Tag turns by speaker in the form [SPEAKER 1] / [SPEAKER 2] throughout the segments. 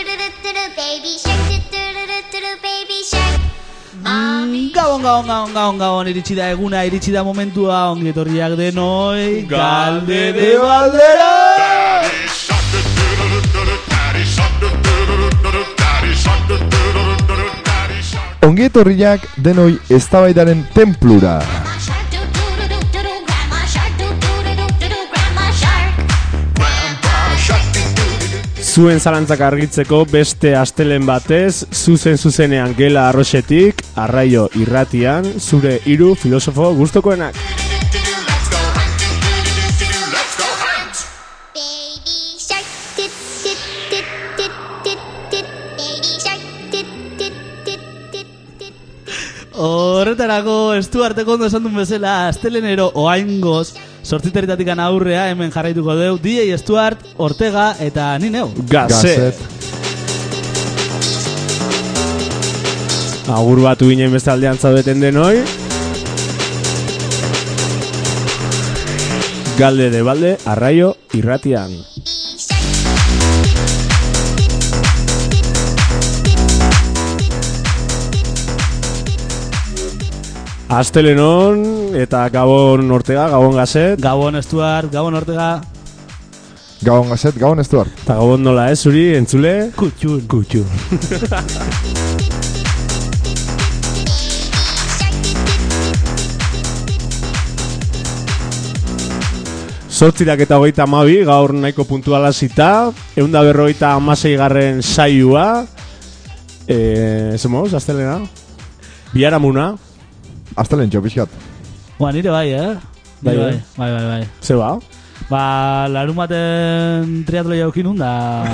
[SPEAKER 1] doo baby shark, doo doo doo doo doo baby shark. Mommy.
[SPEAKER 2] Gabon, gabon, gabon, gabon, gabon, iritsi da eguna, iritsi da momentua, ongietorriak denoi, galdere baldera!
[SPEAKER 3] Ongi etorriak denoi eztabaidaren templura.
[SPEAKER 1] Grandma shark, doo doo doo doo doo doo. Grandma shark, doo doo doo doo doo doo. Grandma shark.
[SPEAKER 4] Zuen zalantzak argitzeko beste astelen batez, zuzen zuzenean gela arroxetik, arraio irratian, zure hiru filosofo gustokoenak.
[SPEAKER 1] Baby shark, doo doo doo doo doo doo. Baby shark, doo doo doo doo doo doo.
[SPEAKER 2] Horretarako, estu arteko ondo esan duen bezala, astelenero oaingoz, sortziteritatik aurrea hemen jarraituko deu, DJ Stuart, Ortega eta ni neu.
[SPEAKER 4] Gazet! Agur batu ginen bestaldean zaudeten denoi. Galde de balde, arraio irratian. Astelenon eta Gabon Ortega, Gabon Gazet,
[SPEAKER 2] Gabon Stuart, Gabon Ortega,
[SPEAKER 3] Gabon gazet, gabon ez duar.
[SPEAKER 4] eta Gabon nola ez zuri, entzule?
[SPEAKER 2] kutxun.
[SPEAKER 4] Kutxu. Zortzirak eta hogeita amabi, gaur nahiko puntuala zita, eunda berrogeita amasei garren saiua, eh, zemoz, astelena? Biaramuna,
[SPEAKER 3] Hasta lehen pixkat.
[SPEAKER 2] Ba, nire bai, eh?
[SPEAKER 4] Bai,
[SPEAKER 2] Nire
[SPEAKER 4] bai.
[SPEAKER 2] bai, bai, bai.
[SPEAKER 4] ze ba?
[SPEAKER 2] Ba, larun baten triatloi jaukin da...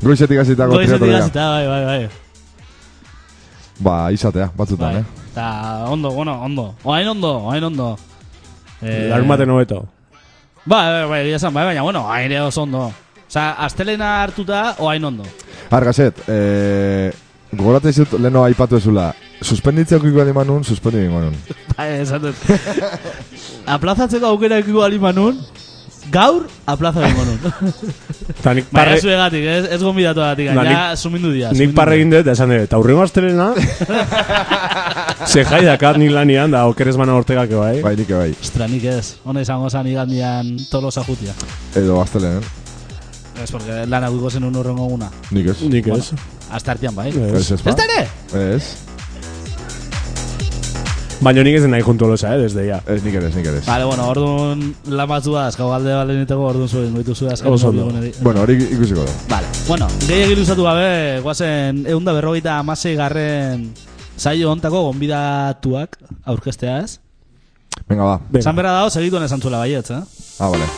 [SPEAKER 3] Goizetik azitako
[SPEAKER 2] Goizetik
[SPEAKER 3] triatloia.
[SPEAKER 2] hasita, bai, bai, bai.
[SPEAKER 3] Ba, izatea, batzutan,
[SPEAKER 2] Bai.
[SPEAKER 3] eh?
[SPEAKER 2] Ta ondo, bueno, ondo. Oain ondo, oain ondo. Eh,
[SPEAKER 4] Larumaten hobeto.
[SPEAKER 2] Bai, bai, bai, egia esan, bai, baina, bueno, oain ere oso ondo. Osa, astelena hartuta, oain ondo.
[SPEAKER 3] Har, gazet, eh... Gogorate izut leheno aipatu ezula. Suspenditzea okiko aldi manun, suspendi bingo nun.
[SPEAKER 2] Bai, esan dut. Aplazatzeko aukera ekiko ali manun, gaur aplaza bingo nun.
[SPEAKER 4] Eta nik
[SPEAKER 2] Baina
[SPEAKER 4] parre,
[SPEAKER 2] zuegatik, ez, ez gombidatu gatik,
[SPEAKER 4] Na,
[SPEAKER 2] ja, sumindu dira.
[SPEAKER 4] nik
[SPEAKER 2] sumindu
[SPEAKER 4] parre
[SPEAKER 2] dira.
[SPEAKER 4] egin dut, eta esan dut, eta hurrengo astelena, ze jai dakat nik lanian, da okeres bana ortegak bai.
[SPEAKER 3] Bai, nike bai.
[SPEAKER 2] Ostra, nik ez. Hona izango zan igandian tolosa jutia.
[SPEAKER 3] Edo hasta lehen, eh?
[SPEAKER 2] Ez, porque lan aduko zen un urrengo guna.
[SPEAKER 3] Nik ez.
[SPEAKER 4] Nik ez.
[SPEAKER 2] Hasta artean, bai.
[SPEAKER 3] Ez, ez,
[SPEAKER 2] Ez
[SPEAKER 3] ba?
[SPEAKER 2] da ere?
[SPEAKER 3] Ez.
[SPEAKER 4] Baina nik ez den nahi juntu losa, eh, desde ya.
[SPEAKER 3] Ez, nik ere, ez, nik ere. ez.
[SPEAKER 2] Vale, bueno, orduan lan batzua azkau alde balenetako orduan zuen goitu zuen azkau
[SPEAKER 4] Oso ondo.
[SPEAKER 3] Bueno, hori ikusiko da.
[SPEAKER 2] Vale, bueno, gehiagir iluzatu gabe, guazen eunda berrogeita amasei garren saio ontako gonbidatuak aurkesteaz.
[SPEAKER 3] Venga, ba.
[SPEAKER 4] Venga.
[SPEAKER 2] Zan berra dago, segituan esan zuela baietz, eh?
[SPEAKER 3] Ah, vale.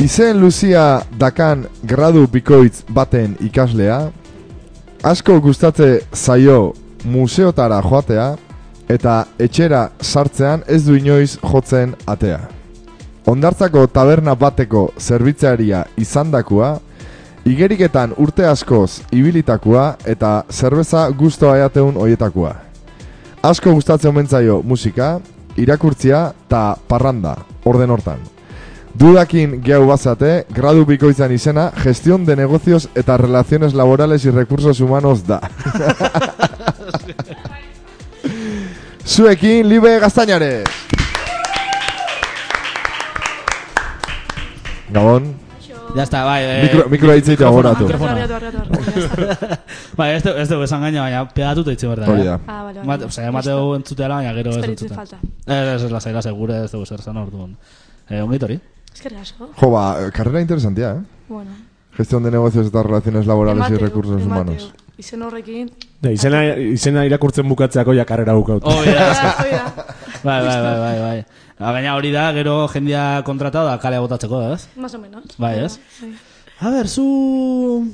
[SPEAKER 3] Izen Luzia dakan gradu bikoitz baten ikaslea, asko gustatze zaio museotara joatea, eta etxera sartzean ez du inoiz jotzen atea. Ondartzako taberna bateko zerbitzaria izandakoa, Igeriketan urte askoz ibilitakoa eta zerbeza gustoa eateun hoietakoa. Asko gustatzen omen zaio musika, irakurtzia eta parranda, orden hortan. Dudakin gehu bazate, gradu bikoitzan izena, gestión de negocios eta relaciones laborales y recursos humanos da. Zuekin, libe gaztainare! Gabon,
[SPEAKER 2] Ya está, bai, eh,
[SPEAKER 3] mikro, mikro hitzeite agoratu.
[SPEAKER 2] Mikrofonoa.
[SPEAKER 5] Barkatu, barkatu, barkatu, ya está.
[SPEAKER 2] Bai, ez dugu ez dugu esan gaina, baina pegatuta itxe berda. eh?
[SPEAKER 3] Hori da.
[SPEAKER 5] Ah, vale,
[SPEAKER 2] Mate,
[SPEAKER 5] vale.
[SPEAKER 2] o sea, emate dugu entzuteala, baina gero ez
[SPEAKER 5] Esperitu
[SPEAKER 2] entzuta.
[SPEAKER 5] falta.
[SPEAKER 2] Ez, ez, lasai, lasai, gure ez dugu zer zan orduan. Eh, ongit hori?
[SPEAKER 5] Eskerrik asko.
[SPEAKER 3] Jo, ba, eh, carrera interesantia, eh?
[SPEAKER 5] Bueno.
[SPEAKER 3] Gestión de negocios eta relaciones laborales y
[SPEAKER 5] Emateu,
[SPEAKER 3] recursos
[SPEAKER 5] emateu.
[SPEAKER 3] humanos.
[SPEAKER 5] Izen horrekin.
[SPEAKER 4] Da, izena, izena irakurtzen bukatzeako jakarrera bukaut.
[SPEAKER 2] Oh, ja,
[SPEAKER 5] Ah, hori da.
[SPEAKER 2] bai, bai, bai, bai, bai. Ba, Gaina hori da, gero jendia kontratatu da kalea botatzeko, ez?
[SPEAKER 5] Más o menos.
[SPEAKER 2] Bai, ez? Mm.
[SPEAKER 5] Bai.
[SPEAKER 2] A ber, zu...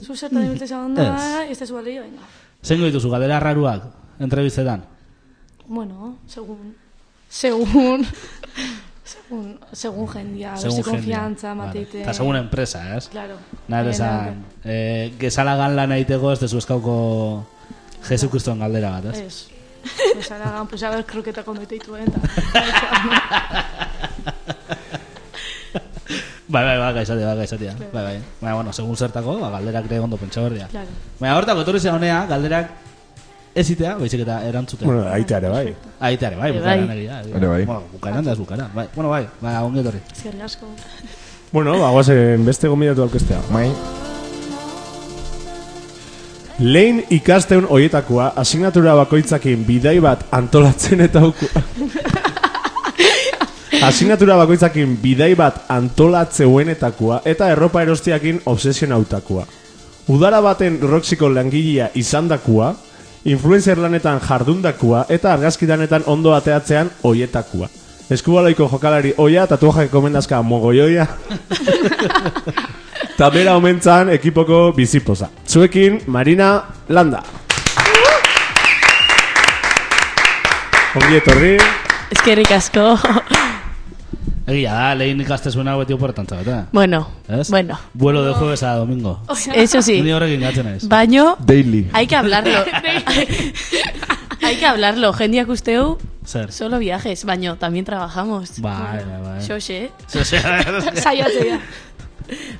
[SPEAKER 5] Zu zertan ibiltzen izan da, ez da zualde, venga.
[SPEAKER 2] Zein goituzu, galdera raruak, entrevistetan?
[SPEAKER 5] Bueno, segun. Segun. Segun, segun jendia, beste konfiantza mateite.
[SPEAKER 2] Eta segun enpresa, ez?
[SPEAKER 5] Claro.
[SPEAKER 2] Nahi esan, eh, gezalagan lan egiteko ez dezu eskauko Jesu Kriston galdera bat, ez?
[SPEAKER 5] Ez. Bezalagan, pues, agar kroketako meteituen, eta...
[SPEAKER 2] Bai, bai, bai, gaizatea, bai, gaizatea. Bai, bai. Baina, bueno, segun zertako, ba, galderak ere ondo pentsa berdea.
[SPEAKER 5] Claro.
[SPEAKER 2] Baina, hortako etorri zen honea, galderak ezitea, baizik eta erantzutea.
[SPEAKER 4] Bueno, aita ere bai.
[SPEAKER 2] Aita ere, bai,
[SPEAKER 6] Bai,
[SPEAKER 2] bukaeran
[SPEAKER 6] bai.
[SPEAKER 2] egia.
[SPEAKER 3] Ere bai.
[SPEAKER 2] Bueno, bukaeran da ez bukaeran. Bai. Bueno, bai, bai, ongi etorri.
[SPEAKER 5] Eskerrik asko.
[SPEAKER 4] Bueno, ba, guazen beste gomidatu alkestea.
[SPEAKER 3] Mai,
[SPEAKER 4] Lehen ikasteun hoietakoa asignatura bakoitzakin bidai bat antolatzen eta uku... asignatura bakoitzakin bidai bat antolatzeuenetakoa eta erropa erostiakin obsesionautakoa. Udara baten roxiko langilea izandakoa, influencer lanetan jardundakoa eta argazkidanetan ondo ateatzean hoietakoa. Eskubaloiko jokalari oia, tatuajak komendazka mogoioia. Eta bera omentzan ekipoko bizipoza. Zuekin, Marina Landa. Ongi etorri.
[SPEAKER 6] Eskerrik asko.
[SPEAKER 2] Egia da, lehen ikaste zuen hau beti oportantza, eta?
[SPEAKER 6] bueno,
[SPEAKER 2] ¿Es?
[SPEAKER 6] bueno.
[SPEAKER 2] Vuelo de jueves a domingo.
[SPEAKER 6] Eso
[SPEAKER 2] Ni
[SPEAKER 6] sí,
[SPEAKER 2] horrekin gatzen naiz.
[SPEAKER 6] baino
[SPEAKER 3] daily.
[SPEAKER 6] hay que hablarlo. hay que hablarlo. Gendiak uste hau,
[SPEAKER 2] Zer.
[SPEAKER 6] solo viajes, baño, también trabajamos.
[SPEAKER 2] Bai, bai, bai.
[SPEAKER 6] Xoxe, eh.
[SPEAKER 2] Zer, zer.
[SPEAKER 5] Saiatzea.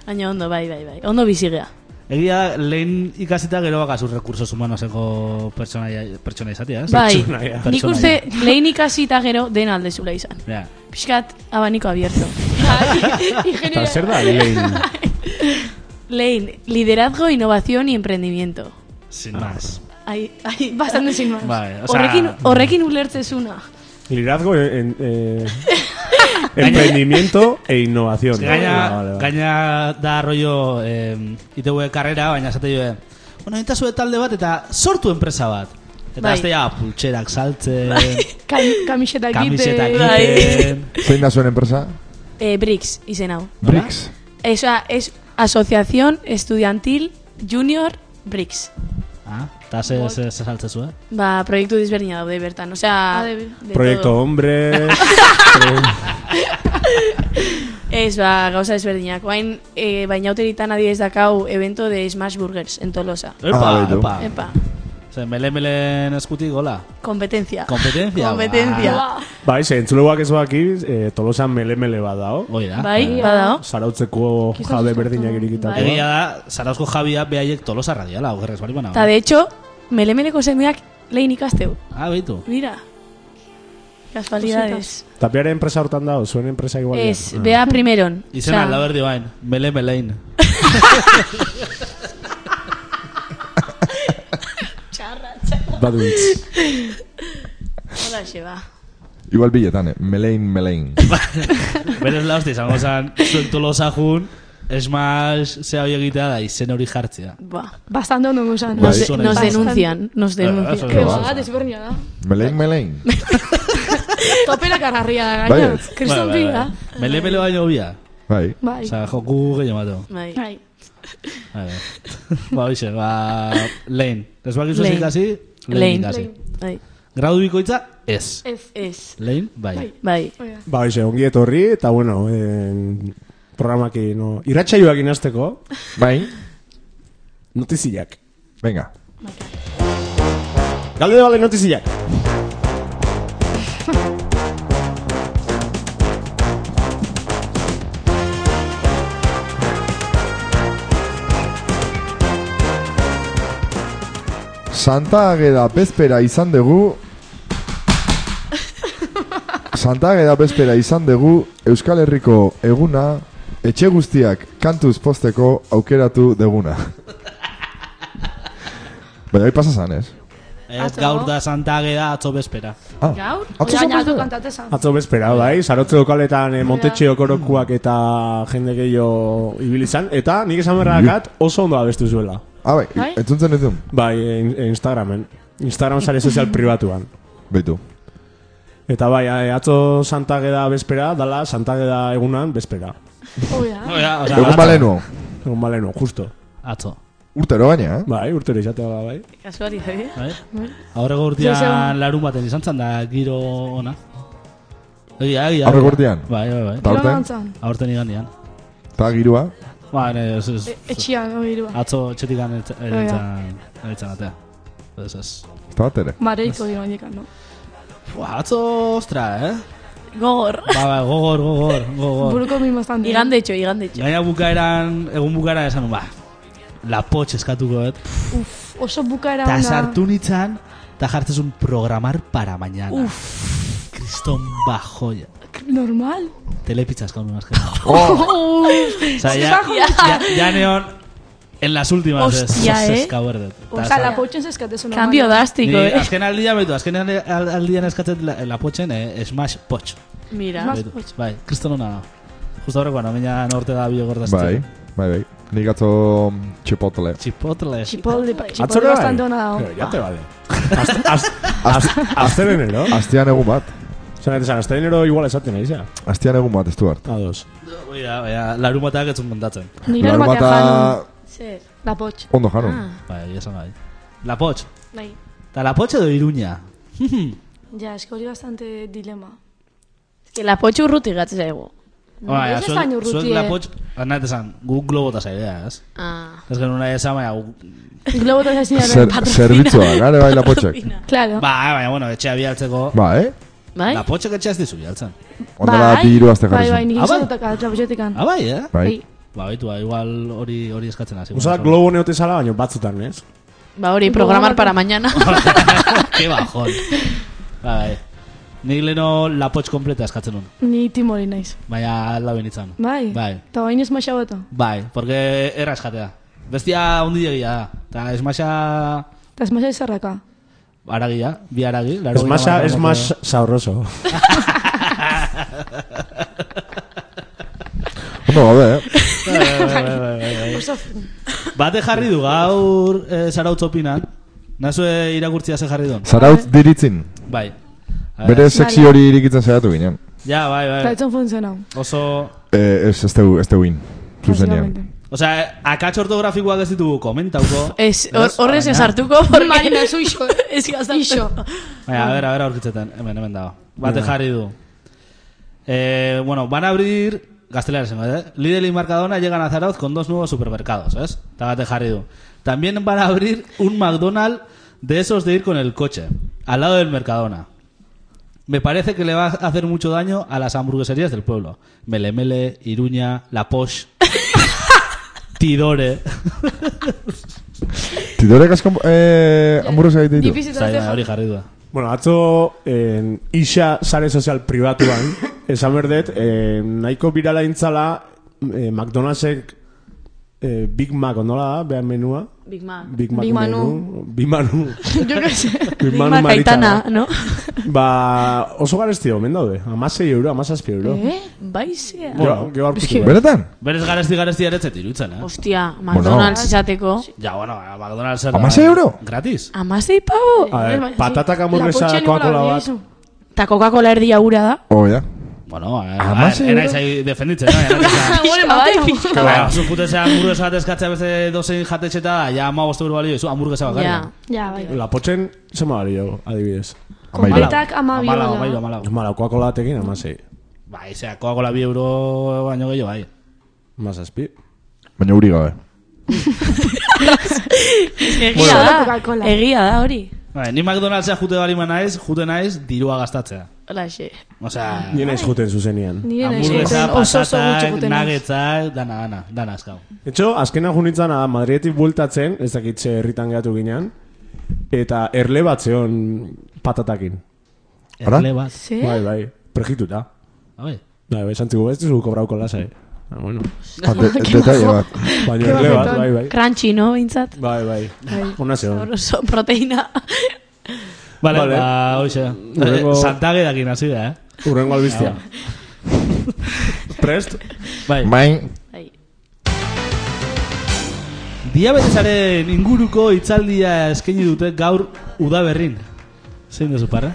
[SPEAKER 6] baina ondo, bai, bai, bai. Ondo bizigea.
[SPEAKER 2] Egia da, lehen ikasita gero bakazu recursos humanoseko pertsonaia- pertsona izatea, ez?
[SPEAKER 6] Bai,
[SPEAKER 4] Pertsonaia.
[SPEAKER 6] nik uste lehen ikasi eta gero den alde zula izan.
[SPEAKER 2] Ja.
[SPEAKER 6] Piskat, abaniko abierto. Bai.
[SPEAKER 4] Eta zer da, lehen?
[SPEAKER 6] Lane, liderazgo, innovación y emprendimiento.
[SPEAKER 2] Sin más.
[SPEAKER 6] Ai, ai,
[SPEAKER 5] Bastante
[SPEAKER 6] bastante
[SPEAKER 5] sin más.
[SPEAKER 2] Bai, o sea,
[SPEAKER 6] Horrekin,
[SPEAKER 4] mm.
[SPEAKER 6] horrekin ulertzezuna.
[SPEAKER 4] Liderazgo, en, eh, emprendimiento e innovación.
[SPEAKER 2] Gaina,
[SPEAKER 4] Ah, vale, vale.
[SPEAKER 2] gaina da rollo eh, ITV karrera, baina esate joe, bueno, egin zuen talde bat eta sortu enpresa bat. Eta
[SPEAKER 6] Bai.
[SPEAKER 2] aztea pultserak saltzen,
[SPEAKER 5] Kamiseta
[SPEAKER 2] kamisetak
[SPEAKER 6] Bai.
[SPEAKER 2] egiten.
[SPEAKER 3] Zein da zuen enpresa?
[SPEAKER 6] Eh, BRICS, izen hau.
[SPEAKER 2] Nola?
[SPEAKER 3] Bricks?
[SPEAKER 6] O sea, es Asociación Estudiantil Junior BRICS.
[SPEAKER 2] Ah, eta ze, ze, ze saltzen zuen.
[SPEAKER 6] Ba, proiektu desberdina daude bertan. O sea,
[SPEAKER 5] Ah, de-
[SPEAKER 6] de
[SPEAKER 4] Proyecto
[SPEAKER 6] todo.
[SPEAKER 4] hombre.
[SPEAKER 6] Ez, ba, gauza desberdinak. Oain, eh, baina uteritan adiez dakau evento de Smash Burgers en Tolosa.
[SPEAKER 2] Epa,
[SPEAKER 3] Ah, baitu.
[SPEAKER 2] epa.
[SPEAKER 6] Epa,
[SPEAKER 2] Zen, belen, belen eskutik, hola. ba.
[SPEAKER 6] competencia.
[SPEAKER 2] Kompetentzia.
[SPEAKER 6] Kompetentzia.
[SPEAKER 4] bai, ze, entzulegoak ez baki, eh, tolosan mele-mele badao.
[SPEAKER 2] Hoi da.
[SPEAKER 6] Bai, badao.
[SPEAKER 4] Zarautzeko jabe berdinak irikitako.
[SPEAKER 2] Bai. Egia da, Zarauzko Javia behaiek tolosa radiala, ogerrez bari bana.
[SPEAKER 6] Ta de hecho, melemeleko zendeak lehin ikasteu.
[SPEAKER 2] Ah, beitu.
[SPEAKER 6] Mira. Casualidades.
[SPEAKER 4] Tapiaren enpresa hortan dao, zuen enpresa igual.
[SPEAKER 6] Ez, bea primeron.
[SPEAKER 2] Izen alda berdi bain, mele melein.
[SPEAKER 4] Baduitz.
[SPEAKER 6] Hola, xeba.
[SPEAKER 3] Igual biletan, eh? Melein, melein.
[SPEAKER 2] Berez lauzti, izango zan, zuen tolosa jun, esmaz, zea hoi egitea da, izen hori jartzea.
[SPEAKER 6] Ba.
[SPEAKER 5] Bastante ondo gozan.
[SPEAKER 3] Bai.
[SPEAKER 6] Nos, de-
[SPEAKER 2] Son
[SPEAKER 6] nos
[SPEAKER 2] elkartzen.
[SPEAKER 6] denuncian, nos
[SPEAKER 2] eso
[SPEAKER 6] denuncian.
[SPEAKER 2] es.
[SPEAKER 5] Que ba, desberdina da.
[SPEAKER 3] Melein, melein.
[SPEAKER 5] Topera kararria da, gaina.
[SPEAKER 3] Bai, ez.
[SPEAKER 5] Kriston
[SPEAKER 2] Bai, bai, bai.
[SPEAKER 5] pila.
[SPEAKER 2] Mele mele baino hobia.
[SPEAKER 3] Bai.
[SPEAKER 5] Bai.
[SPEAKER 2] Osa, joku gehiago mateo.
[SPEAKER 6] Bai.
[SPEAKER 5] Bai.
[SPEAKER 2] Bai, bai. Ba, hoxe, ba... Lehen. Desbakizu
[SPEAKER 6] Lehen.
[SPEAKER 2] ikasi, lehen
[SPEAKER 6] Lehen.
[SPEAKER 2] ikasi.
[SPEAKER 6] Bai.
[SPEAKER 2] Gradu bikoitza, ez.
[SPEAKER 5] Ez.
[SPEAKER 6] Ez.
[SPEAKER 2] Lehen, bai.
[SPEAKER 5] Bai.
[SPEAKER 6] Bai.
[SPEAKER 5] Oia.
[SPEAKER 4] Ba, hoxe, ongi etorri, eta bueno, en, programaki, no, irratxaioak inazteko,
[SPEAKER 3] Bai.
[SPEAKER 4] notizillak.
[SPEAKER 3] Venga.
[SPEAKER 4] Galde bale notizillak.
[SPEAKER 3] Santa Ageda bezpera izan dugu Santa Ageda bezpera izan dugu Euskal Herriko eguna etxe guztiak kantuz posteko aukeratu deguna. Baina Bai, hori pasa zan, ez?
[SPEAKER 2] Ez Eh, gaur da santage da atzo bezpera.
[SPEAKER 3] Ah,
[SPEAKER 5] Gaur?
[SPEAKER 3] atzo
[SPEAKER 5] Oia,
[SPEAKER 3] zan
[SPEAKER 5] gaina du
[SPEAKER 3] bezpera?
[SPEAKER 5] kantatezan.
[SPEAKER 4] Atzo bezpera, bai, sarotze lokaletan eh, montetxe okorokuak eta jende gehiago ibilizan, eta nik esan behar dakat oso ondo abestu zuela.
[SPEAKER 3] Ah, bai,
[SPEAKER 5] Bai?
[SPEAKER 3] entzuntzen ez duen.
[SPEAKER 4] Bai, eh, in- eh, Instagramen. Instagram sare sozial pribatuan.
[SPEAKER 3] Beitu.
[SPEAKER 4] Eta bai, eh, atzo santageda bezpera, dala santageda egunan bezpera.
[SPEAKER 5] Oia.
[SPEAKER 2] Oia, osa,
[SPEAKER 3] Bai, Egun
[SPEAKER 2] atzo.
[SPEAKER 3] balenu.
[SPEAKER 4] Egun baleno, justo.
[SPEAKER 2] Atzo.
[SPEAKER 3] Urtero gaina, eh?
[SPEAKER 4] Bai, urtero izatea da, bai.
[SPEAKER 6] Kasualidade.
[SPEAKER 2] Bai? Aurreko urtean larun baten izan zen da giro ona. Egia, egia.
[SPEAKER 3] Aurreko
[SPEAKER 2] egia.
[SPEAKER 3] urtean?
[SPEAKER 2] Bai, bai, bai.
[SPEAKER 3] Ta-
[SPEAKER 5] Kirola
[SPEAKER 3] Aurten?
[SPEAKER 5] gantzan.
[SPEAKER 2] Aurten igandian.
[SPEAKER 3] Ta girua.
[SPEAKER 2] Ba, ne, ez, ez,
[SPEAKER 4] Ah.
[SPEAKER 5] E- Etxian, oirua.
[SPEAKER 2] atzo txetikan
[SPEAKER 5] Oia.
[SPEAKER 2] eretzan atea. Pues Ez, ez.
[SPEAKER 3] Eta bat ere.
[SPEAKER 5] Mareiko dira handikan, no?
[SPEAKER 2] Buah, atzo, ostra, eh?
[SPEAKER 6] Gogor.
[SPEAKER 2] Ba, ba, gogor, gogor, gogor.
[SPEAKER 5] Buruko min bastan dira.
[SPEAKER 6] Igandetxo, igandetxo.
[SPEAKER 2] Gaina bukaeran, egun bukaeran esan, ba, la potxe eskatuko, eh?
[SPEAKER 5] Uf, oso bukaera
[SPEAKER 2] Eta
[SPEAKER 5] ona.
[SPEAKER 2] sartu nitzan, eta jartzezun programar para mañana. Uf. Kriston bajoia.
[SPEAKER 5] Normal.
[SPEAKER 2] Telepizza eskaun nuen azken.
[SPEAKER 5] Oh.
[SPEAKER 2] Osa, ya,
[SPEAKER 5] Esas
[SPEAKER 2] ya, ya neon, en las últimas. ez-
[SPEAKER 6] Hostia,
[SPEAKER 2] ez- ez
[SPEAKER 6] eh?
[SPEAKER 2] gauerdet. Eta
[SPEAKER 5] Osa,
[SPEAKER 2] esan-
[SPEAKER 5] lapotxen zeskatezu normal.
[SPEAKER 6] Cambio drástico,
[SPEAKER 2] Ni
[SPEAKER 6] eh.
[SPEAKER 2] azken aldian behitu, azken al- al- aldian eskatzen la, lapotxen, eh, smash potx.
[SPEAKER 6] Mira.
[SPEAKER 5] Mas-
[SPEAKER 2] Behitu.
[SPEAKER 5] potx.
[SPEAKER 2] Bai, kriston hona da. Justo horreko, no, baina norte da biogordazte.
[SPEAKER 3] Bai, bai, bai. Nik atzo mm, chipotle.
[SPEAKER 2] Chipotle.
[SPEAKER 5] Chipotle, chipotle
[SPEAKER 4] Atzora
[SPEAKER 5] bastante ona dago.
[SPEAKER 4] Ya te vale. Azte- az- az- Aztelenero.
[SPEAKER 3] Astean egun bat.
[SPEAKER 4] Zan, esan, aztelenero igual esaten ari za.
[SPEAKER 3] Astean egun bat, estu hart.
[SPEAKER 4] Ados.
[SPEAKER 2] Bai, bai, larumatak etzun kontatzen.
[SPEAKER 5] Nire
[SPEAKER 3] Larun
[SPEAKER 5] batean Ah, janun.
[SPEAKER 3] bata
[SPEAKER 6] Zer.
[SPEAKER 5] Lapotx.
[SPEAKER 3] ondo janun.
[SPEAKER 2] Bai, esan bai. Lapotx.
[SPEAKER 5] Bai.
[SPEAKER 2] Eta lapotx edo iruña.
[SPEAKER 5] Ja, eske hori bastante dilema.
[SPEAKER 6] Es que la potxo urruti gatzen zaigu.
[SPEAKER 2] Bai,
[SPEAKER 5] ez
[SPEAKER 2] zuek-
[SPEAKER 5] hain urruti,
[SPEAKER 2] Zuek
[SPEAKER 5] eh.
[SPEAKER 2] lapotx, anat esan, gu globota zaidea, ez?
[SPEAKER 6] Ah.
[SPEAKER 2] Ez genuna esan, baina gu...
[SPEAKER 5] Globo eta ezin
[SPEAKER 3] Zer,
[SPEAKER 5] jaren.
[SPEAKER 3] zerbitzua, gare bai lapotxek.
[SPEAKER 6] Patrocina.
[SPEAKER 5] Claro.
[SPEAKER 2] Ba, baina, bueno, etxea bialtzeko...
[SPEAKER 3] Ba, eh?
[SPEAKER 6] Bai?
[SPEAKER 2] Lapotxek etxea ez dizu bialtzen.
[SPEAKER 3] Ondala bi hiru aste
[SPEAKER 5] Bai, bai,
[SPEAKER 3] jarri
[SPEAKER 5] nik
[SPEAKER 2] Ah, bai?
[SPEAKER 5] izan dut lapotxetik
[SPEAKER 2] Ah, bai, eh?
[SPEAKER 3] Bai.
[SPEAKER 5] Bai.
[SPEAKER 2] Ba, baitu, ba, igual hori hori eskatzen hasi.
[SPEAKER 4] Usa globo neote zala, baina batzutan, ez?
[SPEAKER 6] Ba hori, programar para mañana.
[SPEAKER 2] Ke bajón. Bai. Nik leno lapotx kompleta eskatzen nun.
[SPEAKER 5] Ni timori naiz.
[SPEAKER 2] Baina lau benitzan.
[SPEAKER 6] Ba-
[SPEAKER 5] Bai.
[SPEAKER 2] Bai.
[SPEAKER 5] Ta bain ez maxaboto.
[SPEAKER 2] Bai, porque erra eskatea. Bestia hundi egia da. Eta esmasa
[SPEAKER 5] Ta ez maxa izarraka.
[SPEAKER 2] aragia, bi aragi.
[SPEAKER 4] Es
[SPEAKER 2] laurogeita
[SPEAKER 4] más,
[SPEAKER 2] hamar
[SPEAKER 4] es
[SPEAKER 2] gramoko.
[SPEAKER 4] más sabroso.
[SPEAKER 3] Ondo gabe, eh?
[SPEAKER 4] Eh,
[SPEAKER 2] Bate jarri du gaur eh, zarautz opinan. Nazue irakurtzia ze jarri duen.
[SPEAKER 3] Zarautz diritzin.
[SPEAKER 2] Bai. A
[SPEAKER 3] Bere
[SPEAKER 2] ver.
[SPEAKER 3] sexy hori irikitzen zaiatu ginen.
[SPEAKER 2] Ja, bai,
[SPEAKER 5] Ta
[SPEAKER 2] bai.
[SPEAKER 5] etzon funtzionau.
[SPEAKER 2] Oso...
[SPEAKER 3] Eh, ez, ez tegu, ez teguin. Zuzenean.
[SPEAKER 5] básicamente.
[SPEAKER 2] Osea, akatz ortografikoak ez ditugu komentauko.
[SPEAKER 6] Es, hor-
[SPEAKER 2] Ez?
[SPEAKER 6] horrez
[SPEAKER 2] Baina-
[SPEAKER 6] ez hartuko. porque-
[SPEAKER 5] Marina, zu iso.
[SPEAKER 6] Ez gaztatu.
[SPEAKER 5] Iso.
[SPEAKER 2] Baina, a ver, a ver, Eh, aurkitzetan, hemen, hemen dago. Bate jarri du. Eh, bueno, van a abrir... Gastelares, ¿eh? Lidl y Mercadona llegan a Zarauz con dos nuevos supermercados, ¿ves? Está bate jarri du. También van a abrir un McDonald's de esos de ir con el coche, al lado del Mercadona. Me parece que le va a hacer mucho daño a las hamburgueserías del pueblo. Melemele, Iruña, La Posh, Tidore.
[SPEAKER 3] Tidorek asko eh, hamburrez egiten ditu.
[SPEAKER 5] Difícil
[SPEAKER 2] Zai, baina
[SPEAKER 5] da.
[SPEAKER 2] hori jarri du.
[SPEAKER 4] Bueno, atzo en, isa sare sozial pribatuan, esan berdet, eh, nahiko birala intzala eh, McDonald'sek eh, Big Mac ondola da, behar menua.
[SPEAKER 6] Big Mac.
[SPEAKER 4] Big Mac
[SPEAKER 5] Big
[SPEAKER 4] menu. Big Manu.
[SPEAKER 5] Jo que sé.
[SPEAKER 4] Big
[SPEAKER 6] Big
[SPEAKER 4] Manu
[SPEAKER 6] Mac
[SPEAKER 4] maritza
[SPEAKER 6] Aitana,
[SPEAKER 4] da.
[SPEAKER 6] no?
[SPEAKER 4] Ba, oso garesti omen daude. Amasei euro, amasazpi euro.
[SPEAKER 5] Eh?
[SPEAKER 6] Bai, zea.
[SPEAKER 4] Bueno, gero aurkitu. behar.
[SPEAKER 3] Benetan?
[SPEAKER 2] Berez garesti garesti aretzet irutzen, eh?
[SPEAKER 6] Hostia, McDonald's izateko.
[SPEAKER 2] Ja, bueno, a McDonald's... era-
[SPEAKER 3] ¿Amasei euro?
[SPEAKER 2] Gratis.
[SPEAKER 6] Amazei pavo.
[SPEAKER 4] A ver, patatak hamburguesa Coca-Cola bat.
[SPEAKER 6] Ta Coca-Cola erdia hura da.
[SPEAKER 3] Oia.
[SPEAKER 2] Bueno, eh,
[SPEAKER 3] Hamasei
[SPEAKER 2] a ver,
[SPEAKER 3] euro?
[SPEAKER 2] enaiz ahi defenditzen, no? Enaiz izan-
[SPEAKER 6] Pixka
[SPEAKER 5] bai,
[SPEAKER 6] bat.
[SPEAKER 5] pixka
[SPEAKER 2] Ba, zu jutezea hamburguesa bat eskatzea beste dozein jatetxeta da, ja ama bostu balio, zu hamburguesa bakarri.
[SPEAKER 6] Ja.
[SPEAKER 5] Ja, bai.
[SPEAKER 4] Lapotxen, zema bali dago, adibidez.
[SPEAKER 3] Amairu.
[SPEAKER 5] Betak amabi
[SPEAKER 2] Hamalau,
[SPEAKER 5] baina.
[SPEAKER 2] hamalau, hamalau.
[SPEAKER 4] Mala, Coca-Cola batekin amasei.
[SPEAKER 2] Bai, zera, koakola bi euro baino gehiago, bai.
[SPEAKER 4] Amasazpi.
[SPEAKER 3] Baina uri gabe.
[SPEAKER 6] Egia da.
[SPEAKER 5] Coca-Cola.
[SPEAKER 6] Egia da hori.
[SPEAKER 2] Bai, ni McDonald'sea jute bali naiz, jute naiz, dirua gastatzea.
[SPEAKER 6] Olaxe.
[SPEAKER 2] Osea,
[SPEAKER 4] Nien aiz juten zuzenian.
[SPEAKER 5] Nire nahi
[SPEAKER 2] hamburguesa,
[SPEAKER 5] eh, oso oso
[SPEAKER 4] eh,
[SPEAKER 5] gutxi
[SPEAKER 2] patatak,
[SPEAKER 5] guten naiz.
[SPEAKER 2] nagetzak, dana, dana, dana eskau.
[SPEAKER 4] Etxo, azkena junitzen da, Madrietik bueltatzen, ez dakitxe herritan gehatu ginean, eta erle bat zeon patatakin.
[SPEAKER 3] Ara?
[SPEAKER 2] Erle bat.
[SPEAKER 5] Ze?
[SPEAKER 4] Bai, bai, prejituta.
[SPEAKER 2] Bai.
[SPEAKER 4] Bai, bai, santzigu ez duzu kobrauko lasa, eh? Ah, bueno.
[SPEAKER 3] Ah, de- Detaile bat.
[SPEAKER 4] Baina erle bat, bai, bai.
[SPEAKER 6] Crunchy, no, bintzat?
[SPEAKER 4] Bai, bai. Ona zeon.
[SPEAKER 6] Oso proteina.
[SPEAKER 2] Vale,
[SPEAKER 4] Vale.
[SPEAKER 2] ba, hoxe.
[SPEAKER 4] Hurrengo-
[SPEAKER 2] Santage dakin hasi da, eh?
[SPEAKER 4] Urrengo albiztia. Prest?
[SPEAKER 2] Bai.
[SPEAKER 3] Main,
[SPEAKER 6] Bai.
[SPEAKER 2] Diabetesaren inguruko hitzaldia eskaini dute gaur udaberrin. Zein duzu parra?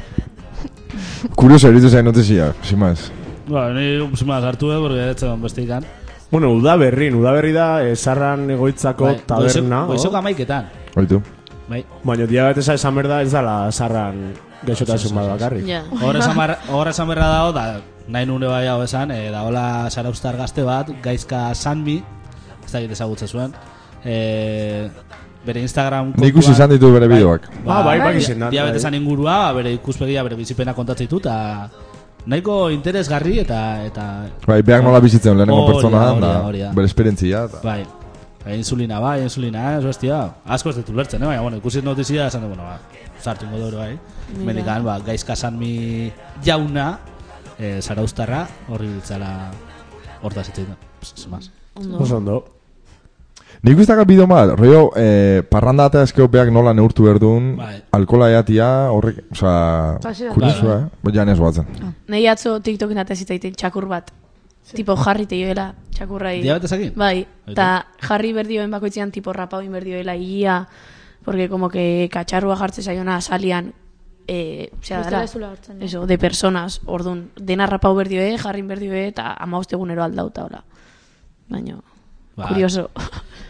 [SPEAKER 3] kurioso eritu zain notizia, sin más.
[SPEAKER 2] Ba, ni sumaz hartu, eh, porque ez zegoen beste ikan.
[SPEAKER 4] Bueno, udaberrin, udaberri da, eh, zarran
[SPEAKER 2] Bai,
[SPEAKER 4] egoitzako taberna.
[SPEAKER 2] Goizok
[SPEAKER 4] oh?
[SPEAKER 2] amaiketan.
[SPEAKER 3] Oitu.
[SPEAKER 2] Bai.
[SPEAKER 4] Baina diabetesa esan berda ez dala zarran gaixotasun bat bakarrik.
[SPEAKER 6] Ja.
[SPEAKER 2] Hor esan bar- hor esan berra dago, da, nahi nune bai hau esan, e, da hola saraustar gazte bat, gaizka sanmi, ez dakit ezagutze zuen, e, bere Instagram
[SPEAKER 3] Nik ikusi izan ditu bere bideoak.
[SPEAKER 4] Ah, bai, bai, izan da,
[SPEAKER 2] Diabetesan ingurua, bere ikuspegia, bere bizipena kontatzen ditu, eta nahiko interesgarri eta... eta
[SPEAKER 3] Bai, beak nola bizitzen lehenengo
[SPEAKER 2] Hori da,
[SPEAKER 3] pertsona
[SPEAKER 2] hori da,
[SPEAKER 3] da,
[SPEAKER 2] hori da.
[SPEAKER 3] bere esperientzia. ba. eta-
[SPEAKER 2] Bai, bai, insulina, bai, insulina, ez bestia. Asko ez dut ulertzen, eh? baina, bueno, ikusi notizia, esan dut, bueno, ba, sartu ingo dut, bai. Mendikan, ba, gaizka san mi jauna, eh, zarauztarra, horri biltzala hortaz itzen da. Pues, más.
[SPEAKER 4] Oso ondo.
[SPEAKER 3] Nik guztaka bideo mal, rollo, eh, parranda eta eskeo beak nola neurtu berdun,
[SPEAKER 2] Bai.
[SPEAKER 3] alkola eatia, horrek, oza,
[SPEAKER 5] Hasi da.
[SPEAKER 3] kuriosua, eh? Bai, jan ez batzen.
[SPEAKER 6] Nei atzo TikToken atez zitaiten txakur bat. Tipo jarri teioela, txakurrai.
[SPEAKER 2] Diabetesakin?
[SPEAKER 6] Bai,
[SPEAKER 2] Eta?
[SPEAKER 6] eta jarri berdioen bakoitzean tipo rapau inberdioela ia, porque como que katxarrua jartze zaiona azalian, eh, zera
[SPEAKER 5] Bestela
[SPEAKER 6] dara,
[SPEAKER 5] ez duela hartzen, ja.
[SPEAKER 6] eso, de personas, ordun, dena rapau berdioe, jarri berdioe, eta amaostegunero aldauta, hola. Baina,
[SPEAKER 2] Ba.
[SPEAKER 6] curioso.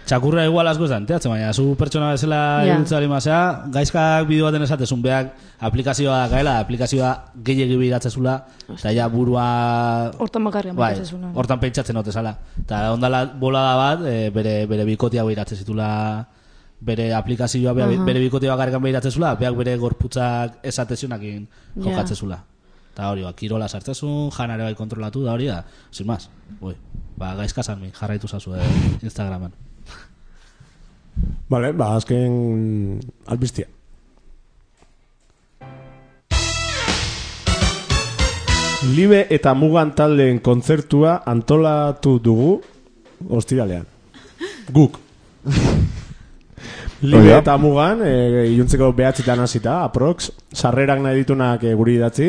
[SPEAKER 2] Txakurra igual asko esan, teatzen baina, zu pertsona bezala
[SPEAKER 6] Ja.
[SPEAKER 2] yeah. ibiltzari mazea, gaizkak bideo baten esatezun behak aplikazioa dakaela, aplikazioa gehiagi biratzezula, eta ja burua...
[SPEAKER 5] Hortan bakarrian
[SPEAKER 2] bai,
[SPEAKER 5] pentsatzezula.
[SPEAKER 2] hortan pentsatzen hote zala. Eta ondala bolada bat, e, bere, bere bikotia behiratzen zitula, bere aplikazioa, bere, bere bikotia bakarrikan behiratzezula, behak bere gorputzak esatezionakin
[SPEAKER 6] Ja.
[SPEAKER 2] jokatzezula. Eta hori, ba, kirola sartzezun, janare bai kontrolatu, da hori da, sin más. Ui, ba, gaizka san mi, jarraitu zazu eh, Instagraman.
[SPEAKER 4] Vale, ba, azken albistia. Libe eta mugan taldeen kontzertua antolatu dugu ostiralean. Guk. Libe
[SPEAKER 3] Oida.
[SPEAKER 4] eta mugan, e, iluntzeko behatzitan hasita, aprox, sarrerak nahi ditunak e, guri idatzi,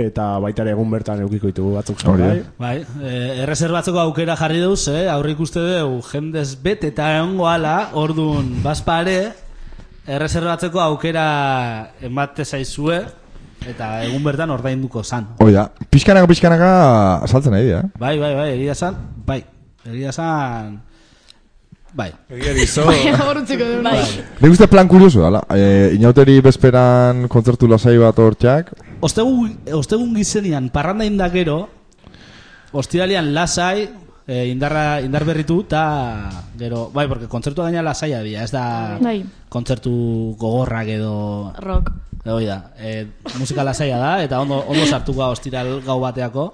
[SPEAKER 4] eta baita ere egun bertan eukiko ditugu batzuk
[SPEAKER 3] Hori da.
[SPEAKER 4] salgai.
[SPEAKER 2] Bai, eh, erreserbatzeko aukera jarri duz, eh? aurrik uste dugu jendez bet eta egongo ala, orduan, bazpare, erreserbatzeko aukera emate zaizue, eta egun bertan ordainduko zan.
[SPEAKER 3] Hoi da, pixkanaka, pixkanaka, saltzen nahi dira, eh?
[SPEAKER 2] Bai, bai, bai, egia zan, bai, egia zan, bai.
[SPEAKER 5] Horretziko dut.
[SPEAKER 6] Bai,
[SPEAKER 3] Nik uste plan kurioso, ala, e, inauteri bezperan kontzertu lasai bat hortxak,
[SPEAKER 2] Ostegun, ostegun gizenian, parranda indakero, ostiralian lasai, eh, indarra, indar berritu, eta gero, bai, porque kontzertu gaina lasaia dira, ez da
[SPEAKER 5] Bai.
[SPEAKER 2] kontzertu gogorrak edo...
[SPEAKER 6] rock.
[SPEAKER 2] Hoi da, eh, musika lasaia da, eta ondo, ondo sartuko ostiral gau bateako,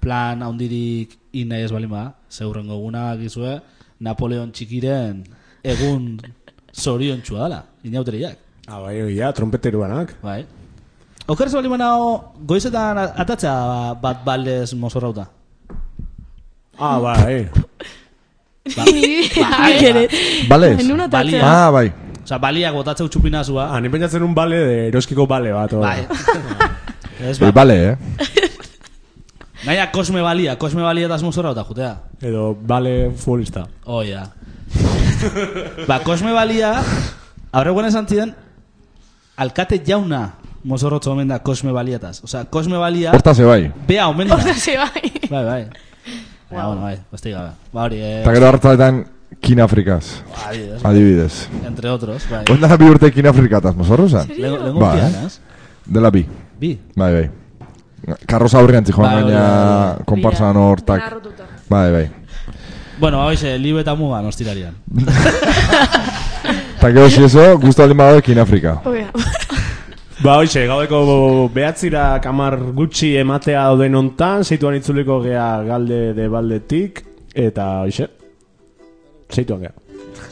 [SPEAKER 2] plan haundirik inai ez balima, zeurrengo eguna gizue, Napoleon txikiren egun zorion txua dala, inauteriak.
[SPEAKER 4] Ah, bai, ja, trompeteruanak.
[SPEAKER 2] Bai. Oker ez bali manao, goizetan a- atatzea ba- bat baldez mozorrauta.
[SPEAKER 4] Ah, bai.
[SPEAKER 6] Bai.
[SPEAKER 3] bale?
[SPEAKER 2] Balia.
[SPEAKER 3] Ah, bai,
[SPEAKER 2] Osa, baliak botatzeu txupinazua.
[SPEAKER 4] Ah, ni pentsatzen un bale de eroskiko bale bat. hor.
[SPEAKER 2] Bai. ez
[SPEAKER 3] e,
[SPEAKER 2] ba.
[SPEAKER 3] bale, eh?
[SPEAKER 2] Gaina kosme balia, kosme balia eta mozorrauta jutea.
[SPEAKER 4] Edo bale futbolista.
[SPEAKER 2] Oh, ja. ba, kosme balia, aurre guen esan ziren, alkate jauna mozorrotzo omen da kosme baliataz. Osa, kosme balia,
[SPEAKER 3] Hortaz, e, bai.
[SPEAKER 2] bea omen da.
[SPEAKER 6] Horta ze bai.
[SPEAKER 2] Bai, bai. Ba, bueno, bai, beste gabe. Ba, hori, eh,
[SPEAKER 3] Eta gero hartzaletan Kinafrikaz,
[SPEAKER 2] adibidez,
[SPEAKER 3] adibidez.
[SPEAKER 2] entre otros, bai.
[SPEAKER 3] Ondana bi urte Kinafrikataz, mozorro zan?
[SPEAKER 2] Lengo, lengo
[SPEAKER 3] Ba,
[SPEAKER 2] urtean,
[SPEAKER 3] eh?
[SPEAKER 2] ez?
[SPEAKER 3] Dela bi.
[SPEAKER 2] Bi.
[SPEAKER 3] Bai, bai. Karroza aurrean zijoan
[SPEAKER 2] Bai, bai, bai,
[SPEAKER 3] gaina konparsan hortak. Bai, bai.
[SPEAKER 2] Bueno, hau ise, libe eta mugan ostirarian.
[SPEAKER 3] Eta gero si eso, guztu aldin badago ekin Afrika.
[SPEAKER 4] Ba, hoxe, gaudeko behatzira kamar gutxi ematea dauden hontan, zeituan itzuliko gea galde de baldetik, eta hoxe, zeituan gea.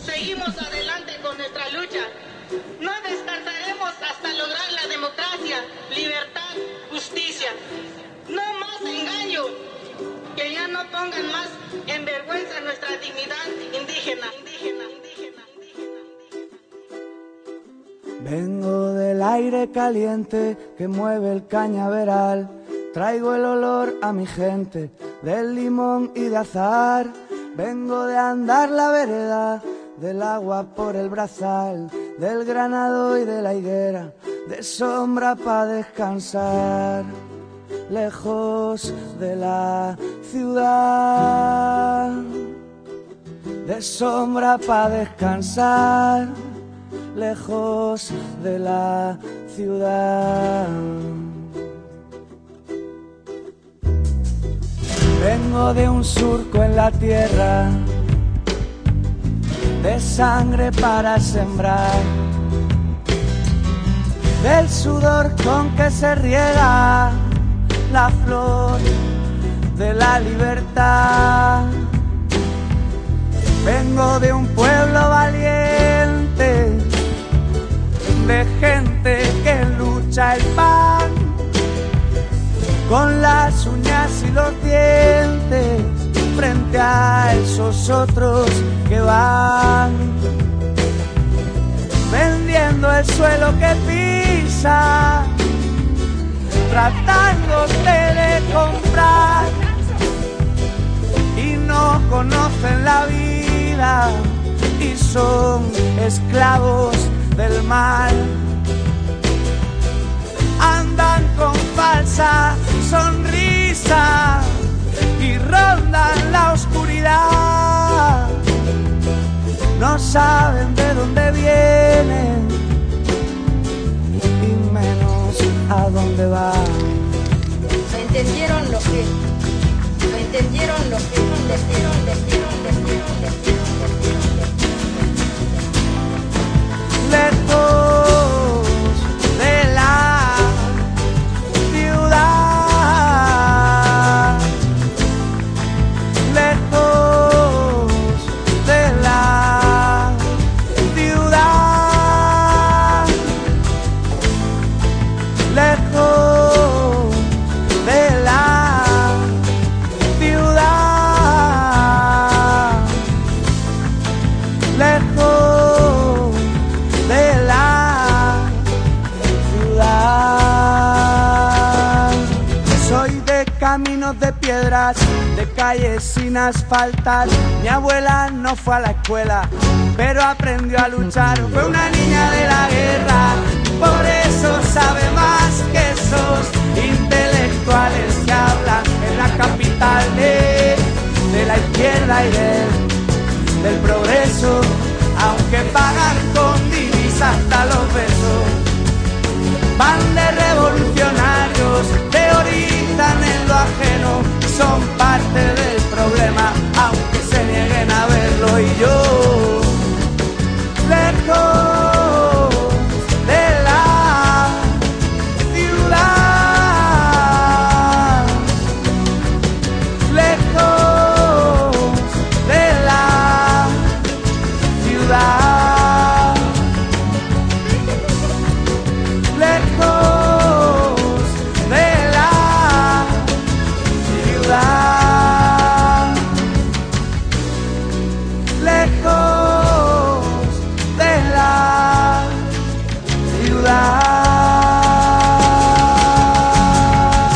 [SPEAKER 7] Seguimos adelante con nuestra lucha. No descansaremos hasta lograr la democracia, libertad, justicia. No más engaño. Que ya no pongan más en vergüenza nuestra dignidad indígena, indígena, indígena, indígena.
[SPEAKER 8] Vengo del aire caliente que mueve el cañaveral. Traigo el olor a mi gente del limón y de azar. Vengo de andar la vereda, del agua por el brazal, del granado y de la higuera, de sombra para descansar. Lejos de la ciudad, de sombra para descansar lejos de la ciudad. Vengo de un surco en la tierra, de sangre para sembrar, del sudor con que se riega la flor de la libertad. Vengo de un pueblo valiente, de gente que lucha el pan con las uñas y los dientes frente a esos otros que van vendiendo el suelo que pisa, tratándose de comprar y no conocen la vida y son esclavos del mal andan con falsa sonrisa y rondan la oscuridad. No saben de dónde vienen y menos a dónde van.
[SPEAKER 9] Lo entendieron lo que, lo entendieron lo que, entendieron, entendieron, entendieron, entendieron,
[SPEAKER 8] lejos de la ciudad, lejos de la ciudad, lejos de la ciudad, lejos de la ciudad. Soy de caminos de piedras, de calles sin asfaltas. Mi abuela no fue a la escuela, pero aprendió a luchar. Fue una niña de la guerra, por eso sabe más que esos intelectuales que hablan en la capital de, de la izquierda y del del progreso, aunque pagan con divisas hasta los besos. Van de revolucionarios, teorizan en lo ajeno, son parte del problema, aunque se nieguen a verlo y yo. Lejos de la ciudad, lejos de la ciudad, lejos de la ciudad, lejos de la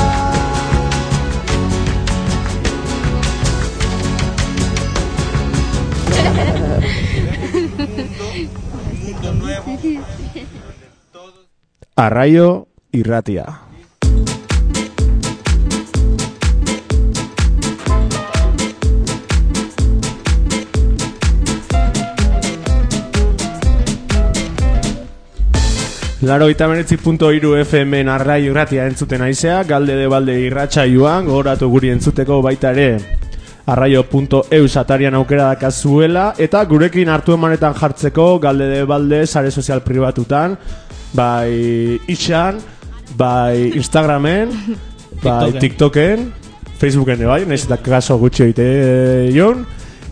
[SPEAKER 8] ciudad.
[SPEAKER 4] Arraio irratia. Laro itamenetzi punto iru FM arraio irratia entzuten aizea, galde de balde irratxa joan, gogoratu guri entzuteko baita ere arraio.eu satarian aukera dakazuela eta gurekin hartu emanetan jartzeko galde de balde sare sozial pribatutan bai itxan bai Instagramen bai
[SPEAKER 2] TikToken.
[SPEAKER 4] TikToken Facebooken ere bai, nahiz eta kaso gutxi egite eh, jon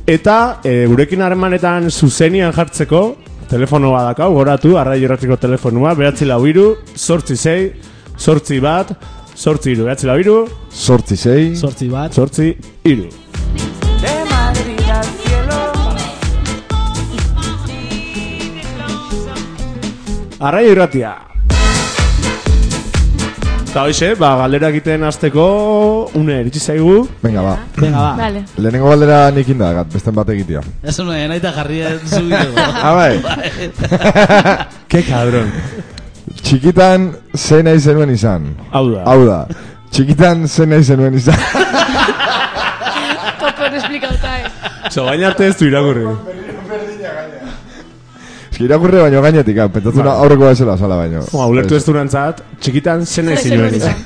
[SPEAKER 4] eta e, gurekin harremanetan zuzenian jartzeko telefonoa dakau, goratu, arraio irratiko telefonua, behatzi lau iru, sortzi zei, sortzi bat, sortzi iru, behatzi lau iru,
[SPEAKER 3] Sortzi zei,
[SPEAKER 2] Sortzi bat.
[SPEAKER 4] sortzi iru.
[SPEAKER 8] de Madrid al cielo.
[SPEAKER 4] Arraio irratia Eta hoxe, ba, galdera egiten azteko Une eritzi zaigu
[SPEAKER 3] venga ba.
[SPEAKER 2] Venga, ba.
[SPEAKER 6] Vale.
[SPEAKER 3] Lehenengo galdera nik indagat, besten bat egitea.
[SPEAKER 2] Eso no, eh, nahi eta jarri zubitu.
[SPEAKER 3] Ah, bai,
[SPEAKER 4] Ke kadron
[SPEAKER 3] txikitan zein nahi zenuen izan.
[SPEAKER 4] Hau da
[SPEAKER 3] Hau da, txikitan zein nahi zenuen izan.
[SPEAKER 6] Topo esplikauta, eh.
[SPEAKER 4] So, baina arte ez du irakurri
[SPEAKER 3] Eski irakurre baino gainetik, hau, pentsatu na aurreko bezala sala baino.
[SPEAKER 4] Oma, ulertu ez du nantzat Txikitan zena ez
[SPEAKER 6] Zer
[SPEAKER 4] inoen
[SPEAKER 6] zen
[SPEAKER 4] izan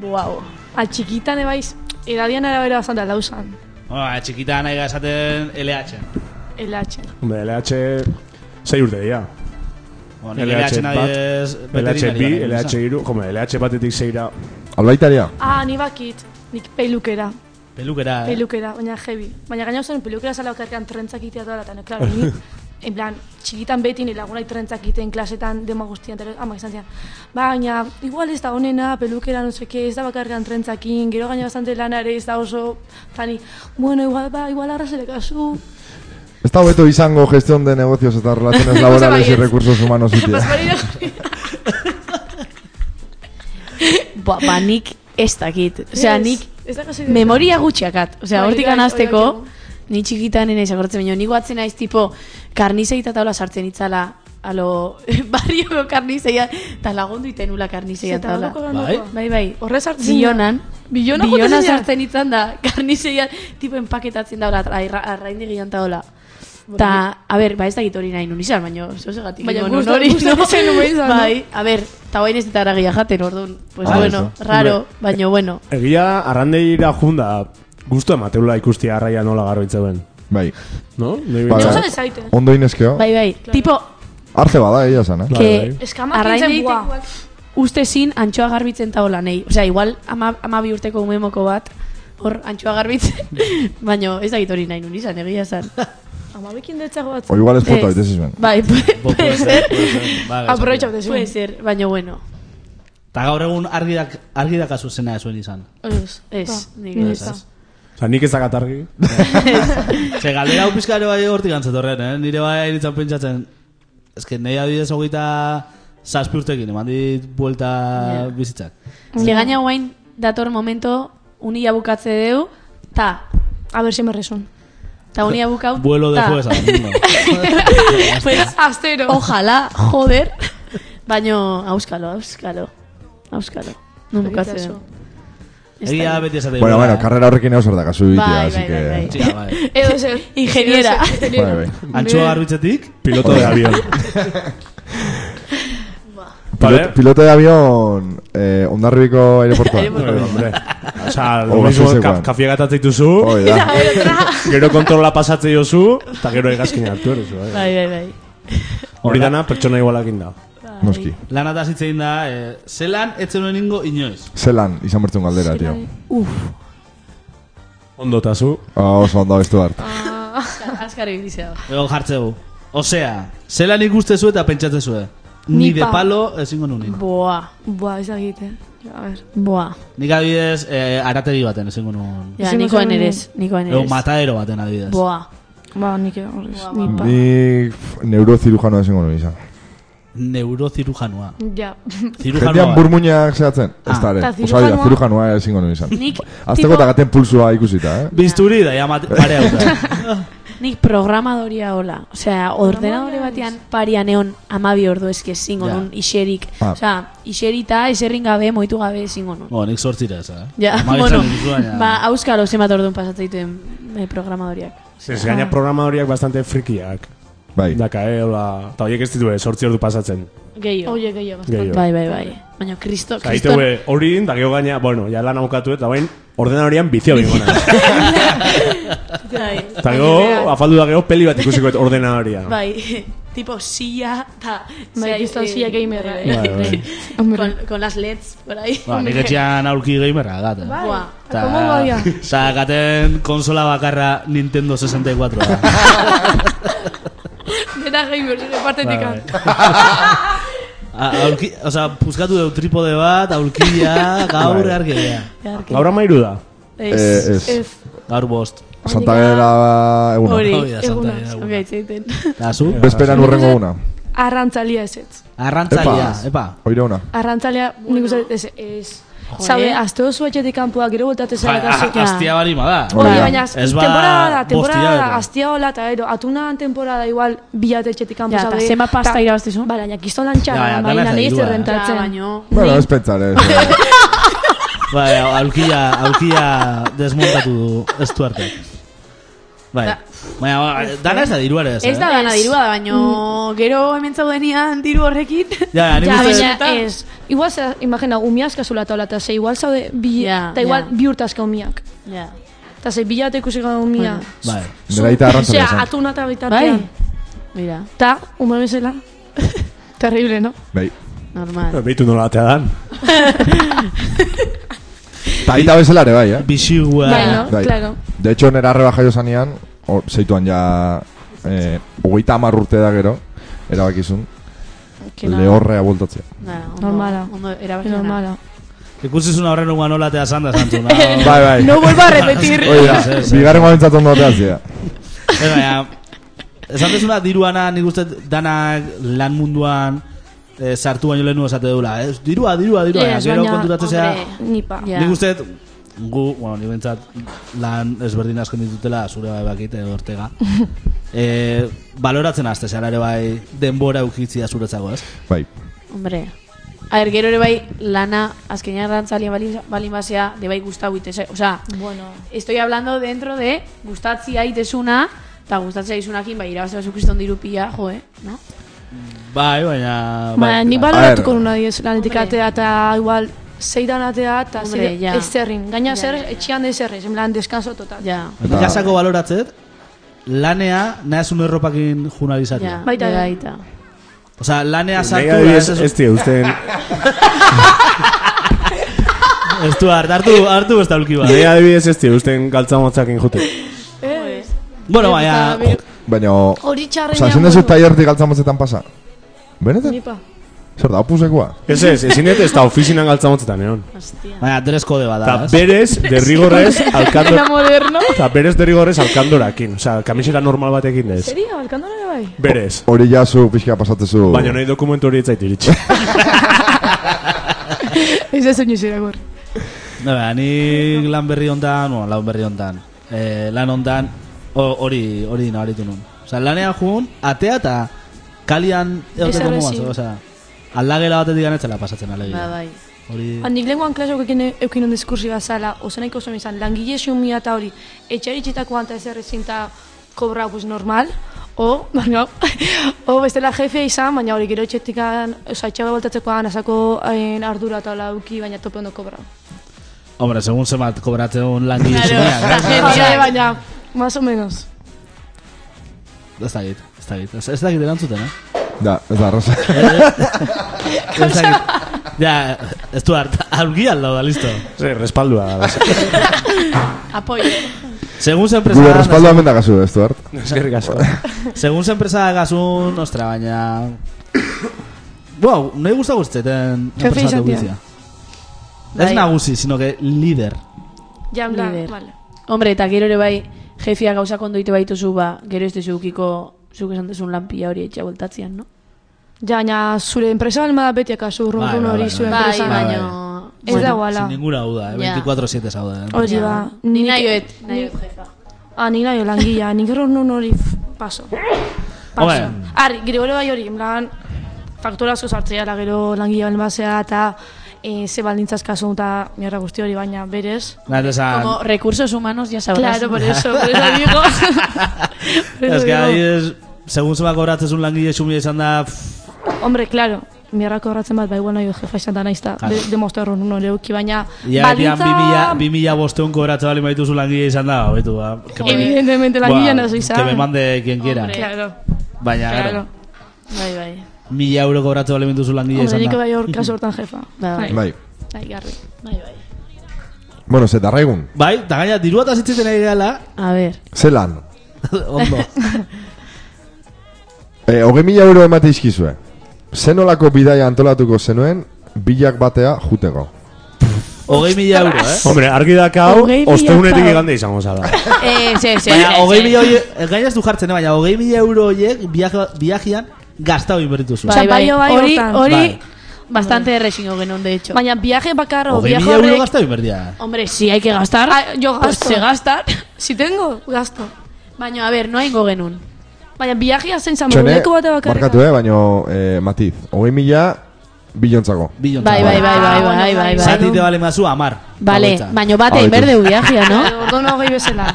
[SPEAKER 6] Buau.
[SPEAKER 5] eh. oh. A txikitan ebaiz, edadian arabera bastante aldauzan.
[SPEAKER 2] Ba, txikitan nahi esaten LH.
[SPEAKER 5] LH.
[SPEAKER 4] Hombre, LH... Zei urte dira.
[SPEAKER 2] Bueno, LH nahi ez...
[SPEAKER 4] LH bi, LH iru... Hombre, LH batetik zeira...
[SPEAKER 3] Albaitaria.
[SPEAKER 5] Ah, ni bakit. Nik peilukera.
[SPEAKER 2] Pelukera, eh?
[SPEAKER 5] Pelukera, baina heavy. Baina gaina zen pelukera zala bakarrean trentzak itea dara, eta, no, claro, ni, en plan, txikitan beti nire lagunai trentzak iten klasetan dema guztian, eta ama izan zian. Baina, igual ez da honena, pelukera, no seke, ez da bakarrean trentzakin, gero gaina bastante lana ere ez da oso, tani, bueno, igual, ba, igual arrasele kasu.
[SPEAKER 3] Ez da hobeto izango gestión de negocios eta relaciones laborales y recursos humanos.
[SPEAKER 5] Pues
[SPEAKER 3] itea.
[SPEAKER 5] hori da-
[SPEAKER 6] Ba, ba, nik ez dakit. Osea,
[SPEAKER 5] Ez,
[SPEAKER 6] nik
[SPEAKER 5] ez da kasi-
[SPEAKER 6] memoria gutxiakat. Osea,
[SPEAKER 5] Bai,
[SPEAKER 6] hortik
[SPEAKER 5] bai,
[SPEAKER 6] anazteko,
[SPEAKER 5] hori
[SPEAKER 6] ni txikitan nena izakortzen baino, ni guatzen naiz tipo, karnizei eta taula sartzen itzala, alo, barrioko karnizeia, eta lagundu itenula karnizeia
[SPEAKER 5] Zeta,
[SPEAKER 6] taula.
[SPEAKER 5] holako
[SPEAKER 2] Bai.
[SPEAKER 5] ganduko.
[SPEAKER 6] Bai, bai.
[SPEAKER 5] Horrez hartzen da.
[SPEAKER 6] Bilonan.
[SPEAKER 5] Bilona joaten zinen?
[SPEAKER 6] sartzen itzan da, karnizeia, tipo empaketatzen daula, arraindegian taula. Ta, a ber, ba ez dakit hori nahi nun izan, baino, zozegatik.
[SPEAKER 5] bai. Baina
[SPEAKER 6] egon
[SPEAKER 5] gusta-
[SPEAKER 6] hori,
[SPEAKER 5] gustatzen zen hori izan, no?
[SPEAKER 6] Bai, a ber, eta bain ez dut aragia jaten, orduan, pues
[SPEAKER 3] Ah,
[SPEAKER 6] bueno,
[SPEAKER 3] eso.
[SPEAKER 6] raro, baino bueno.
[SPEAKER 4] Egia, arrandeira junda... Gusto emateula ikustia arraia nola garoitza ben.
[SPEAKER 3] Bai.
[SPEAKER 4] No? Nei
[SPEAKER 3] Ba,
[SPEAKER 5] Gauza
[SPEAKER 4] behintzat.
[SPEAKER 3] bai.
[SPEAKER 5] dezaite.
[SPEAKER 3] Ondo inezkeo.
[SPEAKER 6] Bai, bai, tipo,
[SPEAKER 3] Arce bada, egia sana.
[SPEAKER 4] Bai,
[SPEAKER 6] que
[SPEAKER 4] bai.
[SPEAKER 5] Eskamak
[SPEAKER 6] Arrain
[SPEAKER 5] egiten bua.
[SPEAKER 6] egitekoak. uste zin antxoa garbitzen taola nei. Osea, igual ama, ama bi urteko umemoko bat, hor antxoa garbitzen, baino ez dakit hori nahi nun izan, egia esan.
[SPEAKER 5] Amabekin detzago
[SPEAKER 3] O
[SPEAKER 5] batzen.
[SPEAKER 3] igual es puta,
[SPEAKER 6] Ez.
[SPEAKER 3] oitez izben.
[SPEAKER 6] Bai,
[SPEAKER 2] Bo,
[SPEAKER 6] puede
[SPEAKER 2] puede
[SPEAKER 6] ser,
[SPEAKER 2] ser, puede ser. Ba, gaitza.
[SPEAKER 5] Aprovecha de
[SPEAKER 6] puede ser, baino bueno.
[SPEAKER 2] Ta gaur egun argi dak, argi dakazu zena zuen izan.
[SPEAKER 5] Ez.
[SPEAKER 6] Ez, nik
[SPEAKER 5] Ni
[SPEAKER 6] ez.
[SPEAKER 5] ez da.
[SPEAKER 4] Osa, nik ez dakat argi.
[SPEAKER 2] Ze galdera hau pizkare bai hortik antzetorren, eh? Nire bai nintzen pentsatzen, ez que nahi adibidez hogeita zazpi urtekin, eman dit buelta
[SPEAKER 6] Ja.
[SPEAKER 2] bizitzak.
[SPEAKER 6] Ez que gaina guain dator momento unila bukatze deu, ta,
[SPEAKER 5] A ver si me reson.
[SPEAKER 6] ta unila bukau,
[SPEAKER 2] Vuelo de
[SPEAKER 6] ta.
[SPEAKER 2] fuerza.
[SPEAKER 6] Pues,
[SPEAKER 5] Astero.
[SPEAKER 6] ojalá, joder, baino, auskalo, auskalo, auskalo. Non bukatze deu. Ez
[SPEAKER 2] Egia
[SPEAKER 6] dakit.
[SPEAKER 2] beti esaten.
[SPEAKER 3] Bueno,
[SPEAKER 2] dela.
[SPEAKER 3] bueno, karrera horrekin eusor da, kasu itea,
[SPEAKER 6] bai,
[SPEAKER 3] así
[SPEAKER 6] bai,
[SPEAKER 3] que...
[SPEAKER 6] bai.
[SPEAKER 2] Txika, bai.
[SPEAKER 5] Edo zer.
[SPEAKER 6] Ingeniera.
[SPEAKER 3] Bai, bai.
[SPEAKER 2] Antxoa garbitzetik,
[SPEAKER 4] Piloto de avión.
[SPEAKER 3] Pilot, piloto de avión eh, ondarribiko aireportua.
[SPEAKER 4] Bueno, hombre. O sea, lo
[SPEAKER 3] O
[SPEAKER 4] mismo
[SPEAKER 3] gasosekoan.
[SPEAKER 4] ka- kafia gatatzen dituzu,
[SPEAKER 3] Hoi da.
[SPEAKER 6] Bai.
[SPEAKER 4] gero kontrola pasatzen jozu, eta gero egazkina hartu erozu. eh.
[SPEAKER 6] Bai, bai, bai.
[SPEAKER 4] Hori dana pertsona igualakin da.
[SPEAKER 3] Noski.
[SPEAKER 2] lan eta zitzein da, eh, zelan etzen honen ingo inoiz.
[SPEAKER 3] Zelan, izan bertzen galdera, tío.
[SPEAKER 4] Ondo eta zu.
[SPEAKER 3] Ah, oso ondo bestu hart.
[SPEAKER 6] Azkar ibilizea.
[SPEAKER 2] Ego jartzeu. Osea, zelan ikustezu eta pentsatzezue. Ni de
[SPEAKER 5] Nipa.
[SPEAKER 2] palo ezingo nunin.
[SPEAKER 6] Boa,
[SPEAKER 5] Boa, ez dakit, eh? A ver.
[SPEAKER 6] boa.
[SPEAKER 2] Nik adibidez, eh, arategi baten ezingo nun.
[SPEAKER 6] Ja,
[SPEAKER 5] Ezin
[SPEAKER 6] nikoan
[SPEAKER 5] gozo
[SPEAKER 6] eres, nikoan
[SPEAKER 2] Ego
[SPEAKER 6] eres.
[SPEAKER 2] matadero baten adibidez.
[SPEAKER 6] Boa.
[SPEAKER 5] Ba, nik eh, horrez. Ni pa.
[SPEAKER 3] Ni pf, neurocirujanoa ezingo nuen izan.
[SPEAKER 2] Neurocirujanoa.
[SPEAKER 5] Ja.
[SPEAKER 2] Zirujanoa.
[SPEAKER 3] Jendean burmuinak zehatzen.
[SPEAKER 2] Ah.
[SPEAKER 3] Ez da, ere.
[SPEAKER 5] Ta
[SPEAKER 3] Osa, dira,
[SPEAKER 5] zirujanoa-
[SPEAKER 3] zirujanoa ezingo nuen izan.
[SPEAKER 6] Nik,
[SPEAKER 3] Azteko
[SPEAKER 6] tipo,
[SPEAKER 3] eta gaten pulsua ikusita, eh?
[SPEAKER 2] Bisturi da, ja mate- mareauta.
[SPEAKER 6] nik programadoria hola. Osea, ordenadore batean parian eon amabi ordu eske zingo
[SPEAKER 2] Ja. Ba.
[SPEAKER 6] nun, iserik.
[SPEAKER 3] Ah.
[SPEAKER 6] Osea, iserita, eserrin gabe, moitu gabe zingo nun.
[SPEAKER 2] Bo, nik sortzira ez, eh?
[SPEAKER 6] Ja,
[SPEAKER 2] Hamabi
[SPEAKER 6] bueno,
[SPEAKER 2] izan Ba, dituzu, baina-
[SPEAKER 6] ba, auskalo zenbat orduan pasatzen dituen eh, programadoriak.
[SPEAKER 4] Ez gaina programa horiek bastante frikiak.
[SPEAKER 3] Bai.
[SPEAKER 4] Daka, eh, hola. Eta horiek ez ditue, sortzi ordu pasatzen.
[SPEAKER 6] Gehiago.
[SPEAKER 5] Oie, gehiago.
[SPEAKER 4] Gehiago.
[SPEAKER 6] Bai, bai, bai. Baina kristo,
[SPEAKER 4] Osa,
[SPEAKER 6] kristo.
[SPEAKER 4] itue, eh, hori, da geho gaina, bueno, ja lan amokatu eta bain, ordena horian bizio bingona.
[SPEAKER 2] Bai.
[SPEAKER 4] Eta geho, afaldu da geho, peli bat ikusiko et ordena horia.
[SPEAKER 2] Ba,
[SPEAKER 6] Bai, tipo silla, ta...
[SPEAKER 5] Bai, kriston silla gamer, eh.
[SPEAKER 4] Bai, bai.
[SPEAKER 6] con, con las LEDs, por ahí.
[SPEAKER 2] Ba, nik etxean aurki gamerra gat, eh?
[SPEAKER 6] Buah.
[SPEAKER 2] Ta-
[SPEAKER 5] Komo baia.
[SPEAKER 2] Sa, gaten konsola bakarra Nintendo 64 da.
[SPEAKER 5] Dena gamer, zure partetik. ah.
[SPEAKER 2] Ba, A- Aurki, oza, puzkatu deu tripode bat, aurkia, gaur
[SPEAKER 4] Bai.
[SPEAKER 2] argia.
[SPEAKER 4] Gaur amairu da.
[SPEAKER 3] Eh,
[SPEAKER 6] Ez.
[SPEAKER 3] ez.
[SPEAKER 5] Ez.
[SPEAKER 2] Gaur bost.
[SPEAKER 3] Santa eh, Gera eguno.
[SPEAKER 6] Hori.
[SPEAKER 2] Hoi da, Oh, Santa
[SPEAKER 5] egunaz.
[SPEAKER 2] Elena.
[SPEAKER 6] Ok, itzaiten.
[SPEAKER 2] Da, zu?
[SPEAKER 3] Bezperan urrengo una.
[SPEAKER 5] Arrantzalia ez ez.
[SPEAKER 2] Arrantzalia,
[SPEAKER 3] Epa.
[SPEAKER 2] epa.
[SPEAKER 3] Oire una.
[SPEAKER 5] Arrantzalia, nik uste dut, ez ez. Zabe, azte oso etxetik kanpoa, gero voltate
[SPEAKER 2] Ja,
[SPEAKER 5] zara kasu.
[SPEAKER 6] ja.
[SPEAKER 2] Aztia bari bada.
[SPEAKER 3] Hori
[SPEAKER 5] Oie,
[SPEAKER 3] da.
[SPEAKER 5] Bai, baina, az-
[SPEAKER 2] ah, Ez ba,
[SPEAKER 5] temporada, temporada,
[SPEAKER 2] bost hilabete.
[SPEAKER 5] aztia hola, eta gero, atunan temporada igual, bilat etxetik kanpo,
[SPEAKER 6] Ja, eta
[SPEAKER 5] zabe,
[SPEAKER 6] zenbat pasta
[SPEAKER 5] ta-
[SPEAKER 6] irabaztezu?
[SPEAKER 5] Ba, baina, kiston lantxan,
[SPEAKER 2] Ja, ja,
[SPEAKER 5] baina,
[SPEAKER 2] dana
[SPEAKER 5] nahi ez
[SPEAKER 2] zailua, eh.
[SPEAKER 5] errentatzen.
[SPEAKER 6] baino...
[SPEAKER 3] Bueno, ez pentsar, eh. ez.
[SPEAKER 2] Bai, aulkia, aulkia desmontatu du ez du arte. Bai. Baina, ba, dana ez da diruare ez, eh?
[SPEAKER 6] Ez Mm. da dana dirua, baino gero hemen zaudenian diru horrekin.
[SPEAKER 2] Ja, nik
[SPEAKER 5] Ja,
[SPEAKER 2] uste
[SPEAKER 5] baina
[SPEAKER 6] dut-
[SPEAKER 5] ez. Igual, ze, imagina, umiazka zula taula, eta ze igual zaude, bi,
[SPEAKER 6] Ja,
[SPEAKER 5] eta igual
[SPEAKER 6] ja.
[SPEAKER 5] bi urtazka umiak.
[SPEAKER 6] Ja.
[SPEAKER 5] Eta zei, bila eta ikusi gau mia.
[SPEAKER 6] Bueno.
[SPEAKER 2] Bai.
[SPEAKER 3] Nera eta arrantzan
[SPEAKER 5] Osea,
[SPEAKER 3] esan.
[SPEAKER 5] atuna eta bitartean.
[SPEAKER 6] Bai? Mira,
[SPEAKER 5] Eta, ume bezala. Terrible, no?
[SPEAKER 3] Bai.
[SPEAKER 6] normal.
[SPEAKER 4] Beitu Ba, nola batea dan.
[SPEAKER 3] Taita bezalare bai, eh?
[SPEAKER 2] Bisigua.
[SPEAKER 5] Bai, no?
[SPEAKER 3] Bai.
[SPEAKER 5] Claro.
[SPEAKER 3] De hecho, nera arreba jaio zanean, hor, zeituan ja, eh, hogeita hamar urte da gero, erabakizun,
[SPEAKER 6] Kena-
[SPEAKER 3] lehorrea bueltatzea.
[SPEAKER 6] Nah, ondo-
[SPEAKER 5] Normala.
[SPEAKER 6] Ondo, erabakiona.
[SPEAKER 5] Normala.
[SPEAKER 2] Ikusizuna horren ungan nola tea zanda zantzuna.
[SPEAKER 3] Bai, bai.
[SPEAKER 6] No vuelvo a repetir.
[SPEAKER 3] Hoi da,
[SPEAKER 2] Ez, ez, ez.
[SPEAKER 3] bigarren momentzat ondo ateatzea.
[SPEAKER 2] Ez baina, esan dezuna diruana nik uste danak lan munduan eh, sartu baino lehenu esate dula. Ez, dirua, dirua, dirua.
[SPEAKER 5] Ez,
[SPEAKER 2] Yes, gero
[SPEAKER 5] baina,
[SPEAKER 2] kontutatzea,
[SPEAKER 6] hombre,
[SPEAKER 5] Nipa.
[SPEAKER 6] Ja.
[SPEAKER 2] nik uste gu, bueno, nik bentsat lan ezberdin asko ditutela, zure bai bakit, edo ortega. e, baloratzen azte, zara ere bai denbora ukitzia zuretzago, ez?
[SPEAKER 3] Bai.
[SPEAKER 6] Hombre. A ver, gero ere bai, lana, azkenean rantzalia balin, balin basea, de bai gustau itese. O sea,
[SPEAKER 5] Bueno.
[SPEAKER 6] estoy hablando dentro de gustatzia itesuna, eta gustatzia izunakin, bai, irabazte basu kriston diru pila, jo, eh? No?
[SPEAKER 2] Bai, baina...
[SPEAKER 5] Baina, ni
[SPEAKER 3] A
[SPEAKER 5] baloratuko
[SPEAKER 3] ver.
[SPEAKER 5] nuna diez lanetik
[SPEAKER 6] Hombre.
[SPEAKER 5] atea eta igual zeidan atea eta
[SPEAKER 6] Hombre,
[SPEAKER 5] zei
[SPEAKER 6] ja.
[SPEAKER 5] ezerrin. Gaina
[SPEAKER 6] Ja,
[SPEAKER 5] zer,
[SPEAKER 6] ja, ja.
[SPEAKER 5] etxian ezerrin, en plan, deskanso total.
[SPEAKER 6] Ja.
[SPEAKER 2] Nik hasako baloratzet, lanea nahezun erropakin junalizatia.
[SPEAKER 6] Ja,
[SPEAKER 5] Baita ere.
[SPEAKER 6] baita.
[SPEAKER 2] Osea, lanea Ba, sartu...
[SPEAKER 4] Nega
[SPEAKER 2] ez,
[SPEAKER 4] adibidez,
[SPEAKER 2] ez,
[SPEAKER 4] ez dira usten,
[SPEAKER 2] ez du hart- hartu, hartu besta ulki bat.
[SPEAKER 4] nega adibidez ez dira usten galtzamotzakin jute.
[SPEAKER 5] Eh,
[SPEAKER 2] Bueno, baina...
[SPEAKER 3] Baina,
[SPEAKER 5] Hori txarrenean...
[SPEAKER 3] oza, ezin dezu tailertik galtzamotzetan pasa. Benetan?
[SPEAKER 5] Nipa.
[SPEAKER 3] Zer da, opusekoa?
[SPEAKER 4] Ez ez, ezin ez da ofizinan galtzamotzetan egon.
[SPEAKER 6] Hostia.
[SPEAKER 2] Baina, tres kode bat
[SPEAKER 4] Eta
[SPEAKER 2] da, Ba, ez?
[SPEAKER 4] berez, derrigorrez,
[SPEAKER 6] Era
[SPEAKER 4] alkandor...
[SPEAKER 6] moderno.
[SPEAKER 4] Eta berez derrigorrez alkandorakin, osea, kamisera normal batekin ez.
[SPEAKER 5] Seria, balkandora ere bai.
[SPEAKER 4] Berez.
[SPEAKER 3] Hori jazu, pixka pasatezu.
[SPEAKER 2] Oh.
[SPEAKER 4] Baina nahi dokumentu hori etzait iritsi.
[SPEAKER 5] Ez ez oinu ziragor.
[SPEAKER 2] No, baina, nik lan berri ondan, bueno, lan berri ondan. Eh, lan ondan, ho- hori, hori nabaritu nun. Osea, lanean jugun, atea eta kalian eoteko
[SPEAKER 5] Ezer
[SPEAKER 2] moaz,
[SPEAKER 5] ezin.
[SPEAKER 2] osea. Aldagela batetik anetzela pasatzen,
[SPEAKER 6] Ba,
[SPEAKER 2] alegia.
[SPEAKER 6] bai.
[SPEAKER 2] Hori...
[SPEAKER 5] Handik lenguan klasok ekin eukin on diskursi bazala, ozen nahiko zuen izan, langile xumia eta hori, etxaritxetako anta ez errezin eta kobra, pues, normal, o, baina, o, bestela jefe izan, baina hori gero etxetikan, oza, etxabe voltatzekoan, asako hain ardura eta hola uki, baina tope ondo kobra.
[SPEAKER 2] Hombre, segun zemat kobratzen un langile
[SPEAKER 6] Claro,
[SPEAKER 2] zunean, ez?
[SPEAKER 5] Baina,
[SPEAKER 6] agentzia.
[SPEAKER 5] baina, más o menos.
[SPEAKER 2] Ez dakit, ez dakit. Ez- Ez dakit erantzuten, eh?
[SPEAKER 3] Da, ez da, arraza.
[SPEAKER 2] Ez dakit. Ja, ez du hart, algi aldo da, listo.
[SPEAKER 4] Zer, respaldua.
[SPEAKER 6] Apoio.
[SPEAKER 2] Segun zen
[SPEAKER 3] Gure
[SPEAKER 2] presa...
[SPEAKER 3] respaldo amendagazu, ez du, hart?
[SPEAKER 4] Eskerrik asko.
[SPEAKER 2] Segun zen presa gazun, ostra, baina... Buau, nahi guzta guztetan
[SPEAKER 5] Jefe
[SPEAKER 2] enpresatu
[SPEAKER 5] izatea.
[SPEAKER 2] guztia. Ez
[SPEAKER 6] Bai.
[SPEAKER 2] nagusi, sino que líder.
[SPEAKER 5] Ja, en plan,
[SPEAKER 6] Lider.
[SPEAKER 5] vale.
[SPEAKER 6] Hombre, eta gero ere bai, jefia gauzak ondo ite baituzu, ba, gero ez dezu ukiko, zuk esan duzun lan pila hori etxe voltatzean, no?
[SPEAKER 5] Ja, baina, zure enpresa balma da beti akaso
[SPEAKER 2] Bai,
[SPEAKER 5] urrun
[SPEAKER 2] bai,
[SPEAKER 5] hori
[SPEAKER 2] bai,
[SPEAKER 5] zure
[SPEAKER 2] bai.
[SPEAKER 6] Bai,
[SPEAKER 5] enpresa.
[SPEAKER 2] bai.
[SPEAKER 6] baino...
[SPEAKER 5] Ez
[SPEAKER 6] Bueno,
[SPEAKER 5] dago ala.
[SPEAKER 2] Sin ninguna duda, eh?
[SPEAKER 6] Ya.
[SPEAKER 2] 24-7 zaude. eh?
[SPEAKER 5] Hori
[SPEAKER 6] ja.
[SPEAKER 5] ba,
[SPEAKER 6] Ni
[SPEAKER 5] nik-
[SPEAKER 6] nahioet, nahioet jefa.
[SPEAKER 5] Ah, ni nahi langilea, nik error nun hori f- paso. Paso.
[SPEAKER 2] Hombre.
[SPEAKER 5] Arri, gero bai hori, en plan, faktura asko sartzea, la gero langilea balbazea eta e, ze baldintzaz kasu eta mierda guzti hori, baina berez.
[SPEAKER 2] Nahi esan...
[SPEAKER 6] Como recursos humanos, ya sabrás.
[SPEAKER 5] Ah. Claro, por eso, por eso digo. Por eso
[SPEAKER 2] Ez que
[SPEAKER 5] digo.
[SPEAKER 2] ahí es... Segun zema kobratzezun langile sumia izan da... pff,
[SPEAKER 5] Hombre, claro, mierda kobratzen bat, bai guan nahi jefa izan da naizta,
[SPEAKER 2] Claro.
[SPEAKER 5] de, demostra error nun hori euki, baina
[SPEAKER 2] Ja, dian 2000 2000 bosteun kobratzen bali maituzun langile izan da, hobetu, ba. ah, que me-
[SPEAKER 5] Evidentemente
[SPEAKER 2] Buah,
[SPEAKER 5] langilea nazo izan.
[SPEAKER 2] Que me mande quien quiera.
[SPEAKER 6] Hombre.
[SPEAKER 5] Claro,
[SPEAKER 2] Baina,
[SPEAKER 5] claro.
[SPEAKER 2] claro.
[SPEAKER 6] Bai, bai.
[SPEAKER 2] Mila euro kobratzen bali maituzun langile
[SPEAKER 5] Hombre,
[SPEAKER 2] izan
[SPEAKER 5] nik
[SPEAKER 2] da.
[SPEAKER 5] bai hor kasu hortan jefa.
[SPEAKER 6] Ba, bai.
[SPEAKER 3] Bai.
[SPEAKER 5] Bai, garri.
[SPEAKER 6] Bai, bai.
[SPEAKER 3] Bueno, ze darraigun.
[SPEAKER 2] Bai, eta gaina, dirua eta zitzen ari gala,
[SPEAKER 6] A ver.
[SPEAKER 3] Zelan.
[SPEAKER 2] ondo.
[SPEAKER 3] E, Hoge mila euro emate izkizue. Zenolako bidaia antolatuko zenuen, bilak batea juteko.
[SPEAKER 2] Hogei mila euro, eh?
[SPEAKER 4] Hombre, argi daka hau,
[SPEAKER 6] Hogei mila
[SPEAKER 4] osteunetik
[SPEAKER 6] pau.
[SPEAKER 4] igande izango zara.
[SPEAKER 6] Eh, se, se,
[SPEAKER 2] Baina, hogei mila
[SPEAKER 5] Bai,
[SPEAKER 2] horiek, gaina ez du jartzen, eh, baina, hogei mila euro horiek biaja- viajean gaztau inbertituzu.
[SPEAKER 6] Bai, bai,
[SPEAKER 5] Zapallo bai
[SPEAKER 6] hori,
[SPEAKER 5] hortan.
[SPEAKER 6] hori,
[SPEAKER 2] Bai.
[SPEAKER 6] bastante errexingo genon, de hecho.
[SPEAKER 5] Baina viaje bakarro,
[SPEAKER 2] Hogei
[SPEAKER 5] viaje
[SPEAKER 2] mila euro
[SPEAKER 5] horrek...
[SPEAKER 2] gaztau inbertia.
[SPEAKER 6] Hombre, si hay que gastar,
[SPEAKER 5] Ah, yo
[SPEAKER 6] pues
[SPEAKER 5] gasto.
[SPEAKER 6] se gastan.
[SPEAKER 5] Si tengo, gasto.
[SPEAKER 6] Baina, a ver, no haingo genun.
[SPEAKER 5] Baina viajea zen
[SPEAKER 3] Txone,
[SPEAKER 5] zamuruneko bate bakarrik.
[SPEAKER 3] markatu, eh, baino eh, matiz. Hogei mila, bilontzako.
[SPEAKER 2] Bilon
[SPEAKER 6] Bai, bai, bai, bai,
[SPEAKER 5] Ah, bueno,
[SPEAKER 6] bai, bai,
[SPEAKER 5] bai.
[SPEAKER 6] bai.
[SPEAKER 2] Zati te bale mazu, amar.
[SPEAKER 6] Vale,
[SPEAKER 2] Bakoitza.
[SPEAKER 6] baino bate
[SPEAKER 3] Abetu.
[SPEAKER 6] inberde viajea, no?
[SPEAKER 5] Orduan hogei bezala.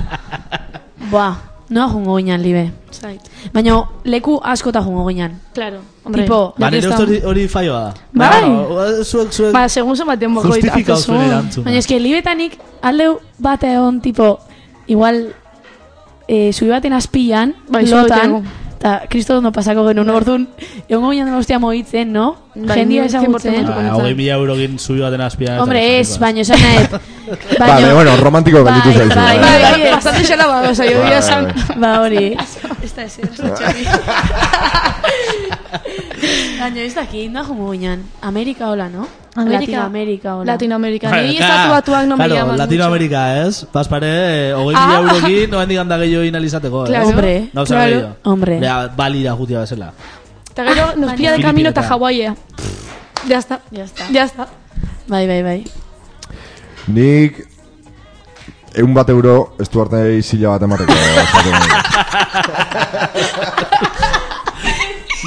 [SPEAKER 6] Boa, noa jungo ginean, libe.
[SPEAKER 5] Zait.
[SPEAKER 6] Baina, leku askota jungo ginean.
[SPEAKER 5] Claro, hombre.
[SPEAKER 6] Tipo,
[SPEAKER 5] ya
[SPEAKER 2] Ba,
[SPEAKER 5] que
[SPEAKER 2] nire
[SPEAKER 5] está.
[SPEAKER 2] uste hori- hori faioa da.
[SPEAKER 5] Bai.
[SPEAKER 2] Baina, eh, Zuek, zuek,
[SPEAKER 5] Ba, segun zen baten boko
[SPEAKER 2] justifika zuen erantzuna.
[SPEAKER 6] baina eske libetanik aldeu bate on, tipo, igual, eh, zubi baten azpian,
[SPEAKER 5] Bai,
[SPEAKER 6] lotan,
[SPEAKER 5] zubiateko.
[SPEAKER 6] eta kristo ondo pasako genuen, orduan, egon goian hostia moitzen, no?
[SPEAKER 5] Bai, ni
[SPEAKER 6] Jendia
[SPEAKER 5] 100%
[SPEAKER 6] ezagutzen.
[SPEAKER 5] Ba,
[SPEAKER 2] Ba, hogei mila eurokin zubi baten
[SPEAKER 3] Ah,
[SPEAKER 2] azpian.
[SPEAKER 6] Hombre,
[SPEAKER 2] eta-
[SPEAKER 6] ez, baino esan nahet.
[SPEAKER 3] Vale, bueno, romantiko galditu
[SPEAKER 6] Bai,
[SPEAKER 3] zaizu.
[SPEAKER 6] bai,
[SPEAKER 3] eh?
[SPEAKER 6] bai.
[SPEAKER 5] bastante xela ba, oza,
[SPEAKER 3] Bai,
[SPEAKER 5] jo
[SPEAKER 3] bai,
[SPEAKER 5] san...
[SPEAKER 3] bai.
[SPEAKER 6] Ba hori.
[SPEAKER 5] Ez da ezer, ez da txarri.
[SPEAKER 6] Baina ez dakit, noa jugu ginen. Amerika hola, no?
[SPEAKER 5] Amerika.
[SPEAKER 6] Latinoamerika Ah, hola.
[SPEAKER 5] Latinoamerika.
[SPEAKER 2] Claro,
[SPEAKER 5] Ni
[SPEAKER 2] claro,
[SPEAKER 5] estatu batuak no me
[SPEAKER 2] claro,
[SPEAKER 5] llaman
[SPEAKER 2] Latinoamérica, ez? Pas pare, eh, hogei mila
[SPEAKER 5] Ah.
[SPEAKER 2] eurokin, noen digan da gehiago inalizateko, eh?
[SPEAKER 5] Claro.
[SPEAKER 6] Hombre.
[SPEAKER 2] Gauza
[SPEAKER 5] Claro.
[SPEAKER 2] gehiago.
[SPEAKER 6] Hombre.
[SPEAKER 2] Bea, balira jutia bezala.
[SPEAKER 5] mucho. Eta gero, nos pilla de
[SPEAKER 2] Filipinetara.
[SPEAKER 5] camino eta Hawaii. Ya está.
[SPEAKER 6] Ya está.
[SPEAKER 5] Ya está.
[SPEAKER 6] Bai, bai, bai.
[SPEAKER 3] Nik egun bat euro ez du arte zila bat emateko. eh,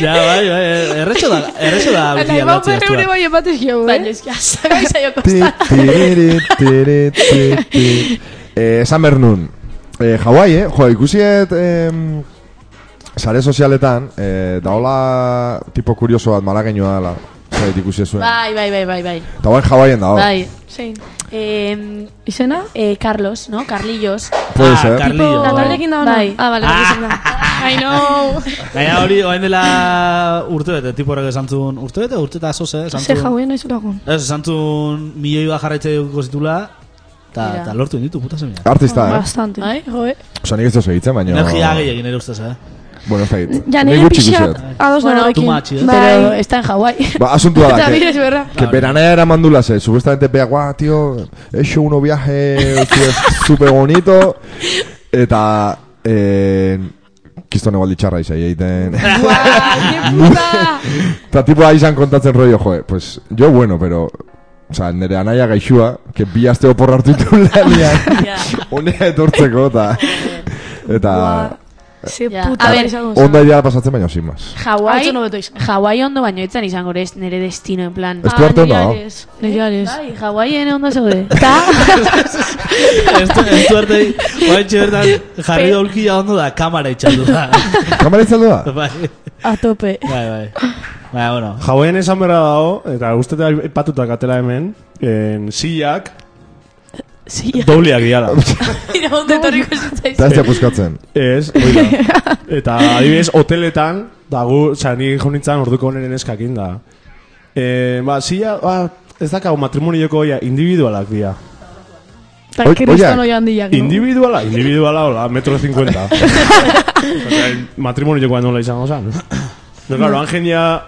[SPEAKER 2] Ja, bai, bai, erretxo da, erretxo da.
[SPEAKER 5] Eta
[SPEAKER 2] beti
[SPEAKER 5] imau
[SPEAKER 2] aldatzea
[SPEAKER 5] berre
[SPEAKER 2] estua.
[SPEAKER 5] ure bai ematez jau,
[SPEAKER 6] Baina
[SPEAKER 5] eh?
[SPEAKER 6] ez que hasta gaisa joko
[SPEAKER 3] Ti,
[SPEAKER 6] estan.
[SPEAKER 3] tiriri, tiri, ti, ti. Eh, Esan behar nun. Eh, Hawaii, eh? Jo, ikusiet... Eh, Sare sozialetan, eh, daola tipo kurioso bat malagenua dela. Zait ikusi zuen.
[SPEAKER 6] Bai, bai, bai, bai, bai.
[SPEAKER 3] Eta guain Hawaiian dago.
[SPEAKER 6] Bai.
[SPEAKER 5] Zein.
[SPEAKER 6] Eh,
[SPEAKER 5] Izena?
[SPEAKER 6] eh, Carlos, no? Carlillos.
[SPEAKER 3] Puede
[SPEAKER 2] Ah,
[SPEAKER 3] ser.
[SPEAKER 2] Carlillo.
[SPEAKER 5] Tipo, Nataliekin da ona.
[SPEAKER 6] Bai.
[SPEAKER 5] Ah, bale,
[SPEAKER 2] Ah.
[SPEAKER 5] hori izan da. I know.
[SPEAKER 2] Gaina hori, oain dela urte bete, tipo horrek esan zuen, urte bete, urte eta zoze, eh, esan
[SPEAKER 5] Ze
[SPEAKER 2] zuen.
[SPEAKER 5] jauen aizu lagun.
[SPEAKER 2] Ez, esan zuen milioi bat jarraitze duko zitula,
[SPEAKER 6] Mira.
[SPEAKER 2] eta lortu inditu, puta semia.
[SPEAKER 3] Artista, eh?
[SPEAKER 5] Bastante.
[SPEAKER 6] Bai, joe.
[SPEAKER 3] Osa nik ez dozu egitzen, baina...
[SPEAKER 2] Energia gehiagin ere ustez, eh?
[SPEAKER 3] Bueno, ez dakit.
[SPEAKER 5] Ja,
[SPEAKER 3] Nik
[SPEAKER 5] nire
[SPEAKER 3] gutxi ikusi
[SPEAKER 5] pixat
[SPEAKER 3] dut.
[SPEAKER 5] ados
[SPEAKER 6] Bueno,
[SPEAKER 5] nagoekin.
[SPEAKER 2] too much, eh?
[SPEAKER 6] Pero
[SPEAKER 5] Bai.
[SPEAKER 6] está en Hawái.
[SPEAKER 3] Ba, asuntua da.
[SPEAKER 5] También
[SPEAKER 3] que-
[SPEAKER 5] es verdad.
[SPEAKER 3] Que Peranea era mandula, se supuestamente vea, guau, tío, he hecho uno viaje su- súper bonito. Eta, eh, kiston egualdi txarra izai egiten. Eta tipo aizan kontatzen rollo, joe, pues, yo bueno, pero, o sea, nere anaia gaixua, que bi aste oporra hartu ditu lanean, honea etortzeko, eta, eta,
[SPEAKER 5] Ze
[SPEAKER 6] Ja.
[SPEAKER 5] puta bai,
[SPEAKER 6] A
[SPEAKER 5] bat
[SPEAKER 6] ver,
[SPEAKER 5] izango zen.
[SPEAKER 3] onda idea pasatzen baino, sin más.
[SPEAKER 6] Hawái.
[SPEAKER 5] Altzo no beto izan.
[SPEAKER 6] Hawái ondo baino etzan izango ere ez nere destino en plan.
[SPEAKER 3] Ez du arte ondo, dago.
[SPEAKER 5] Nereares. Nereares.
[SPEAKER 6] Bai, Hawaiian ondo zaude.
[SPEAKER 2] Ez du- ez du arte, oain txertan, jarri da ulkila ondo da, kamara itxaldu da.
[SPEAKER 3] Kamara itzaldu da?
[SPEAKER 2] Bai,
[SPEAKER 6] A tope.
[SPEAKER 2] bai, bai. Baina, bueno,
[SPEAKER 4] Jauen esan berra dago, eta uste da patutak atela hemen, en, sillak
[SPEAKER 6] Sí,
[SPEAKER 4] dobleak diala.
[SPEAKER 6] mira, ondo etorriko zitzaizu.
[SPEAKER 3] Eta ez diapuzkatzen.
[SPEAKER 4] Ez, hori da. Eta adibidez, hoteletan, ba, dago, oza, ni jo nintzen orduko honen eskakin da. E, ba, silla, ba, ez dakago matrimonioko oia, individualak dira.
[SPEAKER 5] Eta
[SPEAKER 3] Oi-
[SPEAKER 5] kriston
[SPEAKER 3] oiak.
[SPEAKER 5] oia handiak, no?
[SPEAKER 4] Individuala? Individuala, hola, metro 50. Osea, matrimonioko nola izango zan. No, claro, Angenia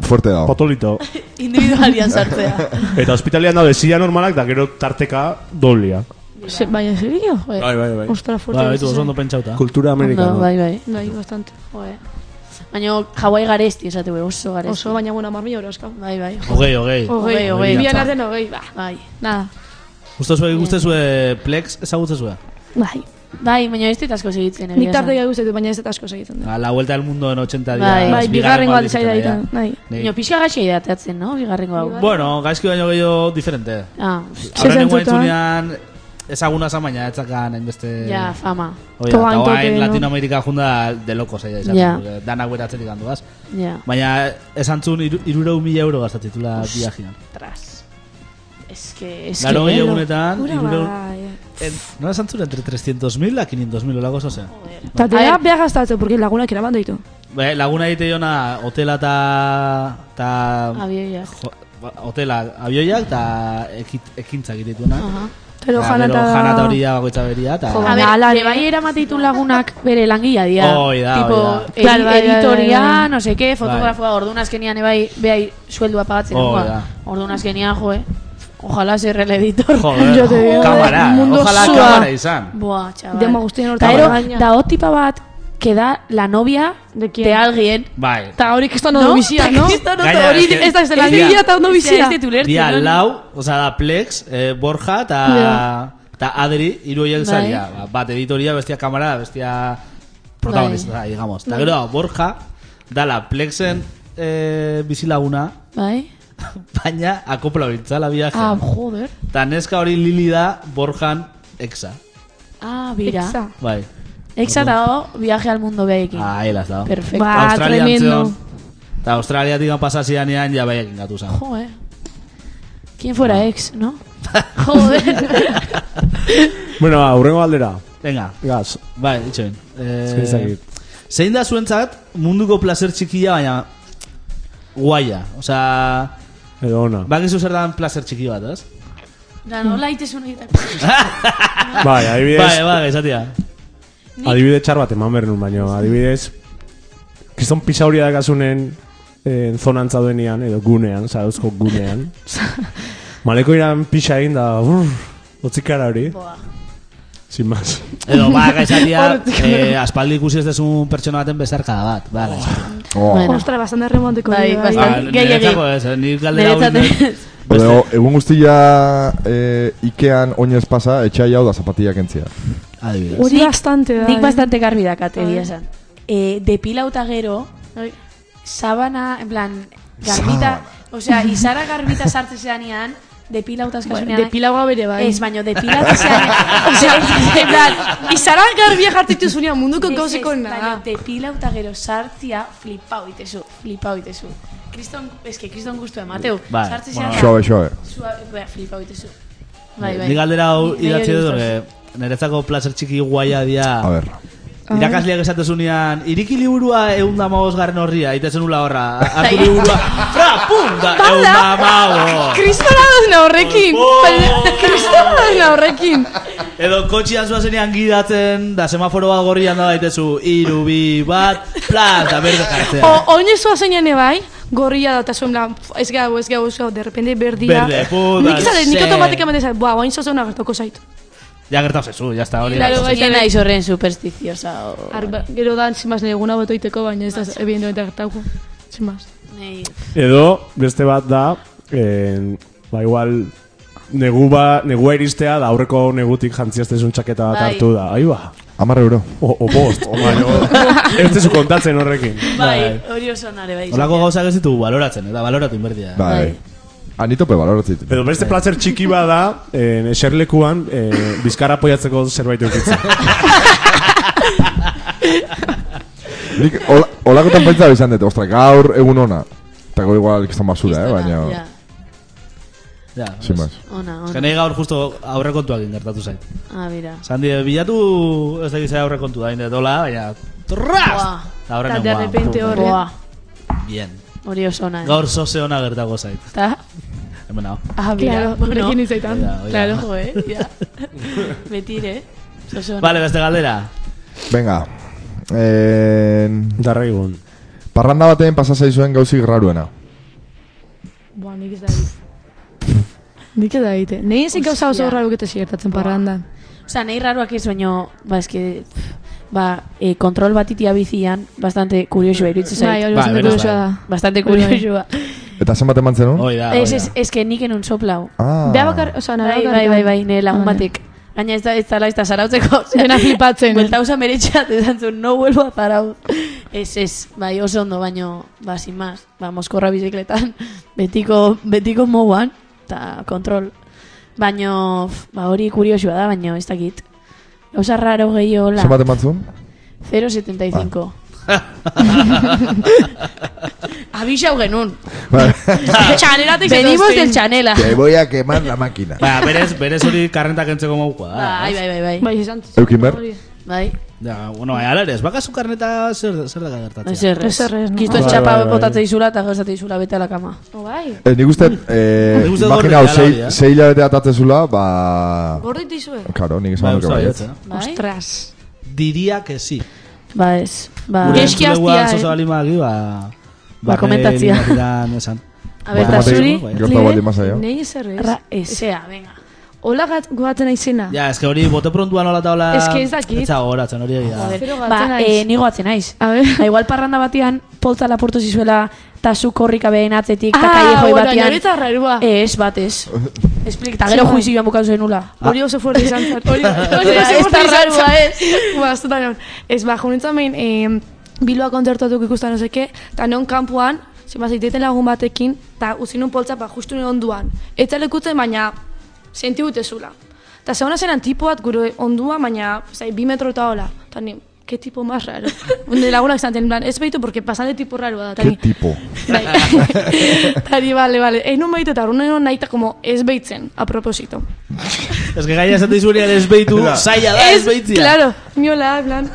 [SPEAKER 3] Fuerte dago.
[SPEAKER 4] potolito.
[SPEAKER 6] Individualian sartzea.
[SPEAKER 4] Eta hospitalean daude silla normalak, da gero tarteka doblea.
[SPEAKER 5] Se- Baina, serio? Joder.
[SPEAKER 4] Bai, bai, bai.
[SPEAKER 5] Ostra fuerte.
[SPEAKER 2] ba,
[SPEAKER 5] Bai,
[SPEAKER 2] baitu oso ondo pentsauta.
[SPEAKER 4] Kultura
[SPEAKER 6] Ondo,
[SPEAKER 4] amerikana.
[SPEAKER 6] bai, bai.
[SPEAKER 5] Bai, bastante.
[SPEAKER 6] Joe. Baina Hawái garesti esate be, oso garesti.
[SPEAKER 5] Oso, baina, bueno, amar mila Bai, eurazka.
[SPEAKER 6] Bai, bai. jo.
[SPEAKER 2] Ogei, ogei.
[SPEAKER 5] Ogei,
[SPEAKER 6] Ogei,
[SPEAKER 5] ogei.
[SPEAKER 6] ogei.
[SPEAKER 5] Bian arden ogei, ba.
[SPEAKER 6] Bai.
[SPEAKER 5] Nada.
[SPEAKER 2] Uste zue, uste zue, plex ezagutzen zue?
[SPEAKER 5] Bai.
[SPEAKER 6] Bai, baina ez dit asko segitzen.
[SPEAKER 5] Nik
[SPEAKER 6] egia esan.
[SPEAKER 5] tarte guztetu, baina ez dut asko segitzen. da.
[SPEAKER 2] A la vuelta al mundo en 80 días.
[SPEAKER 6] Bai.
[SPEAKER 5] Bai, bigarrengo aldiz ari da
[SPEAKER 2] ja.
[SPEAKER 5] egiten, nahi.
[SPEAKER 2] Ni-
[SPEAKER 6] Baina pixka gaxia idateatzen, no? Bigarrengo hau.
[SPEAKER 2] Bueno, gaizki baino gehiago diferente.
[SPEAKER 6] Ah,
[SPEAKER 2] Ahora nengo
[SPEAKER 5] zentzutan?
[SPEAKER 2] entzunean, ezaguna zan baina, etzakan hainbeste...
[SPEAKER 6] ja, fama.
[SPEAKER 2] Oia, eta
[SPEAKER 5] Toan
[SPEAKER 2] guain
[SPEAKER 5] tope, no?
[SPEAKER 2] Latinoamerika junda de locos ella izaten.
[SPEAKER 6] Ja.
[SPEAKER 2] Yeah. Danak beratzetik handuaz.
[SPEAKER 6] Ja.
[SPEAKER 2] Baina, esan zuen iru, irureu mila euro gastatitula viajean.
[SPEAKER 6] Tras. Es que... Es
[SPEAKER 2] Laro
[SPEAKER 6] que...
[SPEAKER 2] gehi egunetan,
[SPEAKER 5] Ura,
[SPEAKER 2] irureu...
[SPEAKER 5] bai.
[SPEAKER 2] En, no esan zuen entre 300.000 a 500.000 olagoz, ose?
[SPEAKER 5] Eta
[SPEAKER 6] A
[SPEAKER 5] tera
[SPEAKER 6] ver.
[SPEAKER 5] beha gastatzen, porque lagunak eraman ditu.
[SPEAKER 2] Bai, laguna egite jona, hotela eta... Ta...
[SPEAKER 6] Abioiak.
[SPEAKER 2] jo- ba, Hotela, abioiak eta ekit, ekintzak egituena.
[SPEAKER 6] Aha.
[SPEAKER 5] Pero
[SPEAKER 2] Ta
[SPEAKER 5] jana
[SPEAKER 2] Ba, gero jana eta
[SPEAKER 5] eta...
[SPEAKER 2] hori ja bakoitza beria, eta...
[SPEAKER 5] Jo,
[SPEAKER 6] A
[SPEAKER 5] Ba,
[SPEAKER 6] ver,
[SPEAKER 5] ala,
[SPEAKER 6] le bai eramateitu lagunak bere langilea dira.
[SPEAKER 2] Hoi da,
[SPEAKER 6] tipo,
[SPEAKER 2] hoi da.
[SPEAKER 6] edi-
[SPEAKER 5] Claro, bai, bai,
[SPEAKER 6] editoria,
[SPEAKER 5] bai, bai.
[SPEAKER 6] no sé qué, fotografoa, orduan azkenian ebai, beai sueldua pagatzen.
[SPEAKER 2] Hoi
[SPEAKER 6] dukoa.
[SPEAKER 2] da.
[SPEAKER 6] Orduan azkenian, joe, ojalá ser el editor.
[SPEAKER 2] Joder,
[SPEAKER 5] Yo te digo,
[SPEAKER 2] kamara,
[SPEAKER 5] mundo
[SPEAKER 2] ojalá
[SPEAKER 5] sua.
[SPEAKER 2] kamara izan.
[SPEAKER 6] Buah, chaval.
[SPEAKER 5] Demo guztien hortan
[SPEAKER 6] Ta ero,
[SPEAKER 5] baina.
[SPEAKER 6] da otipa bat, que da la novia
[SPEAKER 5] De
[SPEAKER 6] de,
[SPEAKER 5] quién?
[SPEAKER 6] alguien.
[SPEAKER 2] Bai,
[SPEAKER 5] Eta hori kriston ondo bizia, no?
[SPEAKER 6] Kriston ondo-
[SPEAKER 2] Gaina,
[SPEAKER 5] Hori
[SPEAKER 2] es que-
[SPEAKER 5] ez da ez dela
[SPEAKER 2] Dia-
[SPEAKER 5] egia eta ondo
[SPEAKER 6] Bizia,
[SPEAKER 5] bizia.
[SPEAKER 6] ez dut ulertzen,
[SPEAKER 2] dia
[SPEAKER 6] hori.
[SPEAKER 2] lau, oza da Plex, eh, Borja eta
[SPEAKER 5] Ja.
[SPEAKER 2] ta Adri, hiru horiek
[SPEAKER 6] Bai.
[SPEAKER 2] zaria. Ba, Bat editoria, bestia kamara, bestia protagonista,
[SPEAKER 6] Bai.
[SPEAKER 2] digamos. Eta gero, Borja, dala Plexen eh, bizilaguna,
[SPEAKER 6] Bai?
[SPEAKER 2] baina akopla bintzala
[SPEAKER 6] Ah,
[SPEAKER 2] biaje.
[SPEAKER 6] joder.
[SPEAKER 2] Eta neska hori Lili da Borjan exa.
[SPEAKER 6] Ah, bira.
[SPEAKER 5] Exa.
[SPEAKER 2] Bai, Ah,
[SPEAKER 6] Exa dao viaje al mundo behaekin.
[SPEAKER 2] ahí las dao.
[SPEAKER 6] Perfecto.
[SPEAKER 5] Ba,
[SPEAKER 2] Australian
[SPEAKER 5] tremendo.
[SPEAKER 2] zeon. Eta Australia digan pasasianean, ja baiak ingatu zan.
[SPEAKER 6] Joder. ¿Quién fuera ex, no? Joder.
[SPEAKER 4] Bueno, ba, hurrengo galdera.
[SPEAKER 2] Venga,
[SPEAKER 4] Gaz.
[SPEAKER 2] bai, itxoin.
[SPEAKER 4] Ez
[SPEAKER 2] Eh,
[SPEAKER 4] dakit.
[SPEAKER 2] zein da zuentzat munduko placer txikia, baina guaia. Osea,
[SPEAKER 4] Eh, Edo ona.
[SPEAKER 2] bakizu zer dan placer txiki bat, ez?
[SPEAKER 6] Da, nola itezun egiten.
[SPEAKER 4] Bai,
[SPEAKER 2] Bai,
[SPEAKER 4] adibidez,
[SPEAKER 2] bai, esatia.
[SPEAKER 4] adibide txar bat eman behar nun, baino, adibidez, kriston pisa hori dakazunen eh, zonantza duenean, edo gunean, zarozko gunean. Maleko iran pisa egin da, urr, otzikara hori,
[SPEAKER 6] Boa.
[SPEAKER 4] sin más.
[SPEAKER 2] Edo, ba, esatia, eh, aspaldi ikusi ez desun pertsona baten bezarkada bat. Ba, esatia.
[SPEAKER 3] Oh.
[SPEAKER 6] Bueno.
[SPEAKER 5] Ostra, bastante remonteko.
[SPEAKER 6] Bai,
[SPEAKER 5] dira,
[SPEAKER 6] bastante.
[SPEAKER 2] Ba,
[SPEAKER 6] Gehiegi.
[SPEAKER 2] niretzako ez, eh, nik galdera hau
[SPEAKER 6] Niretzat
[SPEAKER 2] egin dut.
[SPEAKER 6] ez.
[SPEAKER 3] Baina, o- egun guztia eh, Ikean oinez pasa, etxai hau da zapatillak entzia.
[SPEAKER 2] Adibidez.
[SPEAKER 5] Hori bastante da.
[SPEAKER 6] Nik
[SPEAKER 5] eh.
[SPEAKER 6] bastante garbi dakat,
[SPEAKER 5] A
[SPEAKER 6] egia
[SPEAKER 5] ver.
[SPEAKER 6] esan. Eh, depilauta gero,
[SPEAKER 5] Bai.
[SPEAKER 6] sabana, en plan, garbita, osea, izara garbita sartzen zeanean, depilauta eskasunean.
[SPEAKER 5] Depilagoa bere bai.
[SPEAKER 6] Ez, baino, depilatu zean. Osea, en plan,
[SPEAKER 5] Izara garbia jartitu zunean munduko
[SPEAKER 6] ez, ez,
[SPEAKER 5] gauzeko
[SPEAKER 6] Baino,
[SPEAKER 5] nada.
[SPEAKER 6] depilauta gero sartzia, flipau itezu, flipau itezu. Kriston, eske, kriston guztu emateu.
[SPEAKER 2] Bai,
[SPEAKER 6] Sartzen
[SPEAKER 2] bueno.
[SPEAKER 6] zean.
[SPEAKER 3] Xoabe, xoabe.
[SPEAKER 6] Sua, flipau itezu. Bai, bai.
[SPEAKER 2] Ni galdera hau
[SPEAKER 6] Ni-
[SPEAKER 2] idatzi
[SPEAKER 6] nahiko
[SPEAKER 2] dut,
[SPEAKER 6] gustatzen.
[SPEAKER 2] eh, niretzako placer txiki guaia dia.
[SPEAKER 3] A ver.
[SPEAKER 2] Irakasleak esatezunean, iriki liburua eunda amabos garren horria, itezen ula horra, hartu liburua, fra, pum, da, eunda amabos.
[SPEAKER 5] Kristona duzna horrekin!
[SPEAKER 2] Oh!
[SPEAKER 5] Pal- Kristona duzna horrekin!
[SPEAKER 2] Edo kotxian zuazenean gidatzen, da semaforo bat gorrian da daitezu, iru, bi, bat, plan, da berde
[SPEAKER 5] O,
[SPEAKER 2] jartzea.
[SPEAKER 5] oinezu azenean ebai, gorria da, eta zuen lan, pf, ez gau, ez gau, ez gau, de repente berdia.
[SPEAKER 2] Berde, puta,
[SPEAKER 5] Nik zale, nik
[SPEAKER 2] ze.
[SPEAKER 5] automatikamente zale, buah, oin zozeuna gertoko zait.
[SPEAKER 2] Ja gertau zezu, jazta hori.
[SPEAKER 5] Claro,
[SPEAKER 2] gertatu zaizu.
[SPEAKER 5] bai.
[SPEAKER 6] Ni naiz horren supersticiosa. o-
[SPEAKER 5] Arba, gero da, zimaz, nire eguna beto iteko, baina ez da, evidentemente gertauko. Zimaz.
[SPEAKER 6] Nei-
[SPEAKER 4] Edo, beste bat da, eh, ba igual, negu ba, negua iristea da aurreko negutik jantziaztezun txaketa bat
[SPEAKER 6] Bai.
[SPEAKER 4] hartu da. Ahi ba,
[SPEAKER 3] Amar euro.
[SPEAKER 4] o, o bost, o baino, ez tezu kontatzen horrekin.
[SPEAKER 6] Bai, hori oso nare bai.
[SPEAKER 2] Olako gauzak ez ditugu baloratzen, eta baloratu inberdia.
[SPEAKER 3] Bai. Anitope baloratzen ditu.
[SPEAKER 4] Edo beste placer txiki bada, eh, eserlekuan, eh, bizkara apoiatzeko zerbait eukitza.
[SPEAKER 3] Nik hola- holakotan pentsa izan dut, ostra, gaur egun ona. Eta gaur igual kistan basura, eh, baina...
[SPEAKER 6] Ja,
[SPEAKER 2] Ja,
[SPEAKER 3] Sin más.
[SPEAKER 6] Ona,
[SPEAKER 2] Ez
[SPEAKER 6] ona.
[SPEAKER 2] que nahi gaur justo aurrekontuakin gertatu zait.
[SPEAKER 6] Ah, mira.
[SPEAKER 2] Sandi, bilatu ez dakiz aurrekontu da, inde dola, baina... Trrras!
[SPEAKER 6] Buah.
[SPEAKER 2] Da horren
[SPEAKER 5] Eta de repente horre.
[SPEAKER 6] Boa,
[SPEAKER 2] Bien.
[SPEAKER 6] hori oso ona. eh.
[SPEAKER 2] Gaur zoze ona gertako zait.
[SPEAKER 6] Eta,
[SPEAKER 2] Hemen hau.
[SPEAKER 6] ah, mira.
[SPEAKER 5] Claro, horrekin izaitan.
[SPEAKER 2] Oida, oida.
[SPEAKER 6] Claro, jo, eh, ja. Betire. Oso ona.
[SPEAKER 2] Vale, beste galdera.
[SPEAKER 3] Venga. Eh,
[SPEAKER 4] Darraigun.
[SPEAKER 3] parranda baten pasasei zuen gauzik raruena.
[SPEAKER 5] Buah, nik ez da egite. Nik ez da egite. Nei ezin gauza oso
[SPEAKER 6] Hostia.
[SPEAKER 5] horra lukete ziertatzen parrandan.
[SPEAKER 6] Osa, nahi raruak ez baino, ba, eske, ba, eh, kontrol bat itia bizian, bastante kuriosua iruditzen
[SPEAKER 5] Bai,
[SPEAKER 6] zait.
[SPEAKER 5] hori
[SPEAKER 2] Bai,
[SPEAKER 5] bastante
[SPEAKER 2] beraz,
[SPEAKER 5] kuriosoa
[SPEAKER 2] bai.
[SPEAKER 5] da.
[SPEAKER 6] Bastante
[SPEAKER 5] Hori bai.
[SPEAKER 6] kuriosua.
[SPEAKER 3] Eta zenbat eman zenun?
[SPEAKER 2] Hoi da,
[SPEAKER 6] Ez, ez, ez que nik enun soplau.
[SPEAKER 3] Ah.
[SPEAKER 5] Bea bakar, oza, nara
[SPEAKER 6] Bai, bai, bai, bai, nire lagun batek. Gaina ez da, ez da, ez da, zarautzeko.
[SPEAKER 5] Dena flipatzen.
[SPEAKER 6] Bueltauza meretxat, esan zuen, no vuelvo a zarau. Ez, ez, bai, oso ondo, baino, ba, sin más, ba, moskorra bizikletan, betiko, betiko moguan, eta kontrol. Baino, f, ba, hori kuriosua da, baino, ez dakit. Gauza raro gehiago hola.
[SPEAKER 3] Zenbat eman Ba. zuen?
[SPEAKER 6] 0,75. Abixau genun. Chanelatik Venimos del chanela.
[SPEAKER 3] voy a quemar la máquina.
[SPEAKER 2] Ba, berez, berez hori karrentak entzeko maukua. da,
[SPEAKER 6] Bai,
[SPEAKER 2] ez?
[SPEAKER 6] bai, bai, bai.
[SPEAKER 5] Bai, esan.
[SPEAKER 3] Eukin behar?
[SPEAKER 6] Bai.
[SPEAKER 2] Ja, bueno, bai, ala ere, ez bakazu karneta zer, zer da gertatzen.
[SPEAKER 6] Ezer ez.
[SPEAKER 5] Ezer ez, no.
[SPEAKER 6] Kiston
[SPEAKER 4] Bai,
[SPEAKER 6] txapa
[SPEAKER 4] bai, bai.
[SPEAKER 6] botatzea izula eta gauzate izula bete a la kama.
[SPEAKER 5] O bai.
[SPEAKER 3] Eh, nik uste, eh,
[SPEAKER 2] Nik uste
[SPEAKER 3] imagina,
[SPEAKER 2] gorde
[SPEAKER 3] sei,
[SPEAKER 2] dela hori, eh?
[SPEAKER 3] sei hilabete atatzezula, ba...
[SPEAKER 5] Gordit izue.
[SPEAKER 3] Karo, nik
[SPEAKER 2] Ba,
[SPEAKER 3] esan duke
[SPEAKER 2] usta
[SPEAKER 3] bai.
[SPEAKER 2] baietz, eh?
[SPEAKER 6] Bai?
[SPEAKER 5] Ostras.
[SPEAKER 2] Diria que sí.
[SPEAKER 6] Ba ez. Ba,
[SPEAKER 2] Gure
[SPEAKER 5] Geski
[SPEAKER 2] entzuleguan
[SPEAKER 5] hastia, eh?
[SPEAKER 2] zozo balima agi, ba...
[SPEAKER 6] Ba, komentatzia.
[SPEAKER 2] limatikan esan.
[SPEAKER 6] a ver,
[SPEAKER 2] Ba,
[SPEAKER 6] ta
[SPEAKER 2] tomate-
[SPEAKER 6] zuri,
[SPEAKER 2] Bai.
[SPEAKER 3] Gerta baldin mazaio.
[SPEAKER 5] Nei ezer ez.
[SPEAKER 6] ra, ezea, venga.
[SPEAKER 5] Ola gat- guatzen aizena.
[SPEAKER 2] Ja, ez que hori bote prontuan hola eta hola...
[SPEAKER 5] Ez que ez dakit.
[SPEAKER 2] Ez dago horatzen hori
[SPEAKER 6] A
[SPEAKER 2] egia.
[SPEAKER 6] ver,
[SPEAKER 5] Zero gatzen
[SPEAKER 6] ba,
[SPEAKER 5] naiz.
[SPEAKER 6] eh, nigo atzen naiz.
[SPEAKER 5] A ver.
[SPEAKER 6] Da igual parranda batean, poltza lapurtu zizuela, ta zu korrika behen atzetik, ta
[SPEAKER 5] Ah,
[SPEAKER 6] kaiejo
[SPEAKER 5] bueno,
[SPEAKER 6] batean.
[SPEAKER 5] nire eta rarua.
[SPEAKER 6] Ez, bat ez. Esplik, ta gero
[SPEAKER 5] Sí, bai.
[SPEAKER 6] juizioan bukatu zenula.
[SPEAKER 3] Ah.
[SPEAKER 5] Hori oso fuerte izan zen. Hori hori
[SPEAKER 6] Esta
[SPEAKER 5] oso fuerte izan
[SPEAKER 6] rarua
[SPEAKER 5] zen. Ba, ez dut Ez, ba, junitzen behin, eh, Bilua kontzertatuk ikustan ozeke, eta non kanpoan, zema zeiteten lagun batekin, eta uzin un poltza, ba, justu nire onduan. Ez lekutzen, baina, senti gutezula. Eta zegoen zenan tipo bat gure ondua, baina, zai, bi metro eta hola. Eta ni, qué tipo más raro. De lagunak izan zen, en plan, ez behitu, porque pasan de tipo raro da. eta
[SPEAKER 3] Ke
[SPEAKER 5] ni-
[SPEAKER 3] tipo.
[SPEAKER 5] Bai. Tari, bale, bale. Egun behitu eta horren nahita como ez behitzen, aproposito.
[SPEAKER 2] Ez que gaia esaten zuenean ez behitu, zaila da ez behitzia.
[SPEAKER 5] Claro, miola, en plan,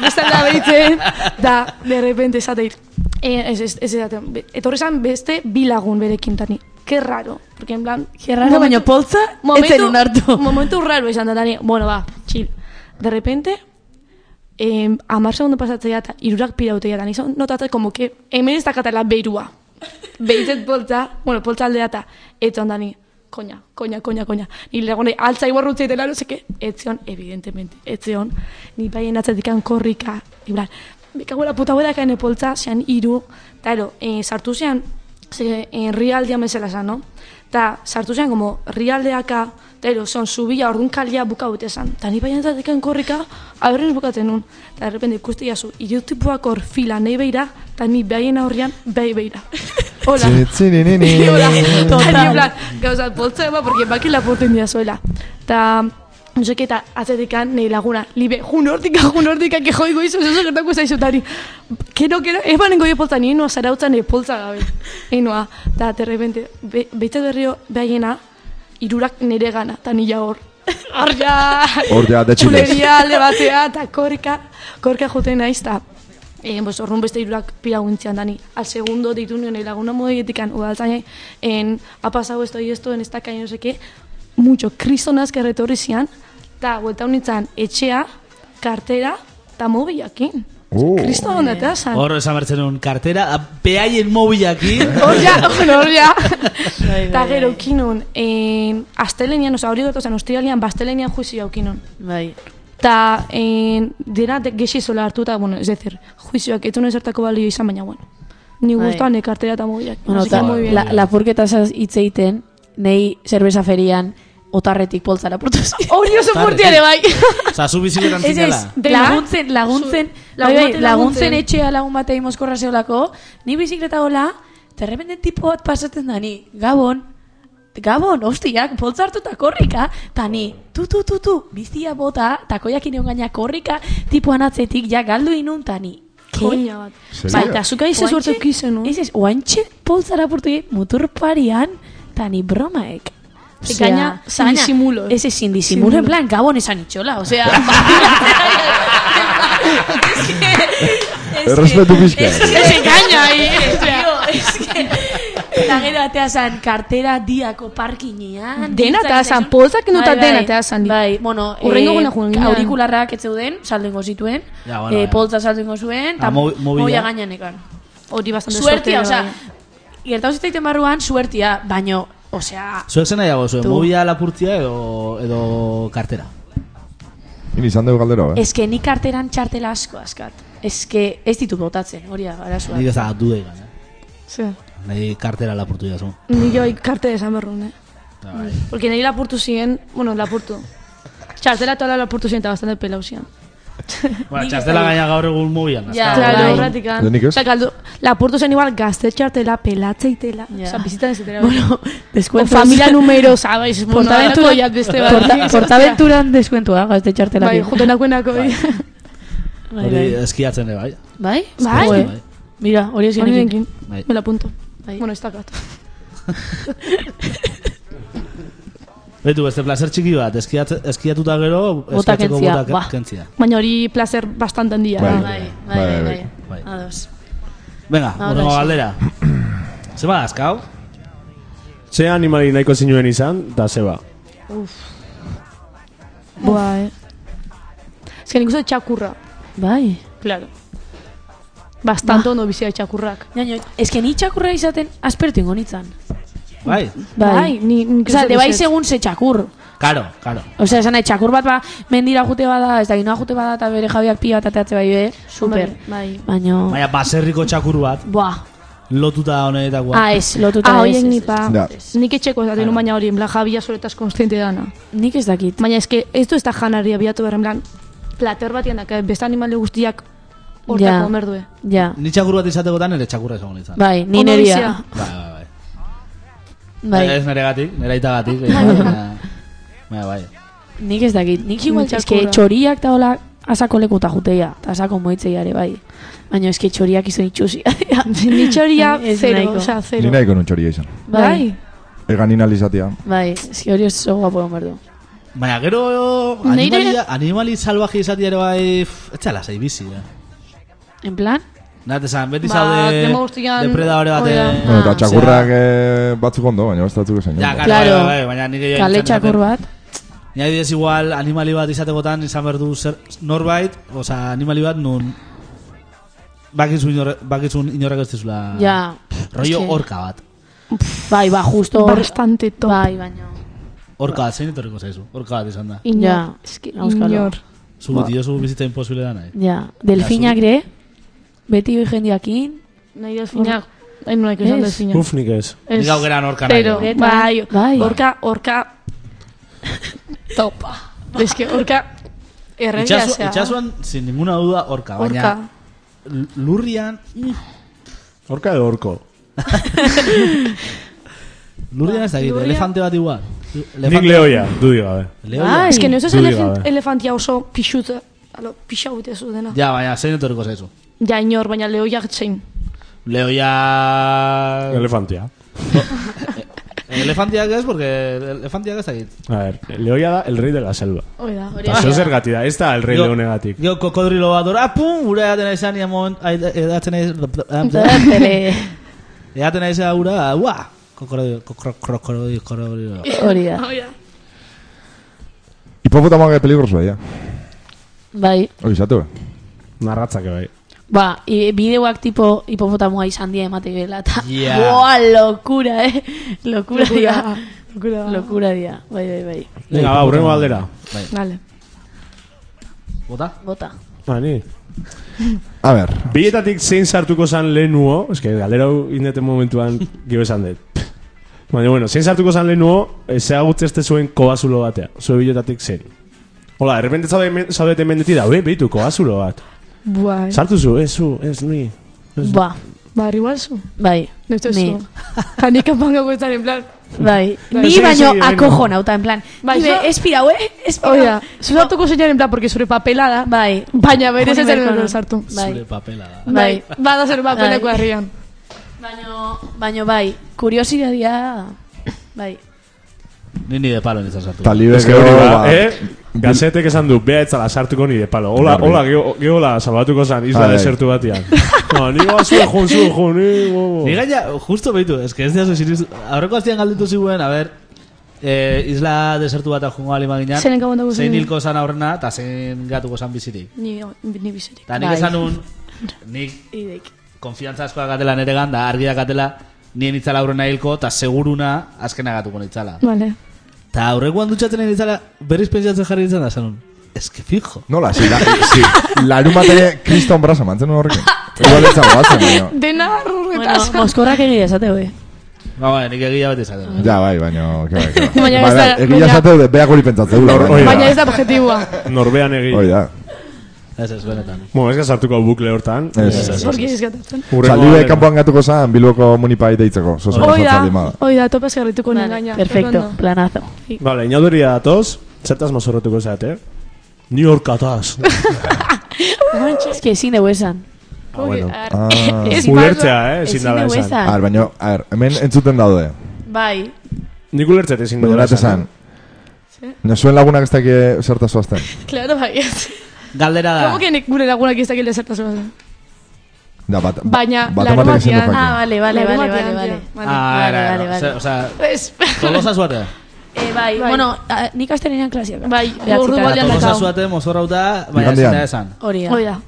[SPEAKER 5] bezala behitzen, ¿eh? da, de repente esateit. Eh, ez, ez, ez, edaten. Be- Etorri zan beste bi lagun berekin, tani. Qué raro, porque en plan...
[SPEAKER 6] Qué raro, baina poltza, ez zen onartu.
[SPEAKER 5] Momentu raro izan da, tani. Bueno, ba, chill. De repente, eh, amar segundo pasatzea eta irurak pirautea da. Nizan notatzen, como que hemen ez dakatela beirua. Behitzet poltza, bueno, poltza aldea eta etzon da ni, koña, koña, koña, koña. Ni legone, altza iborrutze dela, no seke, etzion, evidentemente, etzion, ni baien atzatikan korrika, iblan, bekagoela puta hueda kaene poltza, zean iru, eta ero, eh, sartu zean, ze, eh, rialdia mesela zan, no? Eta sartu zean, como, rialdeaka, eta ero, son, zubila, orduan kalia buka bute zan. Eta ni baien atzatikan korrika, aberren bukaten nun. Eta de repente ikusti jazu, irutipuak hor fila nahi beira, eta ni baien aurrian, bai beira. Hola.
[SPEAKER 3] Tzi- tzininini.
[SPEAKER 5] Hola, total. plan, gauza, poltza ema, porque baki lapurten dira zuela. Ta, no seke, eta atzetikan nahi laguna, libe, jun hortika, jun hortika, que joigo izu, zozo gertako zaizu, tari. Kero, kero, ez banengo de poltza, ni enoa zarautzen e poltza gabe. Enoa, ta, terrepente, be, beitza berrio, behaiena, irurak nire gana, ta nila hor. Hor ja,
[SPEAKER 3] Hor ja, de chiles.
[SPEAKER 5] Chuleria alde batea, eta korka, korka joten naiz, ta, eh, pues, orrun beste irurak piraguntzian dani. Al segundo deitu nion eh, laguna modietekan udaltzaina, en, ha pasado esto y esto, en esta calle, no sé qué, mucho kristonaz kerretorri zian, eta vuelta honitzan etxea, kartera, eta mobilakin.
[SPEAKER 3] Oh.
[SPEAKER 5] Kristo oh, eta zan.
[SPEAKER 2] Hor esan bertzen un kartera, a- peaien mobilaki.
[SPEAKER 5] Hor ja, hor ja. Eta gero, kinon, en, astelenian, oza, hori gertu zen, ostiralian, bastelenian juizio hau kinon.
[SPEAKER 6] Bai.
[SPEAKER 5] Eta en, dena de- gexi zola hartu eta, bueno, ez decir, juizioak etu nahi zertako balio izan baina, bueno. Ni
[SPEAKER 6] Bai.
[SPEAKER 5] guztuan ekartera eta mobilak.
[SPEAKER 6] Bueno,
[SPEAKER 5] Así que
[SPEAKER 6] ta,
[SPEAKER 5] muy bien.
[SPEAKER 6] la, lapurketa hitz egiten, nei zerbeza ferian, otarretik poltza lapurtu zen.
[SPEAKER 5] Hori oso fuertia ere bai.
[SPEAKER 2] Osa, zu biziketan
[SPEAKER 6] Ez ez,
[SPEAKER 2] zinela.
[SPEAKER 5] dena?
[SPEAKER 6] laguntzen, laguntzen, bai,
[SPEAKER 5] Zu- lagun
[SPEAKER 6] bai, laguntzen
[SPEAKER 5] bati laguntzen.
[SPEAKER 6] etxea lagun batei mozkorra zeolako, ni bizikleta hola, eta errependen tipo bat pasatzen da ni, gabon, gabon, hostiak, poltza hartu eta korrika, eta ni, tu, tu, tu, tu, bizia bota, takoiak ineon gaina korrika, tipuan atzetik, ja, galdu inun, eta ni, ke?
[SPEAKER 5] Koña bat.
[SPEAKER 3] Serio?
[SPEAKER 5] Bai, eta zuka izu
[SPEAKER 6] Oantxe-
[SPEAKER 5] suerte ukizen, no?
[SPEAKER 6] Ez ez, oantxe poltzara portu mutur parian, eta ni bromaek.
[SPEAKER 5] Ze gaina, sin disimulo, eh.
[SPEAKER 6] Ez ez, sin disimulo,
[SPEAKER 5] Sin
[SPEAKER 6] en plan, gabon esan itxola, osea... Es
[SPEAKER 3] Errespetu pixka.
[SPEAKER 6] Ez engaña ahí, es que... Eta gero atea zan kartera diako parkinean.
[SPEAKER 5] Dena
[SPEAKER 6] dintzak
[SPEAKER 5] atea zan,
[SPEAKER 6] zaizun.
[SPEAKER 5] poltsak kenduta
[SPEAKER 6] Bai, bai.
[SPEAKER 5] dena atea zan, di.
[SPEAKER 6] Bai, bueno,
[SPEAKER 5] Hurrengo
[SPEAKER 6] eh,
[SPEAKER 5] eguna joan ginen.
[SPEAKER 6] aurikularrak ez zeuden, saldu ingo zituen,
[SPEAKER 2] Ja, bueno,
[SPEAKER 6] eh,
[SPEAKER 2] ja.
[SPEAKER 6] poltsa saldu ingo zuen,
[SPEAKER 2] Ah,
[SPEAKER 6] eta
[SPEAKER 2] mo- mobila.
[SPEAKER 6] mobila gainean ekan.
[SPEAKER 5] Hori bastante
[SPEAKER 6] Suertia,
[SPEAKER 5] suerte. ere
[SPEAKER 6] osea,
[SPEAKER 5] bai.
[SPEAKER 6] gertatu zitaiten barruan, suertia, baino, osea,
[SPEAKER 2] Zuek zen nahiago, zuen
[SPEAKER 6] Tu.
[SPEAKER 2] mobila lapurtzia edo, edo kartera.
[SPEAKER 3] Ni izan dugu galdera, eh?
[SPEAKER 6] eske nik karteran txartela asko askat. Eske ez ditut botatzen, hori da, arazoa.
[SPEAKER 2] Nik ez da duda igan, eh?
[SPEAKER 6] bai.
[SPEAKER 5] Ze.
[SPEAKER 2] Nahi kartera lapurtu jazu.
[SPEAKER 5] Ni joi kartera esan berrun, eh?
[SPEAKER 2] bai.
[SPEAKER 6] Bai.
[SPEAKER 5] Porque nahi lapurtu ziren, bueno, lapurtu. Txartela tola lapurtu ziren eta bastante pelau ziren.
[SPEAKER 2] Bueno, txastela gaina gaur egun mobilan.
[SPEAKER 6] Ja,
[SPEAKER 5] Claro, ah.
[SPEAKER 6] bai.
[SPEAKER 5] horretik.
[SPEAKER 3] Eta Ah, nik ez?
[SPEAKER 5] Osea, kaldu, lapurtu zen igual gazte txartela, pelatzeitela.
[SPEAKER 6] Ja.
[SPEAKER 5] Osea, bizitan ez dira.
[SPEAKER 6] Bueno,
[SPEAKER 5] Con
[SPEAKER 6] descuentos.
[SPEAKER 5] familia numerosa, ¿sabes?
[SPEAKER 6] Portaventura-
[SPEAKER 5] Portaventura, beste bat.
[SPEAKER 6] Porta, portaventuran deskuentua, gazte txartela.
[SPEAKER 5] Bai, juten dagoenako.
[SPEAKER 6] bai,
[SPEAKER 2] Hori
[SPEAKER 6] bai.
[SPEAKER 2] eskiatzen ere, bai.
[SPEAKER 6] Bai?
[SPEAKER 5] Bai.
[SPEAKER 6] Joe. Mira, hori ezin egin.
[SPEAKER 5] Honekin,
[SPEAKER 2] Bai.
[SPEAKER 5] me lo apunto.
[SPEAKER 6] Bai.
[SPEAKER 5] Bueno, está gato.
[SPEAKER 2] Betu, beste placer txiki bat, eskiatze- eskiatuta gero,
[SPEAKER 6] Bota
[SPEAKER 2] eskiatzeko
[SPEAKER 6] kentzia,
[SPEAKER 2] bota ke-
[SPEAKER 6] ba.
[SPEAKER 2] kentzia.
[SPEAKER 5] Baina hori placer bastante ¿eh? handia.
[SPEAKER 3] Bai.
[SPEAKER 5] da.
[SPEAKER 6] Bai, bai,
[SPEAKER 3] Bai,
[SPEAKER 6] bai,
[SPEAKER 3] bai.
[SPEAKER 6] bai.
[SPEAKER 2] Bai.
[SPEAKER 6] Ados.
[SPEAKER 2] Venga,
[SPEAKER 6] Ah,
[SPEAKER 2] urrengo
[SPEAKER 6] bai.
[SPEAKER 2] galdera. Zeba dazkau?
[SPEAKER 4] Ze animali nahiko zinuen izan, da ba. zeba.
[SPEAKER 5] Buah, eh. Ez que nik uste txakurra.
[SPEAKER 6] Bai.
[SPEAKER 5] Claro. Bastante ondo bizia txakurrak.
[SPEAKER 6] Ñaño, ez que ni txakurra izaten aspertu ingo nintzen.
[SPEAKER 2] Bai,
[SPEAKER 5] Bai, ni- nik
[SPEAKER 6] Osa,
[SPEAKER 5] uste
[SPEAKER 6] te bai
[SPEAKER 5] bizet.
[SPEAKER 6] segun ze txakur.
[SPEAKER 2] karo, karo.
[SPEAKER 6] Osea, esan nahi, txakur bat ba, mendira jute bada, ez da, ginoa jute bada, eta bere jabiak pila bat ateatze bai, eh? Super.
[SPEAKER 5] Bai.
[SPEAKER 6] Baino,
[SPEAKER 2] Baina baserriko txakur bat,
[SPEAKER 6] buah.
[SPEAKER 2] lotuta honetakoa.
[SPEAKER 6] Ah, ez, lotuta
[SPEAKER 5] Ah,
[SPEAKER 6] ez,
[SPEAKER 5] hoiek
[SPEAKER 6] ez,
[SPEAKER 5] ni
[SPEAKER 6] ez.
[SPEAKER 5] pa.
[SPEAKER 3] Ja.
[SPEAKER 5] Nik etxeko ez daten baina hori, en plan, jabia soletaz konstiente dana.
[SPEAKER 6] Nik ez dakit.
[SPEAKER 5] Baina eske ez du ez da janari abiatu behar, en plan, plater bat jendaka, beste animale guztiak
[SPEAKER 6] Ja.
[SPEAKER 5] hortako omerdue.
[SPEAKER 6] Ja.
[SPEAKER 2] Ni txakur bat izatekotan ere txakurra izango nintzen.
[SPEAKER 6] Bai, ni
[SPEAKER 5] Ondo
[SPEAKER 6] neria.
[SPEAKER 5] bizia.
[SPEAKER 2] Bai, bai, bai.
[SPEAKER 6] Bai.
[SPEAKER 2] Ez nire gatik, nire aitagatik. eh, Baina, baina, bai.
[SPEAKER 6] Nik ez dakit. Nik igual,
[SPEAKER 5] Ni
[SPEAKER 6] eske
[SPEAKER 5] txakurra.
[SPEAKER 6] txoriak eta hola asako lekuta juteia, eta asako moitzei are bai. Baina eski txoriak izan itxusi.
[SPEAKER 5] Nitxoria
[SPEAKER 6] Ez
[SPEAKER 5] zero,
[SPEAKER 6] nahiko.
[SPEAKER 5] osea,
[SPEAKER 3] Ni
[SPEAKER 5] zero.
[SPEAKER 3] nahiko nun txoria izan.
[SPEAKER 6] Bai,
[SPEAKER 5] Bai,
[SPEAKER 3] Eganin
[SPEAKER 5] Ah,
[SPEAKER 3] alizatia.
[SPEAKER 6] bai, eski hori oso guapo egon berdu.
[SPEAKER 2] Baina gero
[SPEAKER 6] Neire-
[SPEAKER 2] animali, animali salvaje izatea ere bai pff, ez zela zei bizi eh?
[SPEAKER 6] En plan,
[SPEAKER 2] Nahate zan, beti
[SPEAKER 5] Ba,
[SPEAKER 2] zaude
[SPEAKER 5] demo guztian-
[SPEAKER 2] depredadore
[SPEAKER 5] Hori
[SPEAKER 2] baten
[SPEAKER 3] Bueno, eta
[SPEAKER 6] Ah,
[SPEAKER 3] txakurrak eh, batzuk ondo, baina beste batzuk esan.
[SPEAKER 2] Ja,
[SPEAKER 3] ondo.
[SPEAKER 2] claro, bai,
[SPEAKER 6] Claro.
[SPEAKER 2] bai, baina nire jo
[SPEAKER 6] kale
[SPEAKER 2] itzen dut.
[SPEAKER 6] txakur bat,
[SPEAKER 2] Ni adibidez igual animali bat izatekotan izan behar du zer, norbait, oza, animali bat nun bakizun, inor, bakizun inorrak ez dizula
[SPEAKER 6] ja,
[SPEAKER 2] rollo
[SPEAKER 6] eske-
[SPEAKER 2] orka bat.
[SPEAKER 6] bai, ba, justo hor,
[SPEAKER 5] bastante top.
[SPEAKER 6] bai, baina,
[SPEAKER 2] Orka bat, zein etorriko zaizu? Orka bat izan da.
[SPEAKER 5] Inor,
[SPEAKER 6] Ja,
[SPEAKER 5] eski,
[SPEAKER 6] auskalo.
[SPEAKER 5] inor.
[SPEAKER 2] Zugu tio, zugu bizitza imposible da nahi.
[SPEAKER 6] ja, delfinak ere, beti jendiakin,
[SPEAKER 5] Nahi delfinak, nahi nuek esan
[SPEAKER 6] Ez.
[SPEAKER 5] delfinak.
[SPEAKER 4] Uf, nik ez.
[SPEAKER 5] Ez.
[SPEAKER 2] Nik hau geran orka nahi.
[SPEAKER 5] Pero,
[SPEAKER 2] jo.
[SPEAKER 5] bai,
[SPEAKER 6] Bai.
[SPEAKER 5] orka, orka, topa. Es que orka, erregia
[SPEAKER 2] Itxasu,
[SPEAKER 5] zea.
[SPEAKER 2] itxasuan, sin ninguna duda, orka.
[SPEAKER 5] Orka.
[SPEAKER 2] Baina, l- lurrian, mm,
[SPEAKER 4] Orka edo orko.
[SPEAKER 2] lurrian ez dakit,
[SPEAKER 5] Lurrian-
[SPEAKER 2] elefante bat igual.
[SPEAKER 4] Nik lehoia, du diga, gabe.
[SPEAKER 2] Leoia.
[SPEAKER 6] Bai.
[SPEAKER 5] Es que no ez
[SPEAKER 4] Dudik
[SPEAKER 5] elefant,
[SPEAKER 4] gabe.
[SPEAKER 5] elefantia oso pixuta, alo, pixa gute zu dena. Ja.
[SPEAKER 2] Ja, baina, zein etorriko zaizu?
[SPEAKER 5] inor, baina lehoiak txein.
[SPEAKER 2] Leoia...
[SPEAKER 4] Elefantia.
[SPEAKER 2] Elefantiak ez, porque elefantiak ez dakit.
[SPEAKER 4] A ver, lehoia da el rey de la selva.
[SPEAKER 5] Hoi da, hori.
[SPEAKER 4] Eta zer gati da, ez da el rey
[SPEAKER 2] Gero-
[SPEAKER 4] leonegatik.
[SPEAKER 2] Gero kokodrilo bat dora, pum, ura edaten nahi zan, moment, ai- edaten nahi...
[SPEAKER 6] Tele,
[SPEAKER 2] Edaten nahi zan, ura, ua! Kokodrilo, kokodrilo, kokodrilo.
[SPEAKER 6] hori da,
[SPEAKER 5] Hoi da.
[SPEAKER 3] Hipopotama gai peligrosoa, ja.
[SPEAKER 6] bai,
[SPEAKER 3] eh. Hori izatu, eh?
[SPEAKER 4] Narratzak bai.
[SPEAKER 6] ba, e, bideoak tipo hipopotamoa izan dira emate gela, eta,
[SPEAKER 2] Ja.
[SPEAKER 6] boa, lokura, eh, lokura dira,
[SPEAKER 5] Lokura.
[SPEAKER 6] lokura dira, bai, bai, bai,
[SPEAKER 4] Venga, ba, hurrengo aldera.
[SPEAKER 2] Bai,
[SPEAKER 5] Vale.
[SPEAKER 2] bota?
[SPEAKER 6] bota,
[SPEAKER 4] Ah, ni.
[SPEAKER 3] A ber,
[SPEAKER 4] Biletatik zein sartuko zan lehenuo, eske galdera hau indeten momentuan gero esan dut. Baina, bueno, zein sartuko zan lehenuo, ezagutze este zuen kobazulo batea. Zue biletatik zein. Hola, errepente zaude- zaudete mendeti da, ue, behitu, kobazulo bat.
[SPEAKER 5] Buai.
[SPEAKER 4] Sartu zu, ez zu, ez ni. Ez-
[SPEAKER 6] ba,
[SPEAKER 5] eh. Ba, igual zu.
[SPEAKER 6] bai,
[SPEAKER 5] Neute
[SPEAKER 6] Ni.
[SPEAKER 5] zu. Kanika pango ezan, en plan.
[SPEAKER 6] Bai,
[SPEAKER 5] Bai,
[SPEAKER 6] ni
[SPEAKER 4] sí,
[SPEAKER 6] baino
[SPEAKER 4] sí,
[SPEAKER 6] akojo
[SPEAKER 4] bueno.
[SPEAKER 6] nauta, en plan,
[SPEAKER 5] Bai,
[SPEAKER 6] ibe,
[SPEAKER 5] zo-
[SPEAKER 6] espirau, eh? Espirau.
[SPEAKER 5] Hoi da, zuzatuko zeinan, en plan, porque zure papela da.
[SPEAKER 6] Bai,
[SPEAKER 5] Baina berez
[SPEAKER 6] Ba- Hori
[SPEAKER 5] ez zen
[SPEAKER 6] beharko
[SPEAKER 5] horren
[SPEAKER 6] nuen.
[SPEAKER 5] sartu. Ba,
[SPEAKER 2] Zure
[SPEAKER 6] bai.
[SPEAKER 2] papela da.
[SPEAKER 6] Bai.
[SPEAKER 5] Bada zer bapeneko
[SPEAKER 6] Bai.
[SPEAKER 5] herrian.
[SPEAKER 6] Baino, baino bai, kuriosidadia, bai.
[SPEAKER 2] Ni ni de palo nizan sartu.
[SPEAKER 3] talibe
[SPEAKER 4] Eske hori
[SPEAKER 3] gero,
[SPEAKER 4] ba,
[SPEAKER 3] ba,
[SPEAKER 4] eh? Gazetek esan du, bea etzala sartuko nire palo. Hola,
[SPEAKER 3] Garbi.
[SPEAKER 4] hola, geho- gehola, salbatuko zan, isla
[SPEAKER 3] Ai.
[SPEAKER 4] desertu batian. No, ni goa zuen, jun, zuen, jun, ni goa.
[SPEAKER 2] Ni gaina, justo behitu, eske ez diazu siniz... Aurreko aztian galdetu ziguen, a ber, eh, isla desertu bat jungo alima ginean.
[SPEAKER 5] Zeinen gabon dago
[SPEAKER 2] Zein
[SPEAKER 5] zeinen.
[SPEAKER 2] hilko zan aurrena, eta zein gatuko zan bizirik.
[SPEAKER 5] Ni, ni bizirik.
[SPEAKER 2] Eta nik
[SPEAKER 6] Bai.
[SPEAKER 2] esan nun, nik
[SPEAKER 6] Idek.
[SPEAKER 2] konfiantza askoa gatela nere ganda, argia gatela, nien itzala aurrena hilko, eta seguruna azkena gatuko nitzala.
[SPEAKER 5] Vale.
[SPEAKER 2] Eta aurrekoan dutxatzen egin itzala, berriz pentsatzen jarri nintzen da, esan nun. Ez que fijo.
[SPEAKER 3] Nola, si, la, si, larun batere kriston brasa mantzen horrekin. Igual ez dago batzen, baina.
[SPEAKER 5] Dena
[SPEAKER 6] Bueno,
[SPEAKER 5] arrurretaz.
[SPEAKER 6] moskorrak egia esate, bai.
[SPEAKER 2] Ba, ba, nik egia beti izaten.
[SPEAKER 3] Ja, bai, baina, ke bai, ke bai.
[SPEAKER 5] Baina
[SPEAKER 3] Bai,
[SPEAKER 5] ez
[SPEAKER 3] bai,
[SPEAKER 5] da-
[SPEAKER 3] egia
[SPEAKER 5] baina-
[SPEAKER 3] esateu de, beak hori pentsatzeu. da,
[SPEAKER 4] Hor- hori
[SPEAKER 3] baina-
[SPEAKER 5] Baina ez da objetibua.
[SPEAKER 4] Norbean egin.
[SPEAKER 3] Hori da.
[SPEAKER 2] Ez ez, benetan.
[SPEAKER 4] Bueno, ez que sartuko bukle hortan.
[SPEAKER 3] Ez, ez, ez.
[SPEAKER 5] Porque ez gatatzen.
[SPEAKER 4] Hurrengo
[SPEAKER 3] Zaldibe
[SPEAKER 4] galdera.
[SPEAKER 3] kanpoan gatuko zan, bilboko munipai deitzeko. Zozo,
[SPEAKER 5] Hoi
[SPEAKER 3] zozo,
[SPEAKER 5] da,
[SPEAKER 3] aldimada.
[SPEAKER 5] hoi da, topa esgarrituko vale,
[SPEAKER 6] Vale,
[SPEAKER 5] nengaina.
[SPEAKER 6] perfecto, planazo.
[SPEAKER 4] Vale, inauduria datoz, zertaz mazorrotuko zeat, eh? Ni horkataz.
[SPEAKER 6] Es que ezin dugu esan.
[SPEAKER 4] Ah, bueno.
[SPEAKER 3] Ah,
[SPEAKER 5] Ez
[SPEAKER 4] Ulertzea, eh? Ezin
[SPEAKER 6] Ezin
[SPEAKER 4] dala
[SPEAKER 6] dugu
[SPEAKER 4] esan.
[SPEAKER 3] a
[SPEAKER 6] esan.
[SPEAKER 3] ver, baina, a ver, hemen entzuten daude.
[SPEAKER 6] Bai,
[SPEAKER 4] Nik ulertzea ezin eh?
[SPEAKER 3] Baina,
[SPEAKER 4] dala
[SPEAKER 3] bat esan.
[SPEAKER 5] Ze?
[SPEAKER 3] Ne zuen lagunak ez dakie zerta zoazten.
[SPEAKER 5] Claro, bai, ez.
[SPEAKER 6] Ah.
[SPEAKER 2] Galdera da.
[SPEAKER 5] Como que nik gure lagunak ez dakile zertaz bazen.
[SPEAKER 3] Da, bat,
[SPEAKER 5] Baina,
[SPEAKER 3] bat
[SPEAKER 5] larun
[SPEAKER 3] ematek Ba, ezin du
[SPEAKER 5] batean-
[SPEAKER 3] jakin.
[SPEAKER 6] ah, vale, vale,
[SPEAKER 5] Larun
[SPEAKER 6] vale, vale,
[SPEAKER 5] batean,
[SPEAKER 6] vale.
[SPEAKER 5] tía.
[SPEAKER 2] Ah,
[SPEAKER 6] Vale,
[SPEAKER 2] era, era.
[SPEAKER 6] vale, vale.
[SPEAKER 2] O sea,
[SPEAKER 5] Ez.
[SPEAKER 2] Tolosa zuate.
[SPEAKER 6] Eh, bai,
[SPEAKER 5] Bai.
[SPEAKER 6] bueno, ah, nik astelenean klasiak.
[SPEAKER 5] Bai,
[SPEAKER 6] Behatzita.
[SPEAKER 5] ordu batean
[SPEAKER 2] Tolosa
[SPEAKER 5] dakau.
[SPEAKER 2] zuate, mozorra uta, baina
[SPEAKER 3] Igandean.
[SPEAKER 2] ezin da esan.
[SPEAKER 6] Hori da.
[SPEAKER 5] Hoi da.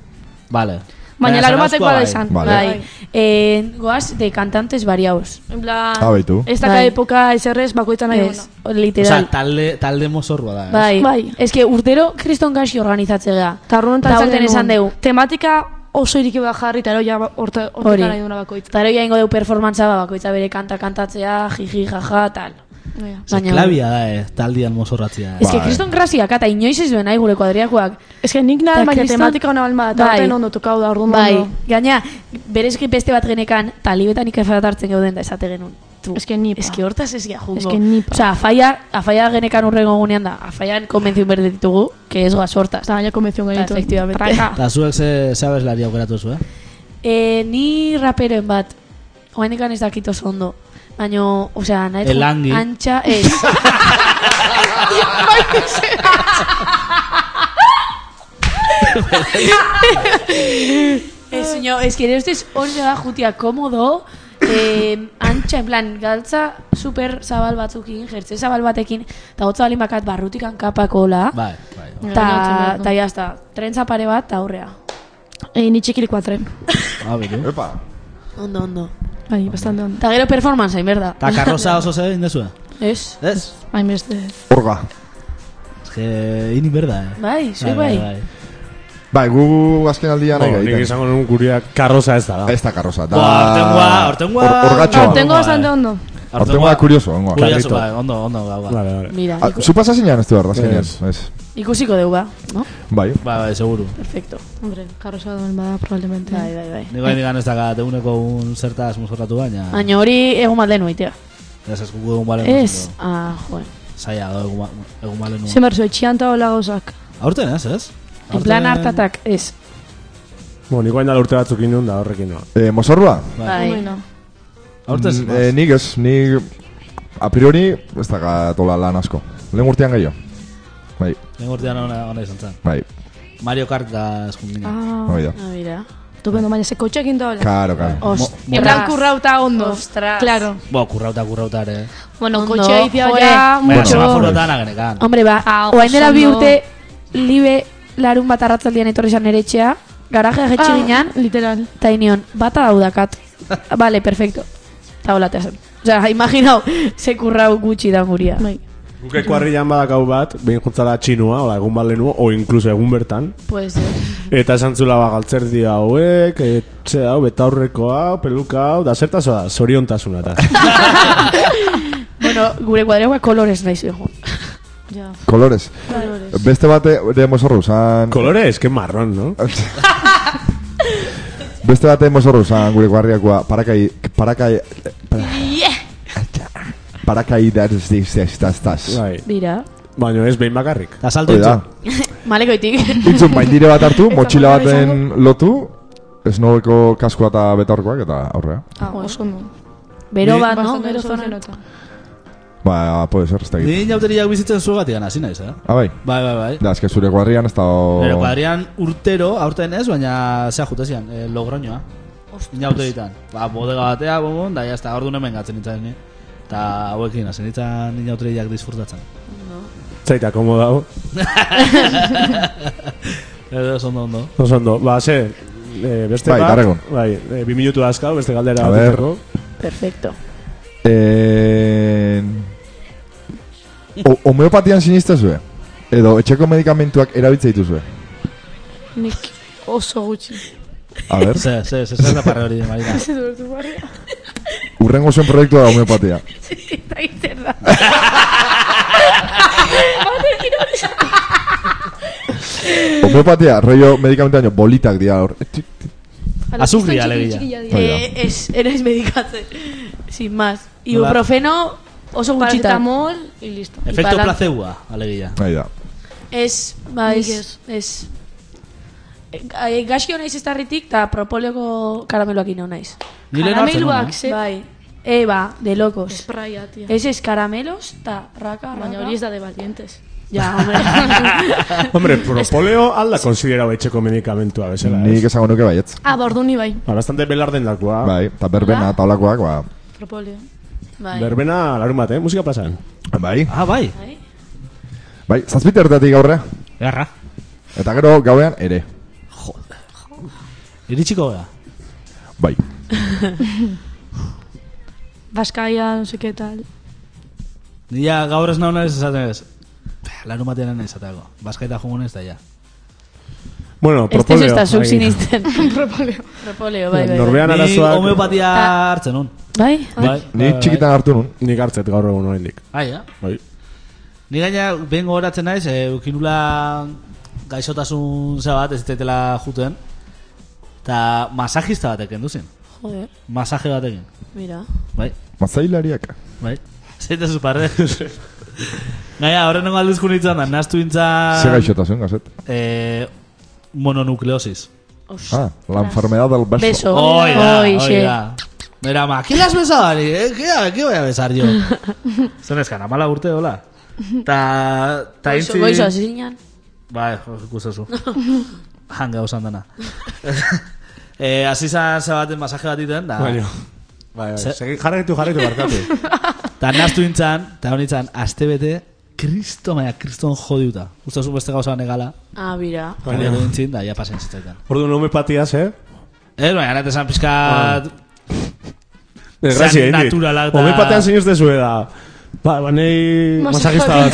[SPEAKER 2] Vale.
[SPEAKER 5] Baina larun batek
[SPEAKER 2] Zarauzkoa
[SPEAKER 5] bada
[SPEAKER 2] bai.
[SPEAKER 5] izan.
[SPEAKER 3] Vale.
[SPEAKER 6] Bai. Eh, goaz de cantantes variados.
[SPEAKER 5] En plan,
[SPEAKER 3] Ah, baitu.
[SPEAKER 5] ez daka
[SPEAKER 6] Bai.
[SPEAKER 5] epoka ezerrez bakoitan nahi
[SPEAKER 6] Ez,
[SPEAKER 5] duguna.
[SPEAKER 2] O
[SPEAKER 6] literal.
[SPEAKER 2] sea, talde, talde mozorroa da. eh. ez?
[SPEAKER 6] Bai.
[SPEAKER 5] Bai.
[SPEAKER 6] Es que urtero kriston gaxi organizatzea.
[SPEAKER 5] Eta arrunan
[SPEAKER 6] Ta aurten esan deu.
[SPEAKER 5] Tematika oso iriki bat jarri, eta eroia horta
[SPEAKER 6] Hori.
[SPEAKER 5] nahi duna bakoitza.
[SPEAKER 6] Taro ja ingo deu performantza ba, bakoitza bere kanta kantatzea, jiji, jaja, tal.
[SPEAKER 5] Baina.
[SPEAKER 2] Ze Klabia da, eh, taldian mozorratzia.
[SPEAKER 6] Ez que
[SPEAKER 3] Bai.
[SPEAKER 6] kriston graziak, eta inoiz ez duen nahi gure kuadriakoak.
[SPEAKER 5] Ez que nik nahi,
[SPEAKER 6] Ta
[SPEAKER 5] baina
[SPEAKER 6] kriston-
[SPEAKER 5] tematika hona balma, eta
[SPEAKER 6] Bai.
[SPEAKER 5] horten ondo tokau da, orduan
[SPEAKER 6] Bai,
[SPEAKER 5] ondo.
[SPEAKER 6] gaina, berezki beste bat genekan, talibetan ikafarat hartzen geuden da esate genuen. tu.
[SPEAKER 5] Es que nipa.
[SPEAKER 6] Es que hortaz ez gia jungo.
[SPEAKER 5] Es que nipa.
[SPEAKER 6] Osea, afaia, afaia genekan urrengo gunean da, afaian konbentzio behar ditugu, que ez goaz hortaz.
[SPEAKER 5] Eta gaina konbentzio gaitu.
[SPEAKER 6] Efectivamente.
[SPEAKER 5] Traka.
[SPEAKER 2] Eta zuek ze, ze abeslari aukeratu zu, eh?
[SPEAKER 6] E, ni raperen bat, oain ez dakit oso ondo. Baina, osea, nahi dugu
[SPEAKER 2] Elangi.
[SPEAKER 6] Antxa, ez. ez, no, ez Eh, que nire ustez hori da jutia komodo, eh, antxa, en plan, galtza super zabal batzukin, jertze zabal batekin, eta gotza balin bakat barrutik hankapakola,
[SPEAKER 2] Bai, bai. bai.
[SPEAKER 6] eta ta jazta, trentza pare bat, eta aurrea.
[SPEAKER 5] Eh, ni txikirik batren.
[SPEAKER 2] Ah, bitu.
[SPEAKER 3] Epa.
[SPEAKER 6] Ondo, ondo.
[SPEAKER 5] Bai, bastante ondo.
[SPEAKER 6] Eta gero performance hain, berda.
[SPEAKER 2] Eta karroza oso zer egin dezue?
[SPEAKER 6] Ez.
[SPEAKER 2] Ez?
[SPEAKER 5] Hain beste.
[SPEAKER 3] Orga.
[SPEAKER 2] Ez que ini berda, eh?
[SPEAKER 6] Bai, zui bai.
[SPEAKER 3] Bai, gu azken aldian nahi
[SPEAKER 4] Bueno, Oh, nik
[SPEAKER 3] gaiten.
[SPEAKER 4] izango nuen guria karroza ez da.
[SPEAKER 3] Ez da karroza. Da...
[SPEAKER 2] Buah, aurtengoa, aurtengoa.
[SPEAKER 3] Or- orgatxoa.
[SPEAKER 5] Aurtengo bastante ondo.
[SPEAKER 3] Aurtengoa kurioso, ongoa.
[SPEAKER 2] Kurioso,
[SPEAKER 4] Carrito.
[SPEAKER 2] bai, ondo, ondo, gau, bai.
[SPEAKER 4] Vale, vale.
[SPEAKER 6] Mira,
[SPEAKER 3] Ah,
[SPEAKER 6] iku-
[SPEAKER 3] Zu pasa zinean ez du behar, azkenean.
[SPEAKER 4] Ez.
[SPEAKER 3] Ez.
[SPEAKER 6] ikusiko deu ba, no?
[SPEAKER 3] Bai.
[SPEAKER 2] Bai, bai, seguru.
[SPEAKER 6] Perfecto.
[SPEAKER 5] Hombre, karrosa duen bada, probablemente.
[SPEAKER 6] Bai, bai, bai.
[SPEAKER 2] Nik bai digan ez dakat eguneko un zertaz muzorratu baina.
[SPEAKER 6] Baina hori egun bat lehenu aitea.
[SPEAKER 2] Ez eskuko egun balen.
[SPEAKER 6] Ez. Ah, joen.
[SPEAKER 2] Zaila, da, egun ba- egun balen. nuen.
[SPEAKER 5] Zemerzo, etxian eta hola gauzak.
[SPEAKER 2] Aurten ez, ez?
[SPEAKER 6] En plan hartatak, ez.
[SPEAKER 4] Bueno, nik guain dala urte batzuk inun da horrekin. No.
[SPEAKER 3] Eh, Mozorrua?
[SPEAKER 6] Bai.
[SPEAKER 5] Bueno,
[SPEAKER 2] Aurten
[SPEAKER 3] Mm, eh, nik ez, nik a priori ez da gatola lan asko. Lehen urtean gehiago. Bai,
[SPEAKER 2] Lehen urtean ona, ona izan zen.
[SPEAKER 3] bai,
[SPEAKER 2] Mario Kart da eskumbina.
[SPEAKER 5] ah,
[SPEAKER 3] hori da.
[SPEAKER 6] Ah, mira.
[SPEAKER 5] estupendo, baina ze kotxekin da hola.
[SPEAKER 3] Karo, karo.
[SPEAKER 6] Ostras.
[SPEAKER 5] En plan kurrauta ondo.
[SPEAKER 6] Ostras.
[SPEAKER 5] Claro.
[SPEAKER 2] Bo, kurrauta, kurrauta ere.
[SPEAKER 5] Bueno,
[SPEAKER 6] Ondo,
[SPEAKER 5] kotxea izia
[SPEAKER 6] joe.
[SPEAKER 5] ja,
[SPEAKER 2] Baina,
[SPEAKER 5] mucho.
[SPEAKER 2] semaforotan agenekan.
[SPEAKER 6] Hombre, ba,
[SPEAKER 5] Ah,
[SPEAKER 6] oain dela
[SPEAKER 5] oso
[SPEAKER 6] bi
[SPEAKER 5] ondo.
[SPEAKER 6] urte libe larun bat arratzaldian etorri zan nere etxea, garaje
[SPEAKER 5] Ah,
[SPEAKER 6] jetxe ginean,
[SPEAKER 5] literal.
[SPEAKER 6] eta inion, bata daudakat. Vale, perfecto. Eta hola teazen. Osea, imaginau, ze kurrau gutxi da guria.
[SPEAKER 5] Bai.
[SPEAKER 4] Gukeko harrian badakau bat, behin juntzala txinua, ola, egun bat lehenu, o inkluso egun bertan.
[SPEAKER 6] Pues, eh,
[SPEAKER 4] Eta esan zula ba, galtzerdi hauek, etxe hau, betaurreko hau, peluka hau, da zertazoa, zoriontasuna eta.
[SPEAKER 6] bueno, gure kuadregoa kolorez nahi zuen.
[SPEAKER 5] Ja.
[SPEAKER 3] Kolores. Beste bate, de Mozorru zan...
[SPEAKER 4] Kolore eske marron, no?
[SPEAKER 3] Beste bate Mozorru zan gure guarriakoa parakai... Parakai... Parakai daz diz diz daz daz.
[SPEAKER 4] Bai.
[SPEAKER 6] Mira.
[SPEAKER 4] Baina ez behin bakarrik.
[SPEAKER 2] Eta salto
[SPEAKER 3] Hori da.
[SPEAKER 2] itxu.
[SPEAKER 6] Malekoitik.
[SPEAKER 3] Itzun maindire bat hartu,
[SPEAKER 6] Eta
[SPEAKER 3] motxila
[SPEAKER 6] mala izango.
[SPEAKER 3] baten lotu, esnobeko kaskoa eta betaurkoak eta aurrea.
[SPEAKER 5] Ah, oso ondo.
[SPEAKER 6] Bero
[SPEAKER 2] Ni-
[SPEAKER 6] bat, no?
[SPEAKER 5] Bastante
[SPEAKER 6] Bero
[SPEAKER 5] oso
[SPEAKER 6] zona.
[SPEAKER 5] nota.
[SPEAKER 3] Ba, puede ser, ez da
[SPEAKER 2] Ni inauteriak bizitzen zuegatikan hasi naiz, eh?
[SPEAKER 3] Ah, bai.
[SPEAKER 2] Bai, bai, bai.
[SPEAKER 3] Da, eske zure guarrian ez da...
[SPEAKER 2] Pero kuadrian urtero, aurten ez, baina zea jutezian, eh, logroñoa. Inauteritan. Ba, bodega batea, bonbon, da jazta, ordu hemen gatzen nintzen ni. Eta hauekin, hasi nintzen inauteriak disfrutatzen.
[SPEAKER 4] Zaita, komo dago.
[SPEAKER 2] Edo, oso ondo, ondo.
[SPEAKER 4] Oso ondo, ba, ze, eh, beste
[SPEAKER 3] Bai,
[SPEAKER 4] bat.
[SPEAKER 3] darregon.
[SPEAKER 4] Bai, eh, bi minutu dazkau, beste galdera
[SPEAKER 3] A
[SPEAKER 4] bat.
[SPEAKER 3] ber.
[SPEAKER 4] izango.
[SPEAKER 6] Perfecto.
[SPEAKER 3] Eh... O, homeopatian sinistezue? Edo etxeko medikamentuak erabiltze dituzue?
[SPEAKER 5] Nik oso gutxi.
[SPEAKER 3] A ber,
[SPEAKER 2] Ze, ze, ze, ze, da parre hori, Marina.
[SPEAKER 3] urrengo zuen proiektua da homeopatia.
[SPEAKER 6] Eta egiten da.
[SPEAKER 3] Homeopatia, rollo medikamentu daño, bolitak dira hor.
[SPEAKER 2] Azukria, alegia.
[SPEAKER 3] Hori bai da.
[SPEAKER 6] Eh, ez, ere ez medikatzen. Sin más. Ibuprofeno oso gutxita.
[SPEAKER 5] Paracetamol y listo.
[SPEAKER 2] Efecto
[SPEAKER 6] balan-
[SPEAKER 2] placeboa, alegia.
[SPEAKER 3] Ahí bai da.
[SPEAKER 6] Ez, ba,
[SPEAKER 5] Nik
[SPEAKER 6] ez, ez. Eh, Gaxio naiz ez tarritik, eta propoleko karameloak ino naiz.
[SPEAKER 2] Ni lehen hartzen nuen,
[SPEAKER 5] Karameloak
[SPEAKER 2] eh?
[SPEAKER 5] ze
[SPEAKER 6] Bai. Eba, de locos.
[SPEAKER 5] Spraya, tia.
[SPEAKER 6] Ez ez karamelos, eta raka, raka.
[SPEAKER 5] Baina hori ez da de valientes.
[SPEAKER 6] Ja, hombre.
[SPEAKER 4] Hombre, propoleo alda konsiderau etxeko medikamentua bezala,
[SPEAKER 3] Nik
[SPEAKER 4] ez?
[SPEAKER 3] esango nuke baietz.
[SPEAKER 5] Ah, ba, ordu ni bai.
[SPEAKER 4] Ba, bastante belar dendakoa.
[SPEAKER 3] Bai, eta berbena, eta olakoak, ba...
[SPEAKER 5] Propolio.
[SPEAKER 6] bai.
[SPEAKER 4] Berbena larun bat, eh? Musika plazan.
[SPEAKER 3] Bai,
[SPEAKER 2] Ah, bai.
[SPEAKER 3] bai, zazpite ertatik aurrea.
[SPEAKER 2] Garra.
[SPEAKER 3] Eta gero gauean ere.
[SPEAKER 2] Iritsiko gara.
[SPEAKER 3] Bai.
[SPEAKER 5] Baskaia, no sé qué tal.
[SPEAKER 2] Nila gaur ez nauna ez esaten ez. Larun batean ez esatako. Baskaita jugun ez da ja.
[SPEAKER 4] Bueno,
[SPEAKER 6] Este
[SPEAKER 4] propoleo.
[SPEAKER 6] ez da zuk
[SPEAKER 4] bai.
[SPEAKER 6] sinisten. Propoleo. Propoleo, bai, bai. bai.
[SPEAKER 4] Norbean
[SPEAKER 2] Ni
[SPEAKER 4] arazoak...
[SPEAKER 2] homeopatia hartzen nun.
[SPEAKER 6] Bai?
[SPEAKER 2] Bai,
[SPEAKER 3] Ni txikitan hartu nun.
[SPEAKER 4] Nik hartzet gaur egun oraindik.
[SPEAKER 2] Ah, ja.
[SPEAKER 4] Bai.
[SPEAKER 2] Ni gaina behin gogoratzen naiz, e, eukinula gaixotasun ze bat ez tetela juten. Eta masajista batek endu zen.
[SPEAKER 6] Joder,
[SPEAKER 2] Masaje batekin.
[SPEAKER 6] mira.
[SPEAKER 2] Bai.
[SPEAKER 3] Matzailariak.
[SPEAKER 2] Bai. Zeite zuparre. Gaia, horrenengo aldizkun nintzen da, naztu
[SPEAKER 3] Ze
[SPEAKER 2] nintzen...
[SPEAKER 3] gaixotasun, gazet.
[SPEAKER 2] Eh, mononukleosis.
[SPEAKER 3] Ah, la enfermedad del beso.
[SPEAKER 6] Beso.
[SPEAKER 2] Oida,
[SPEAKER 6] Oixe.
[SPEAKER 2] oida. Mira, ma, ¿quién has besado a mí? ¿Eh? ¿Qué, ¿Qué voy a besar yo? Zer eskana, mala urte, hola. Ta... Ta
[SPEAKER 6] Goizo, goizo, hasi zinen.
[SPEAKER 2] Bai, ikustezu. Hanga usan dana. eh, hasi zan ze baten masaje bat iten,
[SPEAKER 3] Ah.
[SPEAKER 2] da...
[SPEAKER 4] Baina. Bai,
[SPEAKER 2] Ze-
[SPEAKER 4] bai. Segi jarretu, jarretu, barkatu.
[SPEAKER 2] Ta naztu nintzen, ta hon nintzen, azte bete, kristo maia, kriston jodiuta. Guztasun beste gauza negala,
[SPEAKER 6] Ah, bira.
[SPEAKER 2] baina edo nintzen, da, ja pasen zitzaitan.
[SPEAKER 4] Ordu no me patias, eh?
[SPEAKER 2] Ez, baina, nate zan pizkat...
[SPEAKER 4] Desgracia,
[SPEAKER 2] Zan
[SPEAKER 4] Indi.
[SPEAKER 2] naturala eta-
[SPEAKER 4] Ome patean zinuz dezu da. Ba, banei masajista bat.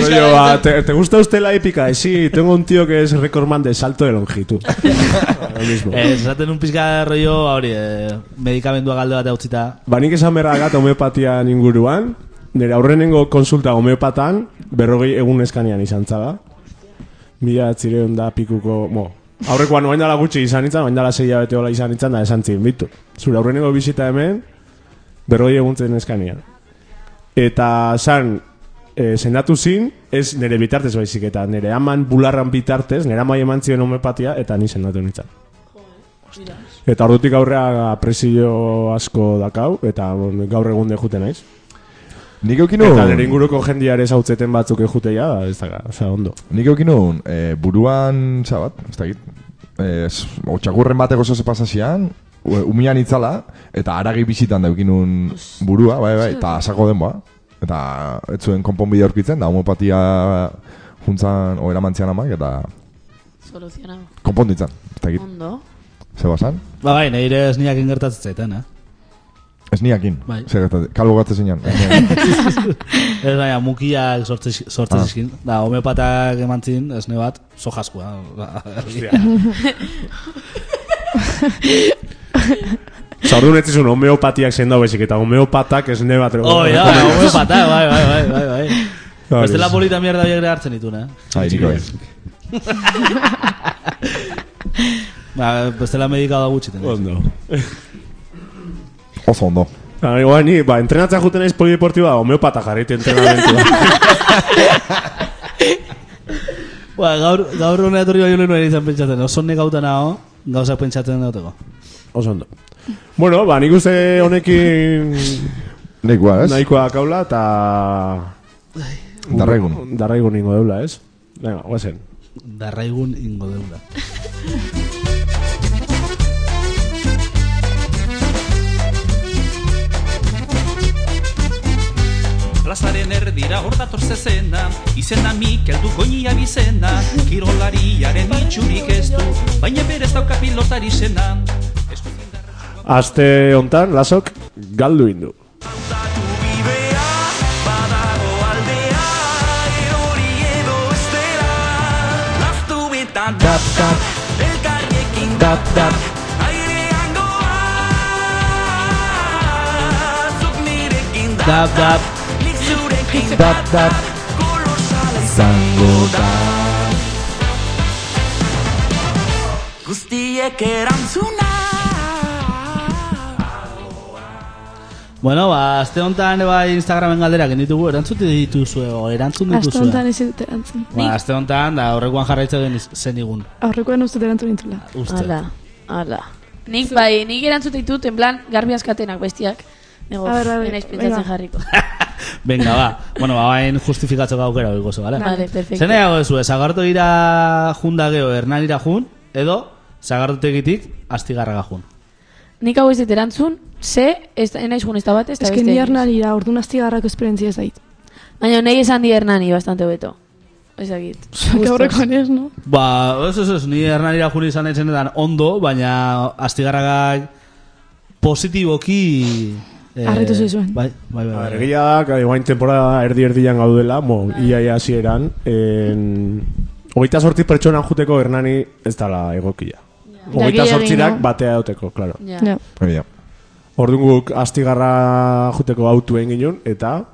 [SPEAKER 4] Rollo, ba, te, te gusta usted la épica? Eh, Sí, tengo un tío que es recordman de salto de longitud. Lo mismo.
[SPEAKER 2] Eh, zaten un pizka rollo, ba, hori, eh, medikamendua galde bat hautzita.
[SPEAKER 4] Banik Ba, esan berra gat homeopatian inguruan, nire aurrenengo konsulta homeopatan, berrogei egun eskanean izan zaba. Mila atzireun da pikuko, mo, aurrekoan oain dala gutxi izan nintzen, oain dala zeia bete hola izan nintzen, da esan zin, bitu. Zure aurrenengo bisita hemen, berrogei egun zen eskanean. Eta san, e, sendatu zin, ez nire bitartez baizik, eta nire aman bularran bitartez, nire amai eman zion homeopatia, eta ni sendatu nintzen. Eta ordutik aurrea presio asko dakau, eta bon, gaur egun juten naiz.
[SPEAKER 3] Nik eukin
[SPEAKER 4] Eta nire
[SPEAKER 3] nun,
[SPEAKER 4] inguruko jendiare zautzeten batzuk ejutea, da, ez da, oza, ondo.
[SPEAKER 3] nik eukin nun, eh, buruan, zabat, ez dakit, eh, s- otxakurren batek oso zepasazian, umian itzala, eta aragi bizitan daukin nun burua, bai, bai, eta asako denboa. Eta ez zuen konponbide aurkitzen, da homopatia juntzan, o eramantzian amak, eta
[SPEAKER 6] Soluzionado.
[SPEAKER 3] konpondu itzan, ez dakit,
[SPEAKER 6] Ondo.
[SPEAKER 3] zebasan.
[SPEAKER 2] Ba, bai, nire ez niak ingertatzen zaitan, eh?
[SPEAKER 3] Ez niakin,
[SPEAKER 2] Bai.
[SPEAKER 3] zer gertatzen, kalbo gatzen ez
[SPEAKER 2] Ez baina, mukiak sortze
[SPEAKER 3] Ah.
[SPEAKER 2] zizkin. Da, homeopatak eman zin, esne bat, ah, sojaskua.
[SPEAKER 4] Oza, orduan ez zizun homeopatiak zen dau bezik, eta homeopatak ez ne bat...
[SPEAKER 2] Oh, ja, homeopatak, bai, bai, bai, bai, bai.
[SPEAKER 4] Hori.
[SPEAKER 2] Beste la polita mierda biek ere hartzen ditun, eh?
[SPEAKER 3] Ai, niko ez.
[SPEAKER 2] Ba, beste la medika da gutxiten. eh?
[SPEAKER 4] Ondo.
[SPEAKER 3] Oso ondo.
[SPEAKER 4] Ba, igual ni, ba, entrenatzea juten naiz polideportiba, homeopata jarrite entrenamentua.
[SPEAKER 2] Ba, gaur, gaur hona etorri baino lehenu izan pentsatzen. Oso negauta nago, gauzak pentsatzen duteko.
[SPEAKER 4] Oso ondo. Bueno, ba, nik uste honekin
[SPEAKER 3] Nik guan, ez?
[SPEAKER 4] nahikoa kaula, eta...
[SPEAKER 3] Darregun.
[SPEAKER 4] Darraigun ningo deula, ez? Venga, guazen.
[SPEAKER 2] Darraigun ingo deula.
[SPEAKER 10] Plazaren erdira hor dator zezena Izena Mikel du goinia bizena Kirolariaren itxurik ez du Baina berez dauka pilotari zena
[SPEAKER 4] Aste hontan, lasok, galdu indu.
[SPEAKER 10] Dap, dap Elkarrekin dap, dap Airean goaz Zuk nirekin dap,
[SPEAKER 2] Dab, dab.
[SPEAKER 10] Nik zurekin dap, dap Kolosala izango da Guztiek erantzuna
[SPEAKER 2] Bueno, ba, azte honetan bai Instagramen galdera genitugu, erantzute dituzue, o erantzun
[SPEAKER 5] Aste
[SPEAKER 2] dituzue.
[SPEAKER 5] honetan ez dut erantzun.
[SPEAKER 2] Ba, azte honetan, da, horrekoan jarraitza den iz- zenigun.
[SPEAKER 5] Aurrekoan uste dut erantzun nintzula.
[SPEAKER 2] Uste.
[SPEAKER 6] Ala, ala. Nik bai, nik erantzut ditut, en plan, garbi askatenak bestiak. Nego,
[SPEAKER 5] A ber, a ber,
[SPEAKER 6] ez naiz pentsatzen
[SPEAKER 5] venga.
[SPEAKER 6] jarriko.
[SPEAKER 2] Venga, ba. Bueno, ba, bain justifikatzeko aukera gozo, bale?
[SPEAKER 6] Vale, perfecto.
[SPEAKER 2] Zer nahiago ezu, zagarto ira junda geo hernanira jun, edo zagartotegitik astigarraga jun.
[SPEAKER 6] Nik hau ez dut erantzun, ze, ez da- naiz jun ez da bat, ez da
[SPEAKER 5] Ez que
[SPEAKER 6] beste.
[SPEAKER 5] ni
[SPEAKER 6] inoiz.
[SPEAKER 5] Hernanira, orduan astigarrako esperientzia ez dait.
[SPEAKER 6] Baina, nahi esan di Hernani bastante beto. Ez dakit.
[SPEAKER 5] Aurrekoan ez, no?
[SPEAKER 2] Ba, ez, ez, ez, ni hernanira jun izan etxenetan ondo, baina astigarraga positiboki... Eh,
[SPEAKER 5] Harritu zizuen.
[SPEAKER 2] Bai, bai, bai.
[SPEAKER 4] A
[SPEAKER 2] bai.
[SPEAKER 4] ver, egia da, claro, iguain eh, temporada erdi-erdian gaudela, mo, ia ia hasieran, en... Hogeita sortzi pertsonan juteko Hernani ez dala egokia. Hogeita
[SPEAKER 6] Gehiegi,
[SPEAKER 4] sortzirak
[SPEAKER 6] no?
[SPEAKER 4] batea duteko, claro.
[SPEAKER 6] Ja.
[SPEAKER 5] Ja.
[SPEAKER 3] Egia.
[SPEAKER 4] Orduan guk astigarra juteko autuen ginen, eta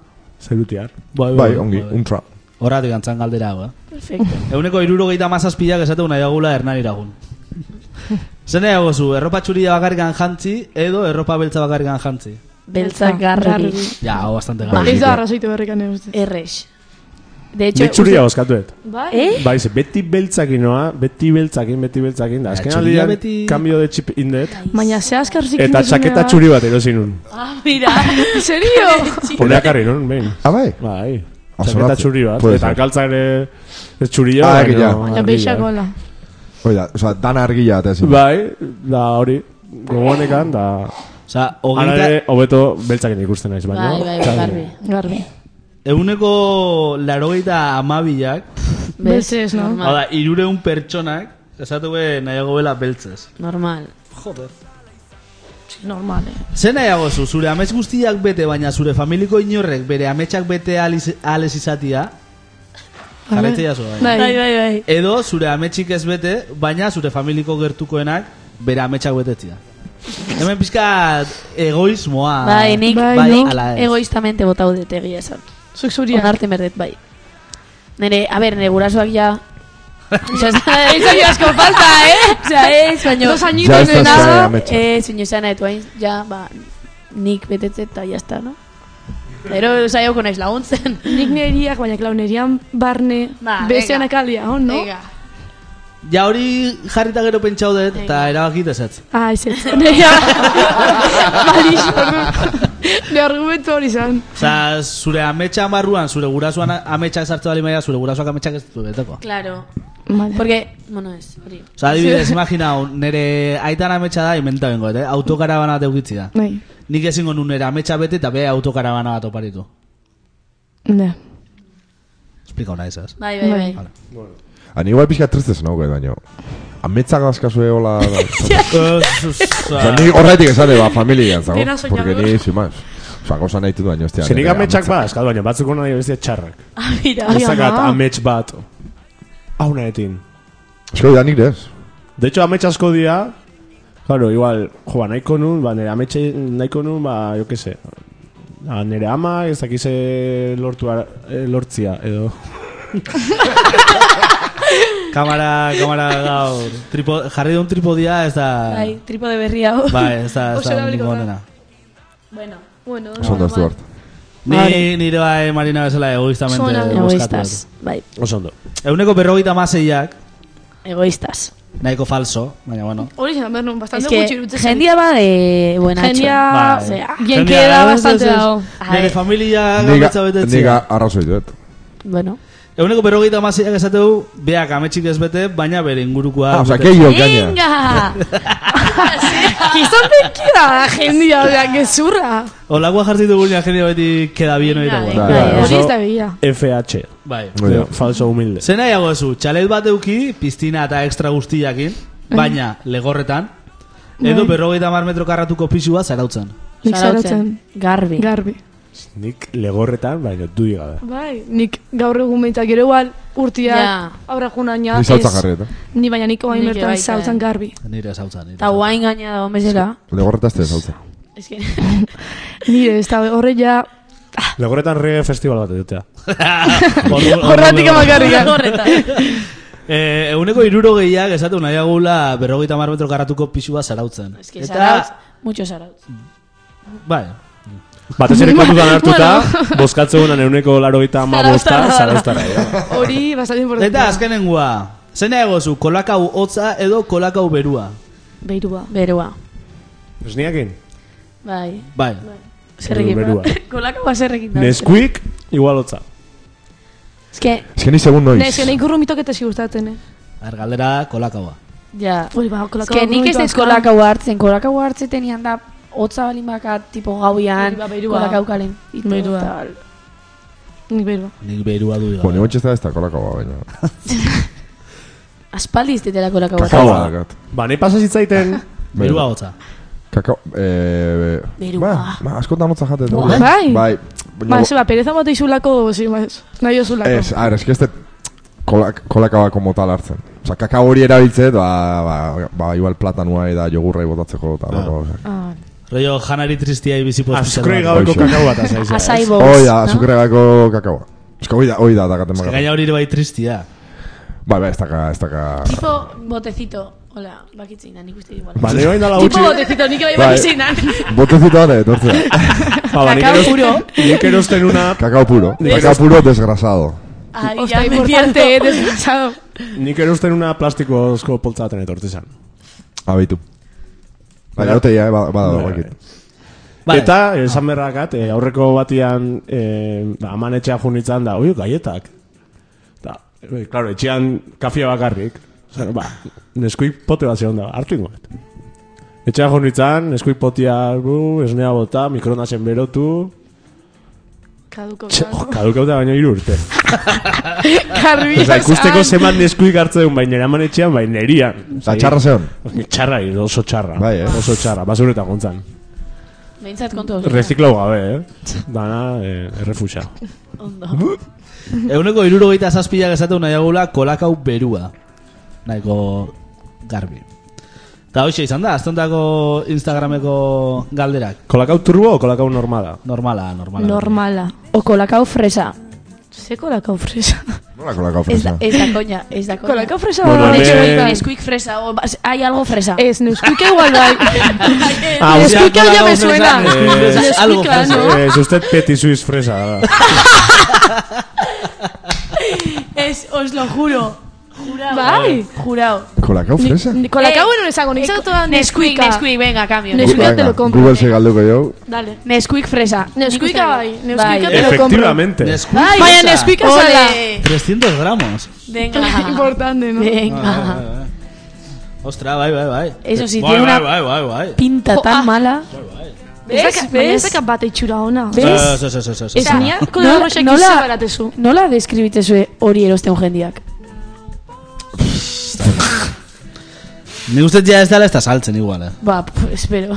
[SPEAKER 4] zelutiar.
[SPEAKER 3] Bai, ongi, untra.
[SPEAKER 2] Horratik antzan galdera hau, eh?
[SPEAKER 6] Perfecto.
[SPEAKER 2] Euneko irurogeita mazazpilak esatu nahi dagula hernanira jun. Zer nahiago zu, erropa txuria bakarrikan jantzi edo erropa beltza bakarrikan jantzi?
[SPEAKER 6] Beltzak
[SPEAKER 5] Garbi.
[SPEAKER 6] garrari.
[SPEAKER 2] Ja, hau bastante
[SPEAKER 6] Ba.
[SPEAKER 2] gara.
[SPEAKER 5] Ez da arrazoite berrikan egin uste.
[SPEAKER 6] Errex. De hecho,
[SPEAKER 4] Nik txuria oskatuet.
[SPEAKER 5] Bai?
[SPEAKER 6] ¿Eh?
[SPEAKER 4] Bai, ze, beti beltzakin noa, beti beltzakin, beti beltzakin, da. Azken
[SPEAKER 2] Ja, txuria
[SPEAKER 4] aldean,
[SPEAKER 2] beti-
[SPEAKER 4] cambio de chip indet.
[SPEAKER 5] Baina ze azkar zikin
[SPEAKER 4] Eta txaketa txuri bat erosi nun.
[SPEAKER 6] Ah, mira.
[SPEAKER 5] Serio?
[SPEAKER 4] Honeak harri nun, behin.
[SPEAKER 3] Ah, bai?
[SPEAKER 4] Bai.
[SPEAKER 3] Oso
[SPEAKER 4] Txaketa
[SPEAKER 3] bat-
[SPEAKER 4] txuri bat.
[SPEAKER 3] puede
[SPEAKER 4] Eta
[SPEAKER 3] ser.
[SPEAKER 4] kaltza ere ez txuria.
[SPEAKER 3] Ah,
[SPEAKER 4] baina
[SPEAKER 3] egia.
[SPEAKER 5] Baina
[SPEAKER 4] argiak.
[SPEAKER 5] beixak hola.
[SPEAKER 3] Oida, oza, dan argila eta ezin.
[SPEAKER 4] Bai, da hori. Gogoanekan, da...
[SPEAKER 2] Osa,
[SPEAKER 4] Ara
[SPEAKER 2] hogeita,
[SPEAKER 4] ere, hobeto beltzakin ikusten naiz, baina...
[SPEAKER 6] Bai, bai, bai,
[SPEAKER 4] Claro.
[SPEAKER 6] garbi.
[SPEAKER 5] Garbi.
[SPEAKER 2] eguneko larogeita amabilak,
[SPEAKER 6] ¿Ves?
[SPEAKER 5] Beltzez, no?
[SPEAKER 2] hau
[SPEAKER 6] Normal.
[SPEAKER 2] da, irureun pertsonak, esatu be nahiago bela beltzez.
[SPEAKER 6] Normal.
[SPEAKER 2] Joder.
[SPEAKER 5] Normal, eh?
[SPEAKER 2] Zer nahiago zu, zure amets guztiak bete, baina zure familiko inorrek bere ametsak bete aliz- ales izatia, jarretzea zu, bai.
[SPEAKER 5] Bai, bai.
[SPEAKER 6] bai.
[SPEAKER 2] Edo zure ametxik ez bete, baina zure familiko gertukoenak bere ametsak betetzia. Hemen pizka egoismoa.
[SPEAKER 6] Bai, nik,
[SPEAKER 5] Bai,
[SPEAKER 6] bai, nik
[SPEAKER 2] ala ez.
[SPEAKER 6] egoistamente botau dut egia esan.
[SPEAKER 5] Zuk zuria.
[SPEAKER 6] Onarten berdet, bai. Nere, a ber, nere gurasoak ja... Osa, ez
[SPEAKER 5] Ez ari
[SPEAKER 6] da asko falta, eh? Osa, ez, baino...
[SPEAKER 5] Dos
[SPEAKER 3] Ja,
[SPEAKER 5] añitos
[SPEAKER 3] ez da
[SPEAKER 5] de
[SPEAKER 3] zure
[SPEAKER 5] nada.
[SPEAKER 3] ametsa.
[SPEAKER 6] Eh, zinu esana etu hain, ja, ba, nik betetze eta jazta, no? Pero saioko naiz laguntzen.
[SPEAKER 5] Nik neriak, baina klau nerian barne,
[SPEAKER 6] Ba,
[SPEAKER 5] bestean
[SPEAKER 6] venga.
[SPEAKER 5] akalia, hon, no?
[SPEAKER 6] Venga.
[SPEAKER 2] Ja hori jarrita gero pentsau dut, eta erabakit ezetz.
[SPEAKER 5] Ah, ez ez. Nerea. Balixo, no? Ne argumentu hori zan.
[SPEAKER 2] Osa, zure ametsa barruan, zure gurasoan ametsak sartu bali maia, zure gurasoak ametsak ez ditu beteko.
[SPEAKER 6] Claro.
[SPEAKER 5] Vale.
[SPEAKER 6] Porque, bueno, ez, hori.
[SPEAKER 2] Osa, adibidez, imagina, nire aitan ametsa da, inventa bengo, eh? autokarabana bat eukitzi da.
[SPEAKER 5] Nei.
[SPEAKER 2] Nik ezingo nun nire ametsa bete eta be autokarabana bat oparitu.
[SPEAKER 5] Ne.
[SPEAKER 2] Explica una esas.
[SPEAKER 6] Bai, bai, bai.
[SPEAKER 3] Han igual pixka tristez nauke, baino. Ametzak askazue hola... da. Osa, ni horretik esate, ba, familia zau.
[SPEAKER 5] Dena soñador.
[SPEAKER 3] Porque ni, sin más. Osa, goza nahi dut baino, ostia.
[SPEAKER 4] Zenik
[SPEAKER 3] nire
[SPEAKER 4] ametsak ba, eskatu baina batzuk hona dira bestia txarrak.
[SPEAKER 6] Ah, mira.
[SPEAKER 5] Ai,
[SPEAKER 4] Ez dakat
[SPEAKER 5] ama.
[SPEAKER 4] amets bat. Hauna etin.
[SPEAKER 3] Esko, da nik ez.
[SPEAKER 4] De hecho, amets asko dira, claro, igual, jo, ba, nahiko nun, ba, nire ametxe nahiko nun, ba, jo que se, ba, nire ama, ez dakize lortu, ara- eh, lortzia, edo.
[SPEAKER 2] Kamara, kamara gaur. Tripo, jarri duen tripodia ez da...
[SPEAKER 6] Bai, tripo de berri hau.
[SPEAKER 2] Bai, ez da, ez
[SPEAKER 5] Oso
[SPEAKER 2] da
[SPEAKER 5] erabiliko
[SPEAKER 2] niko
[SPEAKER 5] da.
[SPEAKER 2] onena.
[SPEAKER 6] Bueno.
[SPEAKER 5] Bueno,
[SPEAKER 3] Oso ondo, Stuart.
[SPEAKER 2] Ni nire bai Marina bezala egoistamente
[SPEAKER 5] Zona
[SPEAKER 6] Egoistas. Bai,
[SPEAKER 4] Oso ondo.
[SPEAKER 2] Euneko berrogeita maseiak,
[SPEAKER 6] egoistas.
[SPEAKER 2] nahiko falso, baina bueno.
[SPEAKER 5] Hori zan, bernun,
[SPEAKER 6] Es
[SPEAKER 5] bastante
[SPEAKER 6] que,
[SPEAKER 5] gutxi irutzen.
[SPEAKER 6] jendia ba de buena
[SPEAKER 5] Jendia...
[SPEAKER 2] Bai.
[SPEAKER 6] sea,
[SPEAKER 5] Bien
[SPEAKER 2] Jendea,
[SPEAKER 5] queda
[SPEAKER 2] ez, ez,
[SPEAKER 5] bastante
[SPEAKER 2] ez.
[SPEAKER 5] dago.
[SPEAKER 2] Nire familia
[SPEAKER 3] Niga,
[SPEAKER 2] gametza Ah, betetzea.
[SPEAKER 3] niga arrazoi dut.
[SPEAKER 6] Bueno.
[SPEAKER 2] Euneko berrogeita maseiak esateu, beak ametxik ez bete, baina bere ingurukoa...
[SPEAKER 3] Ah, osa,
[SPEAKER 2] bete.
[SPEAKER 3] gehiago gaina.
[SPEAKER 6] Venga!
[SPEAKER 5] Gizon benkida da jendia, oda, gezurra.
[SPEAKER 2] Olakoa jartzen dugu nire jendea beti queda bien
[SPEAKER 5] Bai.
[SPEAKER 2] oita
[SPEAKER 6] Venga,
[SPEAKER 3] Da,
[SPEAKER 4] Bai,
[SPEAKER 2] guai.
[SPEAKER 3] da,
[SPEAKER 6] venga,
[SPEAKER 5] Hori
[SPEAKER 6] venga.
[SPEAKER 5] ez da bila.
[SPEAKER 4] FH.
[SPEAKER 2] Bai.
[SPEAKER 3] Oida.
[SPEAKER 4] eh, Falso humilde.
[SPEAKER 2] Zer nahiago zu, txalet bat euki, piztina eta ekstra guztiakin, baina legorretan, edo
[SPEAKER 5] Bai.
[SPEAKER 2] berrogeita mar metro karratuko pisu bat zarautzen.
[SPEAKER 5] Nik zarautzen.
[SPEAKER 6] Garbi.
[SPEAKER 5] Garbi.
[SPEAKER 4] Nik legorretan, baina du gabe.
[SPEAKER 5] Bai, nik gaur egun behintzak gero igual urtiak
[SPEAKER 6] Ja.
[SPEAKER 5] aurra junaina
[SPEAKER 3] Ni saltza jarri eh. eta.
[SPEAKER 5] Ni baina niko hain
[SPEAKER 6] Nik
[SPEAKER 5] bertan
[SPEAKER 6] baita,
[SPEAKER 5] zautzen
[SPEAKER 6] eh.
[SPEAKER 5] garbi.
[SPEAKER 2] Nire zautzen. nire
[SPEAKER 6] Eta guain gaina da, homezela.
[SPEAKER 3] Legorretazte saltza.
[SPEAKER 6] Es que...
[SPEAKER 5] Nire, ez da horre ja... Ah.
[SPEAKER 4] Legorretan reggae festival bat edutea.
[SPEAKER 2] zautzen. Ordu- ordu
[SPEAKER 5] Horratik
[SPEAKER 2] legorretan.
[SPEAKER 6] Horretan.
[SPEAKER 2] Eh, euneko iruro gehiak esatu nahi agula berrogeita mar metro karratuko pisu bat zarautzen.
[SPEAKER 6] Es que sarautz, mucho sarautz.
[SPEAKER 2] bai,
[SPEAKER 4] Batez ere kontutan hartuta, bozkatzegunan euneko laro gita ama bosta, zarauztara. ja.
[SPEAKER 5] Hori, bastante importante.
[SPEAKER 2] eta azkenengoa, zena egozu, kolakau hotza edo kolakau berua.
[SPEAKER 5] Beirua.
[SPEAKER 6] Berua.
[SPEAKER 4] Ez niakin?
[SPEAKER 6] Bai.
[SPEAKER 2] Bai,
[SPEAKER 6] Zerrekin.
[SPEAKER 4] Berua.
[SPEAKER 6] Kolaka ba zerrekin da.
[SPEAKER 4] Nesquik, igual hotza.
[SPEAKER 6] Es que,
[SPEAKER 3] Ez que ni segun noiz.
[SPEAKER 5] Ne, zene ikurru mitok eta gustatzen, eh?
[SPEAKER 2] argaldera kolakaua.
[SPEAKER 6] ja.
[SPEAKER 5] Hori, ba,
[SPEAKER 6] Es
[SPEAKER 5] kolakau.
[SPEAKER 6] que nik ez dut kolaka hartzen. Kolaka hartzen tenian da, hotza balin baka, tipo gauian,
[SPEAKER 5] Hori ba, berua.
[SPEAKER 6] kolaka ukalen. Ito,
[SPEAKER 5] Berua.
[SPEAKER 6] tal.
[SPEAKER 5] Nik beirua.
[SPEAKER 2] Nik berua du
[SPEAKER 3] Bo, ni
[SPEAKER 2] gabe.
[SPEAKER 3] gontxe ez da ez da kolaka ba, baina.
[SPEAKER 6] Aspaldi iztetela kolaka
[SPEAKER 3] Kakao
[SPEAKER 6] hartzen.
[SPEAKER 3] bat dakat.
[SPEAKER 4] Ba, nahi pasa zitzaiten,
[SPEAKER 2] Berua hotza.
[SPEAKER 3] Kakao, eh...
[SPEAKER 6] Berua.
[SPEAKER 3] Ba, ba, askotan hotza jaten. du.
[SPEAKER 5] Bai. Bai.
[SPEAKER 3] Bai. baina
[SPEAKER 5] Ba,
[SPEAKER 3] bo-
[SPEAKER 5] ze ba, pereza bat izulako, zi, ba, ez. Nahi ozulako.
[SPEAKER 3] Ez, a ver, eski ez dut kolak, kolaka bako motal hartzen. Osa, kakao hori erabiltze, ba, ba, ba, igual platanua eta jogurra botatzeko, eta ah. bako.
[SPEAKER 5] Ah,
[SPEAKER 2] Rollo janari tristia ibizipo
[SPEAKER 4] azkre gabeko
[SPEAKER 3] Hoxe.
[SPEAKER 4] kakao bat azaiz.
[SPEAKER 6] Asai box,
[SPEAKER 3] Hoi da,
[SPEAKER 6] no?
[SPEAKER 3] azukre gako kakaoa. Esko, hoi da, hoi da, dakaten baka.
[SPEAKER 2] Gaina hori ere bai tristia.
[SPEAKER 3] Bai, bai, ez daka, ez daka...
[SPEAKER 6] Tipo botecito. Hola, bakitzein da, nik uste igual.
[SPEAKER 4] Ba, nire bain dala
[SPEAKER 5] Tipo
[SPEAKER 4] gutxi...
[SPEAKER 5] botezito, nik bai
[SPEAKER 3] Bai.
[SPEAKER 5] bakitzein dan.
[SPEAKER 3] Botezito bat etortzea.
[SPEAKER 4] Ba, ba, nik
[SPEAKER 6] kakao
[SPEAKER 4] eros-
[SPEAKER 6] puro.
[SPEAKER 4] Nik erosten una...
[SPEAKER 3] Kakao puro.
[SPEAKER 4] Bai.
[SPEAKER 3] Kakao puro desgrasado.
[SPEAKER 6] Ay,
[SPEAKER 5] Osta,
[SPEAKER 6] ya me
[SPEAKER 5] invierte, eh,
[SPEAKER 6] pierdo.
[SPEAKER 5] desgraciado.
[SPEAKER 4] Nik erosten una plastikozko poltza baten etortzen zan.
[SPEAKER 3] Abitu. Baina,
[SPEAKER 4] Bai.
[SPEAKER 3] ote ja, bada,
[SPEAKER 4] Bai,
[SPEAKER 3] bakit.
[SPEAKER 6] Bai.
[SPEAKER 2] Vale.
[SPEAKER 4] Eta, esan berrakat, eh, aurreko batian eh, ba, amanetxea junitzen da, oi, gaietak. Da, eh, claro, etxean kafia bakarrik. Zer, ba, neskuik pote bat zegoen da, hartu ingo dut. Etxean junitzen, neskuik potia gu, esnea bota, mikronasen berotu.
[SPEAKER 5] Kaduko.
[SPEAKER 4] Txe, oh, kadukauta baino hiru urte.
[SPEAKER 5] Karbi.
[SPEAKER 4] Osa, ikusteko zeman neskuik hartzen, baina bai, amanetxean, baina erian.
[SPEAKER 3] Eta txarra zeon.
[SPEAKER 4] Txarra, oso txarra.
[SPEAKER 3] eh. Bai, eh.
[SPEAKER 4] Oso txarra, ba, basuretan gontzan.
[SPEAKER 6] Behintzat kontu oso.
[SPEAKER 4] Reziklau gabe, eh? Dana, eh, errefuxa.
[SPEAKER 6] Ondo.
[SPEAKER 2] Euneko irurogeita zazpilak esaten nahi agula kolakau berua. Nahiko garbi. Eta hoxe izan da, aztontako Instagrameko galderak.
[SPEAKER 4] Kolakau turbo o kolakau normala?
[SPEAKER 2] Normala, normala.
[SPEAKER 5] Normala.
[SPEAKER 6] O kolakao fresa.
[SPEAKER 5] Ze kolakao fresa.
[SPEAKER 3] Nola kolakao
[SPEAKER 6] Ez da,
[SPEAKER 3] fresa.
[SPEAKER 6] ez da coña, ez da coña.
[SPEAKER 5] Kolakao fresa
[SPEAKER 4] Bueno,
[SPEAKER 5] bada.
[SPEAKER 4] hemen-
[SPEAKER 6] Hecho,
[SPEAKER 4] Eh.
[SPEAKER 6] Nesquik fresa, o bas- hay algo fresa.
[SPEAKER 5] Ez, neuskuke igual bai.
[SPEAKER 4] Ah,
[SPEAKER 5] Es que ya me suena.
[SPEAKER 4] Eh,
[SPEAKER 5] Es
[SPEAKER 2] algo
[SPEAKER 5] que, claro,
[SPEAKER 2] fresa.
[SPEAKER 5] ¿no?
[SPEAKER 4] Es usted petit suisse fresa.
[SPEAKER 6] Es, os lo juro. Jurado.
[SPEAKER 5] Bai.
[SPEAKER 6] Jurado. Eh,
[SPEAKER 3] Kolakao fresa?
[SPEAKER 5] Kolakao no esago, nik zautu da
[SPEAKER 6] Nesquik,
[SPEAKER 5] neskuika.
[SPEAKER 6] Nesquik, venga, cambio.
[SPEAKER 5] Nes- Nesquik te lo compro,
[SPEAKER 3] Google se galduko jau.
[SPEAKER 5] Dale.
[SPEAKER 6] Nesquik fresa.
[SPEAKER 5] Nesquika bai, nesquika te lo compro.
[SPEAKER 4] Efectivamente.
[SPEAKER 2] Nesquik
[SPEAKER 5] Baina
[SPEAKER 2] esa.
[SPEAKER 5] neskuika
[SPEAKER 6] Ole.
[SPEAKER 5] zala.
[SPEAKER 2] 300 gramos.
[SPEAKER 6] Venga.
[SPEAKER 5] Importante, ¿no?
[SPEAKER 2] Ah,
[SPEAKER 6] Venga.
[SPEAKER 2] bai, bai. Ostra, bai, bai, bai.
[SPEAKER 6] Eso sí,
[SPEAKER 2] bai,
[SPEAKER 6] tiene
[SPEAKER 2] bai,
[SPEAKER 6] una-
[SPEAKER 2] Bai, bai, bai,
[SPEAKER 6] Pinta
[SPEAKER 5] Jo, ah.
[SPEAKER 6] tan mala.
[SPEAKER 5] ¿Ves? Baina ez dakat bat itxura ona.
[SPEAKER 2] Ez, ez, ez, ez, ez.
[SPEAKER 5] Ez nia,
[SPEAKER 6] Nola-
[SPEAKER 5] kolakao rosak
[SPEAKER 6] nola-
[SPEAKER 5] izan baratezu.
[SPEAKER 6] Nola deskribitezue hori erosten jendiak?
[SPEAKER 2] Ni uste ja ez dela ez da saltzen igual, eh.
[SPEAKER 6] Ba, pf, espero.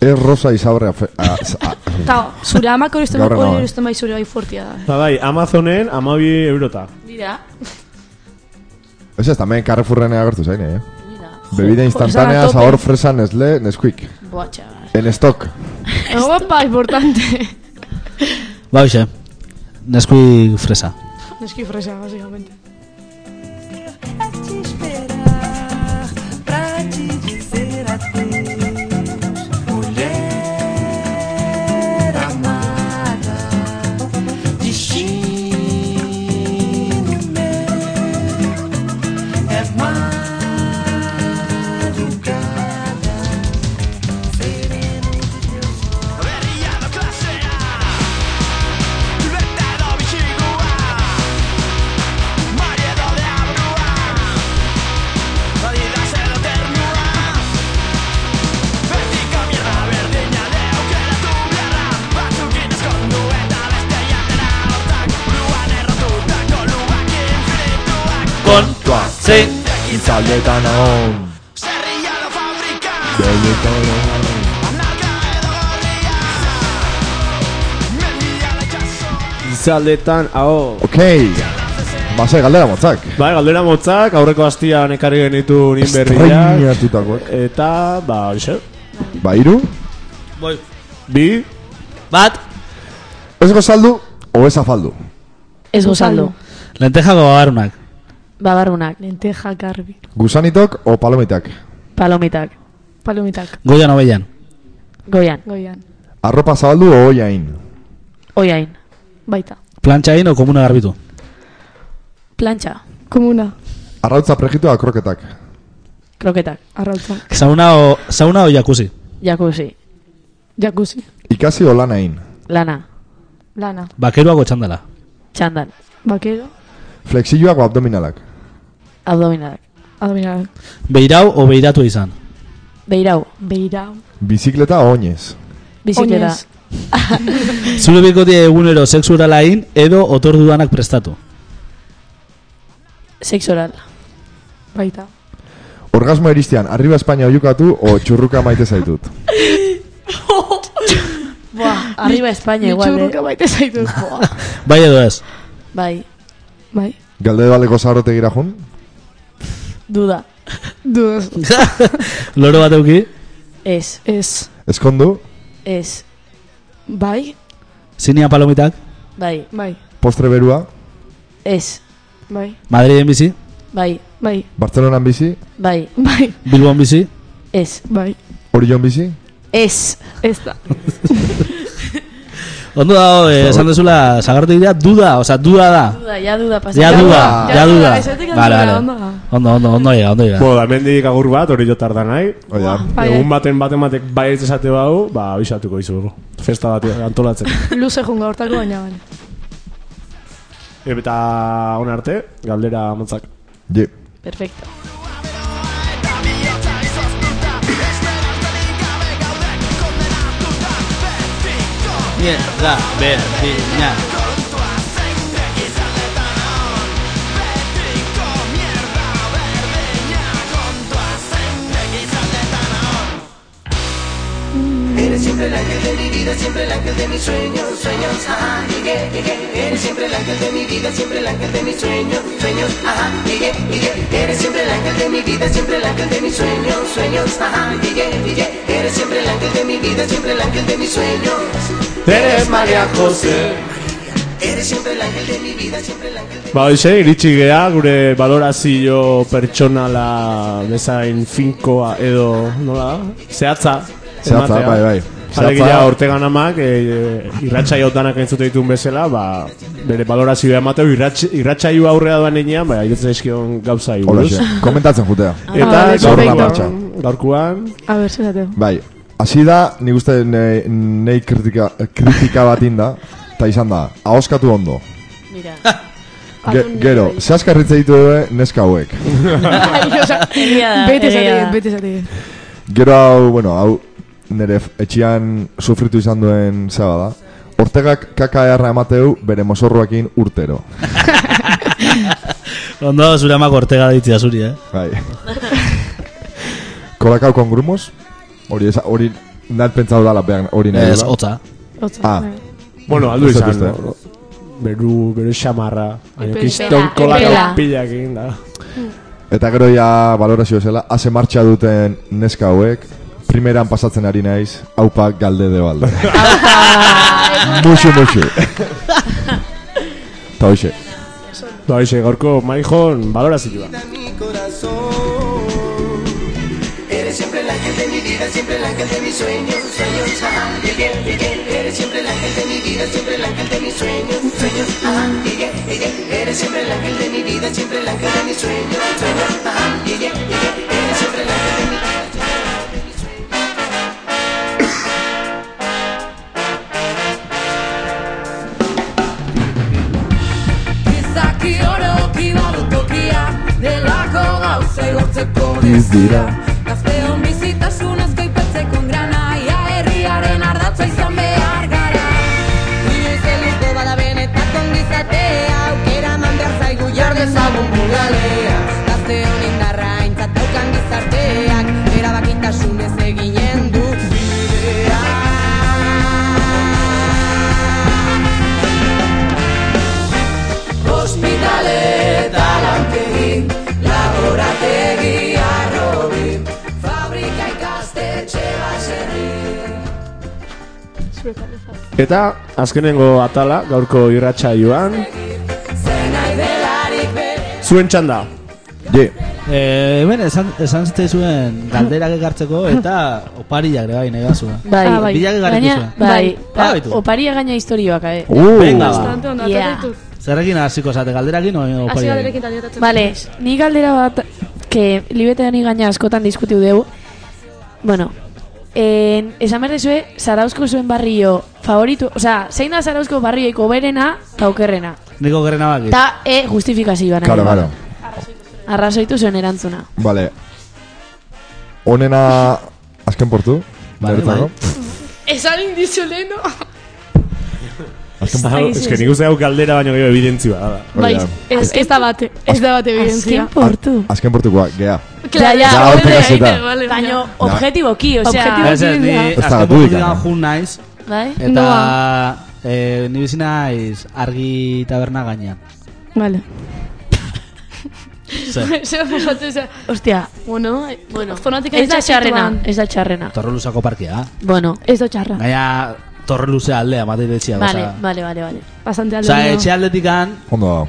[SPEAKER 3] Ez rosa izaurre afe- a- a- a-
[SPEAKER 5] Ta, zure amak hori esten
[SPEAKER 3] Gaur
[SPEAKER 5] hori
[SPEAKER 3] nago, eh.
[SPEAKER 5] esten bai zure bai fuertia da.
[SPEAKER 4] Ba, bai, Amazonen amabi eurota.
[SPEAKER 6] Mira,
[SPEAKER 3] Ez ez, tamen Carrefourren agertu zain, eh?
[SPEAKER 6] mira.
[SPEAKER 3] Bebida instantánea,
[SPEAKER 5] tope.
[SPEAKER 3] sabor fresa, Nestlé, Nesquik.
[SPEAKER 6] Buah, chaval.
[SPEAKER 3] En stock.
[SPEAKER 5] Opa, importante.
[SPEAKER 2] Ba, hoxe. Nesquik fresa.
[SPEAKER 5] Neski fresa, básicamente.
[SPEAKER 2] Kontua zein
[SPEAKER 3] Itzaldetan hon. Belletan hon.
[SPEAKER 4] Izaldetan, hau...
[SPEAKER 3] Ok. Base, galdera motzak.
[SPEAKER 4] Bai, galdera motzak, aurreko hastian ekarri genitu nin berriak.
[SPEAKER 3] Estrenatutakoak.
[SPEAKER 4] Eta, ba, horixe.
[SPEAKER 3] Ba, iru.
[SPEAKER 2] Boi.
[SPEAKER 4] Bi,
[SPEAKER 2] Bat
[SPEAKER 3] Ez gozaldu, o ez afaldu.
[SPEAKER 6] Ez gozaldu.
[SPEAKER 2] Lentejako babarunak
[SPEAKER 6] Babarrunak.
[SPEAKER 5] Lenteja, garbi.
[SPEAKER 3] Gusanitok o palomitak.
[SPEAKER 6] Palomitak.
[SPEAKER 5] Palomitak,
[SPEAKER 2] Goian obeian
[SPEAKER 6] Goian.
[SPEAKER 5] goian.
[SPEAKER 3] Arropa zabaldu o oiain.
[SPEAKER 6] Oiain.
[SPEAKER 5] Baita.
[SPEAKER 2] Plantxain o komuna garbitu
[SPEAKER 6] Plantxa.
[SPEAKER 5] Komuna,
[SPEAKER 3] Arrautza prejitu da kroketak.
[SPEAKER 6] Kroketak.
[SPEAKER 5] arrautza.
[SPEAKER 2] Sauna o, sauna o jacuzzi
[SPEAKER 6] Jacuzzi.
[SPEAKER 5] Jacuzzi.
[SPEAKER 3] Ikasi o lanain.
[SPEAKER 6] Lana.
[SPEAKER 5] Lana.
[SPEAKER 2] Bakeruako txandala
[SPEAKER 6] Txandan.
[SPEAKER 5] Bakero.
[SPEAKER 3] Flexilloak o abdominalak.
[SPEAKER 6] Abdominalak.
[SPEAKER 5] Abdominal.
[SPEAKER 2] Beirau o beiratu izan
[SPEAKER 6] Beirau.
[SPEAKER 5] Beira.
[SPEAKER 3] Bizikleta o oinez.
[SPEAKER 6] Bizikleta.
[SPEAKER 5] Oinez.
[SPEAKER 2] Zure bikotia egunero sexuala in edo otorduanak prestatu
[SPEAKER 6] Sexual.
[SPEAKER 5] Baita.
[SPEAKER 3] Orgasmo eristean, arriba Espainia oiukatu o txurruka maite zaitut.
[SPEAKER 6] Buah, arriba España igual,
[SPEAKER 5] Nitxurruka
[SPEAKER 6] eh.
[SPEAKER 5] baita zaituz.
[SPEAKER 2] Bai edo ez
[SPEAKER 6] Bai,
[SPEAKER 5] Bai.
[SPEAKER 3] Galde baleko zaharrotegira jun?
[SPEAKER 6] duda.
[SPEAKER 5] Dudaz.
[SPEAKER 2] Loro bat euki
[SPEAKER 6] Ez,
[SPEAKER 5] Ez.
[SPEAKER 3] Eskondu,
[SPEAKER 6] ez.
[SPEAKER 5] Bai.
[SPEAKER 2] Zinia palomitak
[SPEAKER 6] Bai,
[SPEAKER 5] Bai.
[SPEAKER 3] postre berua,
[SPEAKER 6] ez.
[SPEAKER 5] Bai.
[SPEAKER 2] Madriden bizi
[SPEAKER 6] Bai,
[SPEAKER 5] Bai,
[SPEAKER 3] Bartzelonan bizi,
[SPEAKER 6] Bai,
[SPEAKER 5] bai,
[SPEAKER 2] Bilbon bizi,
[SPEAKER 6] ez.
[SPEAKER 5] bai.
[SPEAKER 3] Orion bizi,
[SPEAKER 6] Ez.
[SPEAKER 5] Ez da.
[SPEAKER 2] Ondo dago, eh, esan dezula, sagartu dira, duda, oza, duda da.
[SPEAKER 6] Duda, ja duda pasa.
[SPEAKER 2] Ja duda,
[SPEAKER 5] duda,
[SPEAKER 2] ja
[SPEAKER 5] ja
[SPEAKER 2] duda.
[SPEAKER 5] duda, esatik
[SPEAKER 2] Vale,
[SPEAKER 5] handia,
[SPEAKER 2] vale.
[SPEAKER 5] ondo da.
[SPEAKER 2] Ondo, ondo, ondo llega, ondo llega.
[SPEAKER 4] Bo, da mendik agur bat, hori jotarda nahi.
[SPEAKER 3] hori da.
[SPEAKER 5] Bai,
[SPEAKER 4] Egun baten baten batek bai ez esate bau, ba, abisatuko izugu. Festa bat antolatzen.
[SPEAKER 5] Luze jungo hortako baina, bale.
[SPEAKER 4] Eta on arte, galdera motzak.
[SPEAKER 3] Ye.
[SPEAKER 6] Perfecto.
[SPEAKER 11] Mierda, berdina
[SPEAKER 4] Eres Maria Jose Ba, hoxe, iritsi gea, gure balorazio pertsonala bezain finkoa edo, nola, da? zehatza.
[SPEAKER 3] Zehatza,
[SPEAKER 4] ematea.
[SPEAKER 3] bai, bai.
[SPEAKER 4] Alegia,
[SPEAKER 3] Zehatza.
[SPEAKER 4] ortegan amak, e, irratxaio danak entzute ditun bezala, ba, bere balorazioa emateu irratx, irratxaio aurrea duan enean, ba, iritzen eskion gauza iburuz.
[SPEAKER 3] Olaxe, komentatzen jutea.
[SPEAKER 4] Eta
[SPEAKER 5] Ah,
[SPEAKER 3] perfecto.
[SPEAKER 4] gaurkoan, gaurkoan,
[SPEAKER 5] A ber, zenateo.
[SPEAKER 3] Bai, hasi da, nik uste nei, nei kritika, kritika bat inda, eta izan da, ahoskatu ondo.
[SPEAKER 6] Mira.
[SPEAKER 3] Ge, gero, zehaskarritze ditu ere neska hauek.
[SPEAKER 6] Egia da,
[SPEAKER 5] Beti
[SPEAKER 6] egia
[SPEAKER 5] zati,
[SPEAKER 6] da.
[SPEAKER 5] beti zati.
[SPEAKER 3] Gero hau, bueno, hau nire f- etxian sufritu izan duen zaba da. Ortegak kaka erra emateu bere mozorroakin urtero.
[SPEAKER 2] Ondo zure amak ortega ditzia zuri, eh?
[SPEAKER 3] Bai. Kolakau con grumos? Hori, esa, hori, nat pentsau dala, behar hori nahi
[SPEAKER 2] Ez,
[SPEAKER 3] dela.
[SPEAKER 2] hotza.
[SPEAKER 5] Otza.
[SPEAKER 3] Ah.
[SPEAKER 4] bueno, aldu
[SPEAKER 3] Ez dut
[SPEAKER 4] izan,
[SPEAKER 3] uste.
[SPEAKER 4] no? beru, beru xamarra, baina
[SPEAKER 6] Epela,
[SPEAKER 4] kiston kolaka
[SPEAKER 6] epela.
[SPEAKER 4] pilak egin da.
[SPEAKER 3] Eta gero ja balorazio zela, haze martxa duten neska hauek, primeran pasatzen ari naiz, haupa galde de balde. muxu, muxu. Ta hoxe.
[SPEAKER 4] Ba, hoxe, gaurko maijon balorazioa.
[SPEAKER 8] Gizaki oroki badu tokia Delako gauza igortzeko
[SPEAKER 3] Ez dira.
[SPEAKER 8] Gazteon bizitasun ezkoipatzeko grana Ia herriaren ardatza izan behar gara Inoiz helduko bada benetako ongizatea Aukera eman behar zaigu jardezagun bugalea Gazteon indarra aintzat daukan gizarteak Erabakitasunez eginen du bidea Ospitale eta lantegi, laborategi arrobi, fabrika ikastetxe baserri.
[SPEAKER 4] Eta azkenengo atala gaurko irratxa joan
[SPEAKER 8] Zenai delarik bere.
[SPEAKER 4] Zuen txanda
[SPEAKER 3] Ye,
[SPEAKER 2] Eh, hemen esan, esan zitezuen galderak ekartzeko eta opariak ere bai nahi bazuen.
[SPEAKER 6] Bai,
[SPEAKER 5] Ah, bai.
[SPEAKER 2] Bilak egarri
[SPEAKER 6] Gaina,
[SPEAKER 2] duzue.
[SPEAKER 6] bai,
[SPEAKER 2] Ah,
[SPEAKER 6] ta,
[SPEAKER 2] baitu.
[SPEAKER 6] oparia gaina historioak, eh.
[SPEAKER 3] Uh.
[SPEAKER 2] Venga, ba.
[SPEAKER 5] Bastante ondo,
[SPEAKER 6] Yeah.
[SPEAKER 5] atatitut.
[SPEAKER 2] Zerrekin hasiko zate, galderakin o
[SPEAKER 5] Asi
[SPEAKER 2] opariak?
[SPEAKER 5] galerekin taliotatzen.
[SPEAKER 6] Vale, ni galdera bat, que libetean gaina askotan diskutiu dugu. Bueno, en, esan behar dezue, Zarauzko zuen barrio favoritu, osea, zein da Zarauzko barrioiko berena eta okerrena.
[SPEAKER 2] Niko gerena baki.
[SPEAKER 6] Ta, e, justifikazioa nahi.
[SPEAKER 3] Karo, karo.
[SPEAKER 6] Arrazoitu zuen erantzuna.
[SPEAKER 3] Vale. Onena, azken portu?
[SPEAKER 2] Vale,
[SPEAKER 3] niretzako.
[SPEAKER 5] Esan indizio leheno.
[SPEAKER 4] Hau, eske nik uste hau galdera baino gero evidentzia da
[SPEAKER 3] Hori
[SPEAKER 5] Bai,
[SPEAKER 3] da.
[SPEAKER 5] ez, ez da bate. Ez da bate evidentzia.
[SPEAKER 6] Azken portu.
[SPEAKER 3] Azken portukoa, gea.
[SPEAKER 6] Ja, ja,
[SPEAKER 3] Ja, hor pegazeta.
[SPEAKER 6] Baino, objetiboki, osea,
[SPEAKER 5] Objektiboki.
[SPEAKER 2] Ez ez, ni
[SPEAKER 5] Ez
[SPEAKER 3] da,
[SPEAKER 2] azken
[SPEAKER 3] du
[SPEAKER 2] portutik
[SPEAKER 3] ikana.
[SPEAKER 2] jun naiz
[SPEAKER 6] bai?
[SPEAKER 2] eta eh, ni bizi naiz argi taberna gainean.
[SPEAKER 5] Vale.
[SPEAKER 2] Zer,
[SPEAKER 6] Bai.
[SPEAKER 5] Zer pasatzen zer.
[SPEAKER 6] Ostia,
[SPEAKER 5] Bueno,
[SPEAKER 6] eh, bueno,
[SPEAKER 5] zonatik
[SPEAKER 6] ez da
[SPEAKER 5] aritzak
[SPEAKER 6] txarrena,
[SPEAKER 5] zituan.
[SPEAKER 6] ez da txarrena.
[SPEAKER 2] torreluzako parkea.
[SPEAKER 6] Bueno,
[SPEAKER 5] Ez da txarra.
[SPEAKER 2] Gaina torreluzea aldea, mate detxia.
[SPEAKER 6] vale, vale, vale, vale.
[SPEAKER 5] Bastante alde.
[SPEAKER 2] Osa, etxe aldetikan,
[SPEAKER 3] Ondo dago.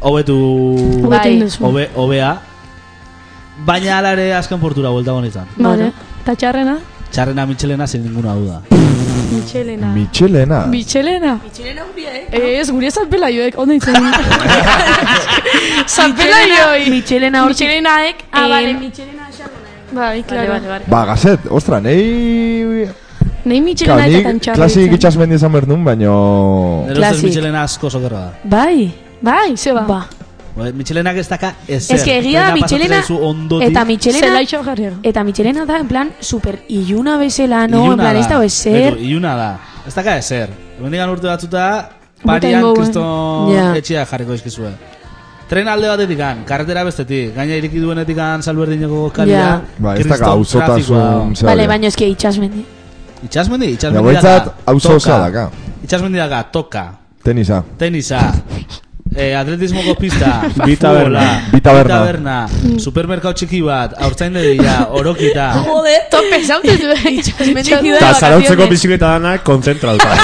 [SPEAKER 2] hobetu...
[SPEAKER 5] Bai.
[SPEAKER 6] Bai.
[SPEAKER 5] Hobetu egin duzu.
[SPEAKER 2] Obe, obea, Baina ala ere azken portura buelta honetan.
[SPEAKER 5] Vale. Eta txarrena?
[SPEAKER 2] Txarrena mitxelena sin ninguna duda.
[SPEAKER 5] Mitxelena.
[SPEAKER 3] Mitxelena.
[SPEAKER 5] Mitxelena.
[SPEAKER 9] Txilena guria, eh?
[SPEAKER 5] Ez, gure zapelaioek, ondo ditzen. Zapelaioi.
[SPEAKER 6] Mitxelena hortik.
[SPEAKER 5] Mitxelenaek.
[SPEAKER 6] Ah, vale,
[SPEAKER 5] Mitxelena Bai,
[SPEAKER 6] eh. Vale,
[SPEAKER 5] klaro.
[SPEAKER 6] vale, vale.
[SPEAKER 3] Ba, gazet, ostra, nei...
[SPEAKER 5] Nei
[SPEAKER 3] Kau,
[SPEAKER 5] mitxelena
[SPEAKER 3] ni
[SPEAKER 5] eta tantxarra.
[SPEAKER 3] klasik
[SPEAKER 5] ditzen.
[SPEAKER 3] itxasmendi esan behar nun, baino...
[SPEAKER 2] Nero ustez
[SPEAKER 6] Klasik.
[SPEAKER 2] mitxelena asko zokerra da.
[SPEAKER 6] Bai,
[SPEAKER 5] Bai, zeba.
[SPEAKER 6] ba.
[SPEAKER 2] Ba, Mitxelenak ez daka ezer.
[SPEAKER 6] Ez que egia da
[SPEAKER 2] Baina pasatzen
[SPEAKER 6] Mitxelena
[SPEAKER 2] zaizu ondotik.
[SPEAKER 6] eta Mitxelena
[SPEAKER 5] Zelaixo jarriago.
[SPEAKER 6] eta Mitxelena da en plan super iluna bezala, Ah, no,
[SPEAKER 2] Iluna
[SPEAKER 6] en plan
[SPEAKER 2] da.
[SPEAKER 6] ez dago ezer.
[SPEAKER 2] Betu, iluna da. Ez daka ezer. Hemendikan urte batzuta, parian
[SPEAKER 5] Bukaingo, eh.
[SPEAKER 2] kriston
[SPEAKER 6] Ja.
[SPEAKER 2] etxea jarriko izkizue. Tren alde batetik an, karretera bestetik, gaina iriki duenetik an salberdineko kalia.
[SPEAKER 6] Ja.
[SPEAKER 3] Ba, ez daka
[SPEAKER 2] kriston
[SPEAKER 3] auzotasun...
[SPEAKER 2] trafikoa.
[SPEAKER 3] zea
[SPEAKER 6] Vale,
[SPEAKER 3] hori.
[SPEAKER 6] baina eske itxasmendi.
[SPEAKER 2] Itxasmendi,
[SPEAKER 3] Ja,
[SPEAKER 2] itxasmendi
[SPEAKER 3] guretzat, auzo
[SPEAKER 2] toka.
[SPEAKER 3] osa daka.
[SPEAKER 2] Itxasmendi daka, toka,
[SPEAKER 3] Tenisa.
[SPEAKER 2] tenisa, eh, atletismoko pista,
[SPEAKER 4] Bi taberna.
[SPEAKER 2] futbola,
[SPEAKER 3] Bi taberna.
[SPEAKER 2] supermerkao txiki bat, aurtzain dedia, orokita,
[SPEAKER 6] Joder, tope zaute du. Itxasmendi
[SPEAKER 4] Eta zarautzeko bizikleta danak konzentralta.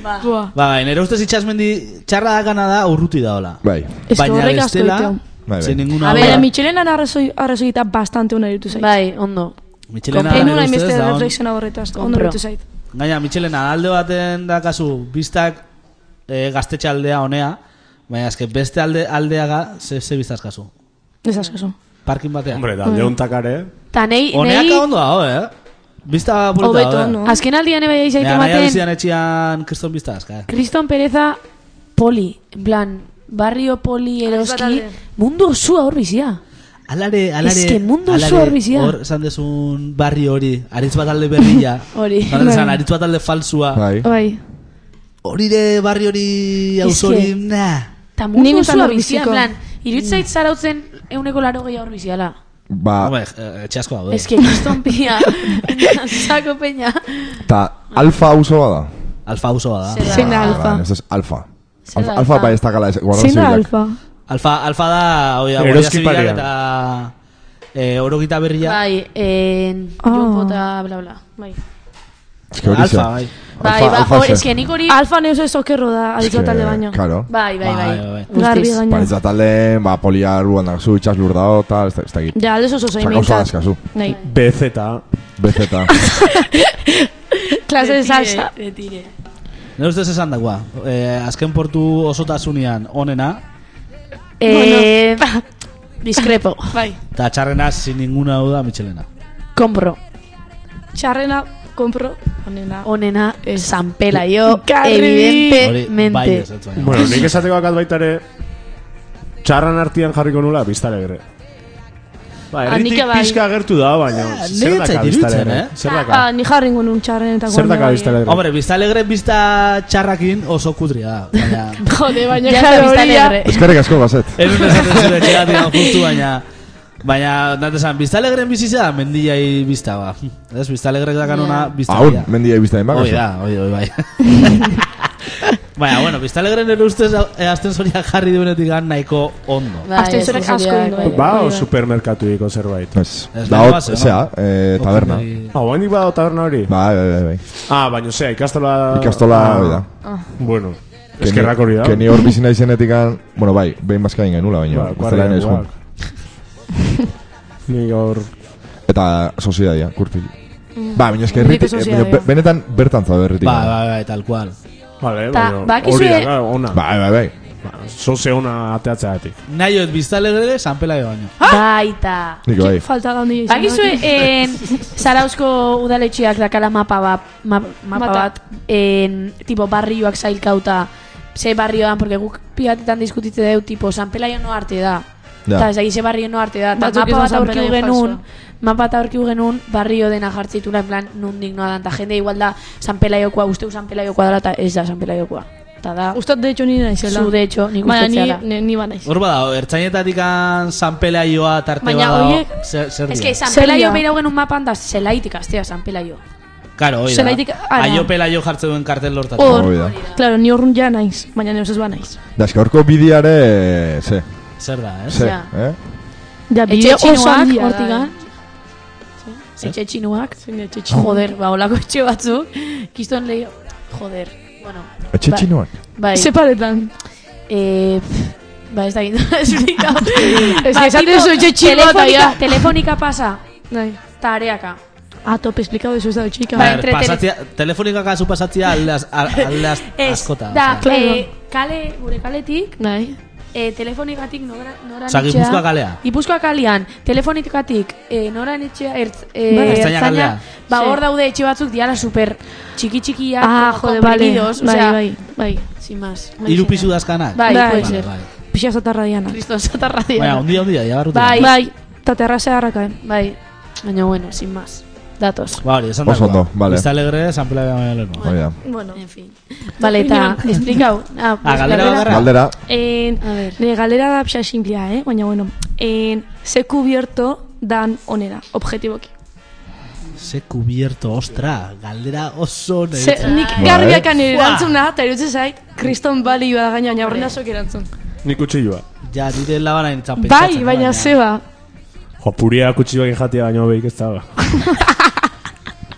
[SPEAKER 5] Boa.
[SPEAKER 2] Ba, bai, nero ustez itxasmendi txarra dakana da urruti daola.
[SPEAKER 3] Bai.
[SPEAKER 5] Ez que
[SPEAKER 2] Baina
[SPEAKER 5] horrek asko
[SPEAKER 2] bestela,
[SPEAKER 5] ditu.
[SPEAKER 3] Bai, bai.
[SPEAKER 2] zein ninguna
[SPEAKER 6] A
[SPEAKER 2] hora.
[SPEAKER 6] ber,
[SPEAKER 5] Baina mitxelenan arrazoi- arrazoita bastante ona irutu zait.
[SPEAKER 6] Bai, ondo.
[SPEAKER 2] Mitxelena
[SPEAKER 5] Egin
[SPEAKER 2] nire
[SPEAKER 5] nuen
[SPEAKER 2] ustez,
[SPEAKER 5] beste
[SPEAKER 2] da on.
[SPEAKER 5] reflexiona horretaz. Ondo
[SPEAKER 6] Kompro.
[SPEAKER 5] irutu zait.
[SPEAKER 2] Gaina, Mitxelena, alde baten dakazu, biztak eh, gaztetxe aldea honea, baina eske beste alde, aldeaga ze, ze biztazkazu.
[SPEAKER 5] Ez askazu.
[SPEAKER 2] Parkin batean.
[SPEAKER 4] Hombre, da, eh? leontakare.
[SPEAKER 6] Ta nei, nei,
[SPEAKER 2] Honeaka ondo dago, eh? Bizta burita
[SPEAKER 5] Hobeto,
[SPEAKER 2] dago, eh?
[SPEAKER 5] no?
[SPEAKER 6] azken aldian ebai izait
[SPEAKER 2] Nea, naia
[SPEAKER 6] ematen,
[SPEAKER 2] bizian etxian kriston bizta azka, eh?
[SPEAKER 6] kriston pereza poli, en plan, barrio poli eroski,
[SPEAKER 5] batalde.
[SPEAKER 6] mundu osua hor bizia.
[SPEAKER 2] Alare, alare...
[SPEAKER 6] Ez que mundu
[SPEAKER 2] alare,
[SPEAKER 6] oso hor bizia.
[SPEAKER 2] Hor, esan dezun barri hori, aritz bat alde berria.
[SPEAKER 6] Hori. Bai.
[SPEAKER 2] Zan dezan, aritz bat alde falsua.
[SPEAKER 3] Bai.
[SPEAKER 5] Bai.
[SPEAKER 2] Hori de barri hori auzori,
[SPEAKER 6] Ez que-
[SPEAKER 2] nah.
[SPEAKER 6] Ta
[SPEAKER 5] Ni
[SPEAKER 6] mundu
[SPEAKER 5] nintzen
[SPEAKER 6] osua
[SPEAKER 5] hor
[SPEAKER 6] bizia, en
[SPEAKER 5] biziko.
[SPEAKER 6] plan, irutzait zarautzen euneko laro gehi hor biziala.
[SPEAKER 3] Ba,
[SPEAKER 2] Hombre, eh, etxe asko daude.
[SPEAKER 6] Ez que kriston pia, sako peña.
[SPEAKER 2] Ah.
[SPEAKER 3] eta alfa auzoa da.
[SPEAKER 2] Alfa auzoa da.
[SPEAKER 5] Zein da
[SPEAKER 3] Ah,
[SPEAKER 5] alfa?
[SPEAKER 3] ba, Ez ez, alfa.
[SPEAKER 6] Zer da
[SPEAKER 3] Alfa, alfa
[SPEAKER 6] alfa?
[SPEAKER 3] bai ez dakala ez. guarda
[SPEAKER 5] Zein da
[SPEAKER 3] zibilak.
[SPEAKER 5] alfa?
[SPEAKER 2] Alfa, alfa da, oia,
[SPEAKER 4] Eroski
[SPEAKER 2] guardia zibilak
[SPEAKER 4] parean.
[SPEAKER 2] eta... Eh, orogita berria.
[SPEAKER 6] Bai, en,
[SPEAKER 5] Ah.
[SPEAKER 6] jupo eta bla bla. Bai,
[SPEAKER 3] Ez que hori
[SPEAKER 2] Alfa,
[SPEAKER 3] zen.
[SPEAKER 2] bai.
[SPEAKER 6] bai,
[SPEAKER 3] Alfa-
[SPEAKER 6] ba,
[SPEAKER 3] alfa
[SPEAKER 6] hor,
[SPEAKER 3] zen.
[SPEAKER 6] ez que nik hori,
[SPEAKER 5] Alfa neus ez okerro da,
[SPEAKER 3] Ez
[SPEAKER 5] aditua
[SPEAKER 3] que,
[SPEAKER 5] talde baino.
[SPEAKER 3] Claro.
[SPEAKER 6] bai, bai,
[SPEAKER 2] Bai,
[SPEAKER 6] bai,
[SPEAKER 2] bai.
[SPEAKER 5] Garbi
[SPEAKER 6] Guztiz.
[SPEAKER 5] gaina.
[SPEAKER 3] Ba, ez da talden, ba, polia ruan dakzu, itxas lur dao, tal, ez da- ez da egit.
[SPEAKER 5] Ja, alde oso zoin
[SPEAKER 3] Osea, gauza daskazu.
[SPEAKER 5] Nei.
[SPEAKER 4] BZ.
[SPEAKER 3] Bezeta.
[SPEAKER 5] Klase de
[SPEAKER 6] Eh,
[SPEAKER 5] salsa.
[SPEAKER 6] Betire.
[SPEAKER 2] Nire ustez esan dagoa. Eh, azken portu osotasunean onena,
[SPEAKER 6] Eh, discrepo.
[SPEAKER 5] Bai.
[SPEAKER 2] eta txarrena sin ninguna duda Michelena.
[SPEAKER 6] Compro.
[SPEAKER 5] Txarrena, kompro, onena.
[SPEAKER 6] Onena, eh, San Pelayo,
[SPEAKER 5] Garri.
[SPEAKER 2] bai
[SPEAKER 6] Eh, evidentemente.
[SPEAKER 2] ez dut baina.
[SPEAKER 4] Bueno, nik esateko akat baita ere txarran artian jarriko nula biztare gere. Ba,
[SPEAKER 5] Ah, nik
[SPEAKER 4] erritik
[SPEAKER 5] bai.
[SPEAKER 4] pixka gertu da, baina
[SPEAKER 2] Ah,
[SPEAKER 4] zer
[SPEAKER 2] niretzat
[SPEAKER 4] daka biztare
[SPEAKER 2] iruditzen,
[SPEAKER 4] gere?
[SPEAKER 2] eh?
[SPEAKER 4] Zer daka?
[SPEAKER 5] Ah, ni jarri ingo nun txarren eta
[SPEAKER 4] Zer daka biztare gere?
[SPEAKER 2] Hombre, bizta alegre bizta txarrakin oso kutria da. Baina,
[SPEAKER 5] Jode, baina
[SPEAKER 6] Ya
[SPEAKER 5] klaro
[SPEAKER 6] está
[SPEAKER 5] hori da.
[SPEAKER 6] alegre.
[SPEAKER 3] Eskerrik asko, bazet.
[SPEAKER 2] erun esaten zure txegatik hau justu, baina... Baina, nate esan, bizta alegren bizitza, mendiai bizta, ba. Ez, bizta alegrek dakan ona, bizta
[SPEAKER 3] Aún, mendia ibizta emak.
[SPEAKER 2] Hoi da, hoi, hoi, bai. Baina, bueno, bizta alegren ere ustez eh, ascensoria jarri duenetik gan nahiko ondo.
[SPEAKER 6] Bai,
[SPEAKER 5] Azten zerrek
[SPEAKER 6] ez
[SPEAKER 5] asko
[SPEAKER 6] hori
[SPEAKER 5] ingo.
[SPEAKER 6] da, bai.
[SPEAKER 4] Ba, o supermerkatuiko zerbait.
[SPEAKER 3] Ez,
[SPEAKER 2] Ez,
[SPEAKER 3] da
[SPEAKER 2] baina
[SPEAKER 3] hot,
[SPEAKER 2] bazen, no?
[SPEAKER 3] zea, eh, taberna.
[SPEAKER 2] Okei.
[SPEAKER 4] Ah, oaindik badao taberna hori?
[SPEAKER 3] Bai, bai, bai, bai.
[SPEAKER 4] Ah, baina zea, ikastola...
[SPEAKER 2] Ah.
[SPEAKER 3] Ikastola hori da.
[SPEAKER 4] Bueno,
[SPEAKER 3] Que ni-
[SPEAKER 4] eskerrak hori da.
[SPEAKER 3] Que ni hor bizina izenetik, bueno, bai, behin bazkain genula,
[SPEAKER 4] Ba,
[SPEAKER 3] baina. ez dela
[SPEAKER 4] kuadra,
[SPEAKER 3] nire
[SPEAKER 4] guak.
[SPEAKER 3] eskuin.
[SPEAKER 4] Ni gaur...
[SPEAKER 3] Eta soziedadia, kurpil. Ba, baina eske herritik,
[SPEAKER 5] Mm. Herriko
[SPEAKER 3] eh,
[SPEAKER 5] sozietatea.
[SPEAKER 3] baina benetan bertan zaude herritik.
[SPEAKER 2] Ba, ba, ba, tal cual.
[SPEAKER 4] Vale,
[SPEAKER 6] Ta,
[SPEAKER 4] baina
[SPEAKER 6] bakizu
[SPEAKER 4] hori da,
[SPEAKER 6] e-
[SPEAKER 4] claro, ona.
[SPEAKER 3] Bai, bai, bai.
[SPEAKER 4] Ba, Soze ona ateatzeatik.
[SPEAKER 2] Nahiot bizta alegre, San Pelaio baino.
[SPEAKER 6] Baita.
[SPEAKER 3] Nik bai.
[SPEAKER 5] Falta da handi izan.
[SPEAKER 6] Bakizue, en, Zarauzko udaletxeak dakala mapa bat, ma, mapa
[SPEAKER 5] Mapa.
[SPEAKER 6] bat, en, tipo barrioak zailkauta, ze barrioan, porque guk piatetan diskutitze deu, tipo, San Pelaio no arte da.
[SPEAKER 3] Ja.
[SPEAKER 6] Eta ez da, ze barrio no arte da. Ta
[SPEAKER 5] Batzuk
[SPEAKER 6] mapa
[SPEAKER 5] izan
[SPEAKER 6] bat
[SPEAKER 5] San
[SPEAKER 6] aurkiu
[SPEAKER 5] Pelaio
[SPEAKER 6] genuen,
[SPEAKER 5] falsua.
[SPEAKER 6] mapa bat aurkiu genuen, barrio dena jartzitula, en plan, nundik noa dan, ta jende igual da, San Pelaiokoa, usteu San Pelaiokoa dela, eta ez da San Pelaiokoa. Ta da,
[SPEAKER 5] Uztat de hecho ni naizela.
[SPEAKER 6] zu eh, de hecho, nik
[SPEAKER 5] Baina
[SPEAKER 6] uste
[SPEAKER 5] ni,
[SPEAKER 6] zela.
[SPEAKER 5] ni, ni ba naiz.
[SPEAKER 2] Hor badao, ertzainetatik an San Pelaioa tarte
[SPEAKER 5] Baina
[SPEAKER 2] badao.
[SPEAKER 5] horiek-
[SPEAKER 2] zer, zer
[SPEAKER 6] Ez
[SPEAKER 2] dira?
[SPEAKER 6] que San
[SPEAKER 5] Zer
[SPEAKER 6] Pelaio
[SPEAKER 5] dira?
[SPEAKER 6] beirau genuen mapan da, zelaitik astea San Pelaio.
[SPEAKER 2] Claro, hoi da.
[SPEAKER 5] zelaitik-
[SPEAKER 6] ah,
[SPEAKER 5] ara.
[SPEAKER 2] Aio Pelaio jartze duen kartel lortatu.
[SPEAKER 5] Hor,
[SPEAKER 3] Hori da.
[SPEAKER 5] claro, ni horrun ja naiz, baina neus ez ba naiz.
[SPEAKER 3] Da, eske horko bidiare, ze,
[SPEAKER 2] Zer da, eh?
[SPEAKER 3] ze,
[SPEAKER 6] Ja.
[SPEAKER 3] eh?
[SPEAKER 5] Ja, bide
[SPEAKER 6] Etxe
[SPEAKER 5] oso
[SPEAKER 6] txinuak,
[SPEAKER 5] handia da.
[SPEAKER 6] hortikan. Etxe txinuak.
[SPEAKER 5] Eh? Zein etxe txinu.
[SPEAKER 6] Joder, ba, olako etxe batzuk. Kiston lehi... Joder, bueno.
[SPEAKER 3] Etxe
[SPEAKER 6] Ba-
[SPEAKER 3] txinoan.
[SPEAKER 6] Bai,
[SPEAKER 5] Separetan.
[SPEAKER 6] Eh, pff, ba, ez da gindu, esplikau.
[SPEAKER 5] Es que esaten duzu, "Che, chico, eta ya". Bai.
[SPEAKER 6] Telefonika pasa,
[SPEAKER 5] Nahi.
[SPEAKER 6] tareaka.
[SPEAKER 5] A "Ah, tope, esplikado eso ez da txika.
[SPEAKER 6] Bai.
[SPEAKER 2] A ver,
[SPEAKER 6] entretene-
[SPEAKER 2] pasatzea, telefonika kasu pasatzea aldaz, aldaz
[SPEAKER 6] Ez,
[SPEAKER 2] askota.
[SPEAKER 6] da,
[SPEAKER 2] osea.
[SPEAKER 5] Claro.
[SPEAKER 6] eh, kale, gure kaletik,
[SPEAKER 5] Nahi.
[SPEAKER 6] eh, telefonikatik nora, nora
[SPEAKER 2] Osa, Gipuzkoa kalea.
[SPEAKER 6] Gipuzkoa kalean, telefonikatik eh, nora etxea, ertz, eh,
[SPEAKER 5] Bai,
[SPEAKER 2] Ertzaina
[SPEAKER 6] ertzaina,
[SPEAKER 2] kalea.
[SPEAKER 6] ba,
[SPEAKER 5] Sí.
[SPEAKER 6] hor daude etxe batzuk diala super txiki txikiak,
[SPEAKER 5] Ah,
[SPEAKER 6] como
[SPEAKER 5] jode, vale.
[SPEAKER 6] comprimidos,
[SPEAKER 5] Bai,
[SPEAKER 6] osea,
[SPEAKER 5] bai, bai.
[SPEAKER 6] Sin más.
[SPEAKER 2] Hiru pisu dazkanak.
[SPEAKER 6] Bai,
[SPEAKER 5] Bai.
[SPEAKER 6] puede
[SPEAKER 5] Bai.
[SPEAKER 6] ser.
[SPEAKER 2] Bai,
[SPEAKER 5] Pixa zatarra diana.
[SPEAKER 6] Kriston zatarra
[SPEAKER 2] Baina,
[SPEAKER 6] dira.
[SPEAKER 2] un día, un día, ya barrutu.
[SPEAKER 6] Bai.
[SPEAKER 5] Bai, eta eh. terrazea harrakaen.
[SPEAKER 6] Bai, baina bueno, sin más. Datos.
[SPEAKER 2] Ba, hori, esan
[SPEAKER 3] Oso ondo, vale.
[SPEAKER 2] Vista alegre, San Pela de Manueleno.
[SPEAKER 3] Hori da.
[SPEAKER 5] Bueno.
[SPEAKER 6] En fin. Vale, eta esplikau. Ah, pues,
[SPEAKER 2] Ah, galdera bakarra.
[SPEAKER 3] Galdera,
[SPEAKER 5] En,
[SPEAKER 6] A ver.
[SPEAKER 5] nire galera da pxa simplea, eh? Baina, bueno, en, ze kubierto dan onera, objetiboki.
[SPEAKER 2] Se cubierto, ostra, galdera oso
[SPEAKER 5] Ze,
[SPEAKER 2] neretzat.
[SPEAKER 5] nik
[SPEAKER 3] Bai.
[SPEAKER 5] garbiakan nire
[SPEAKER 2] Buah.
[SPEAKER 5] erantzuna, eta irutzen zait, kriston bali bada gaina, baina horren dasok erantzun.
[SPEAKER 4] Nik utzi joa.
[SPEAKER 2] Ja, nire labana nintzen
[SPEAKER 5] Bai, baina zeba.
[SPEAKER 4] Jo, puria kutsi bagin jatia baino behik ez dago.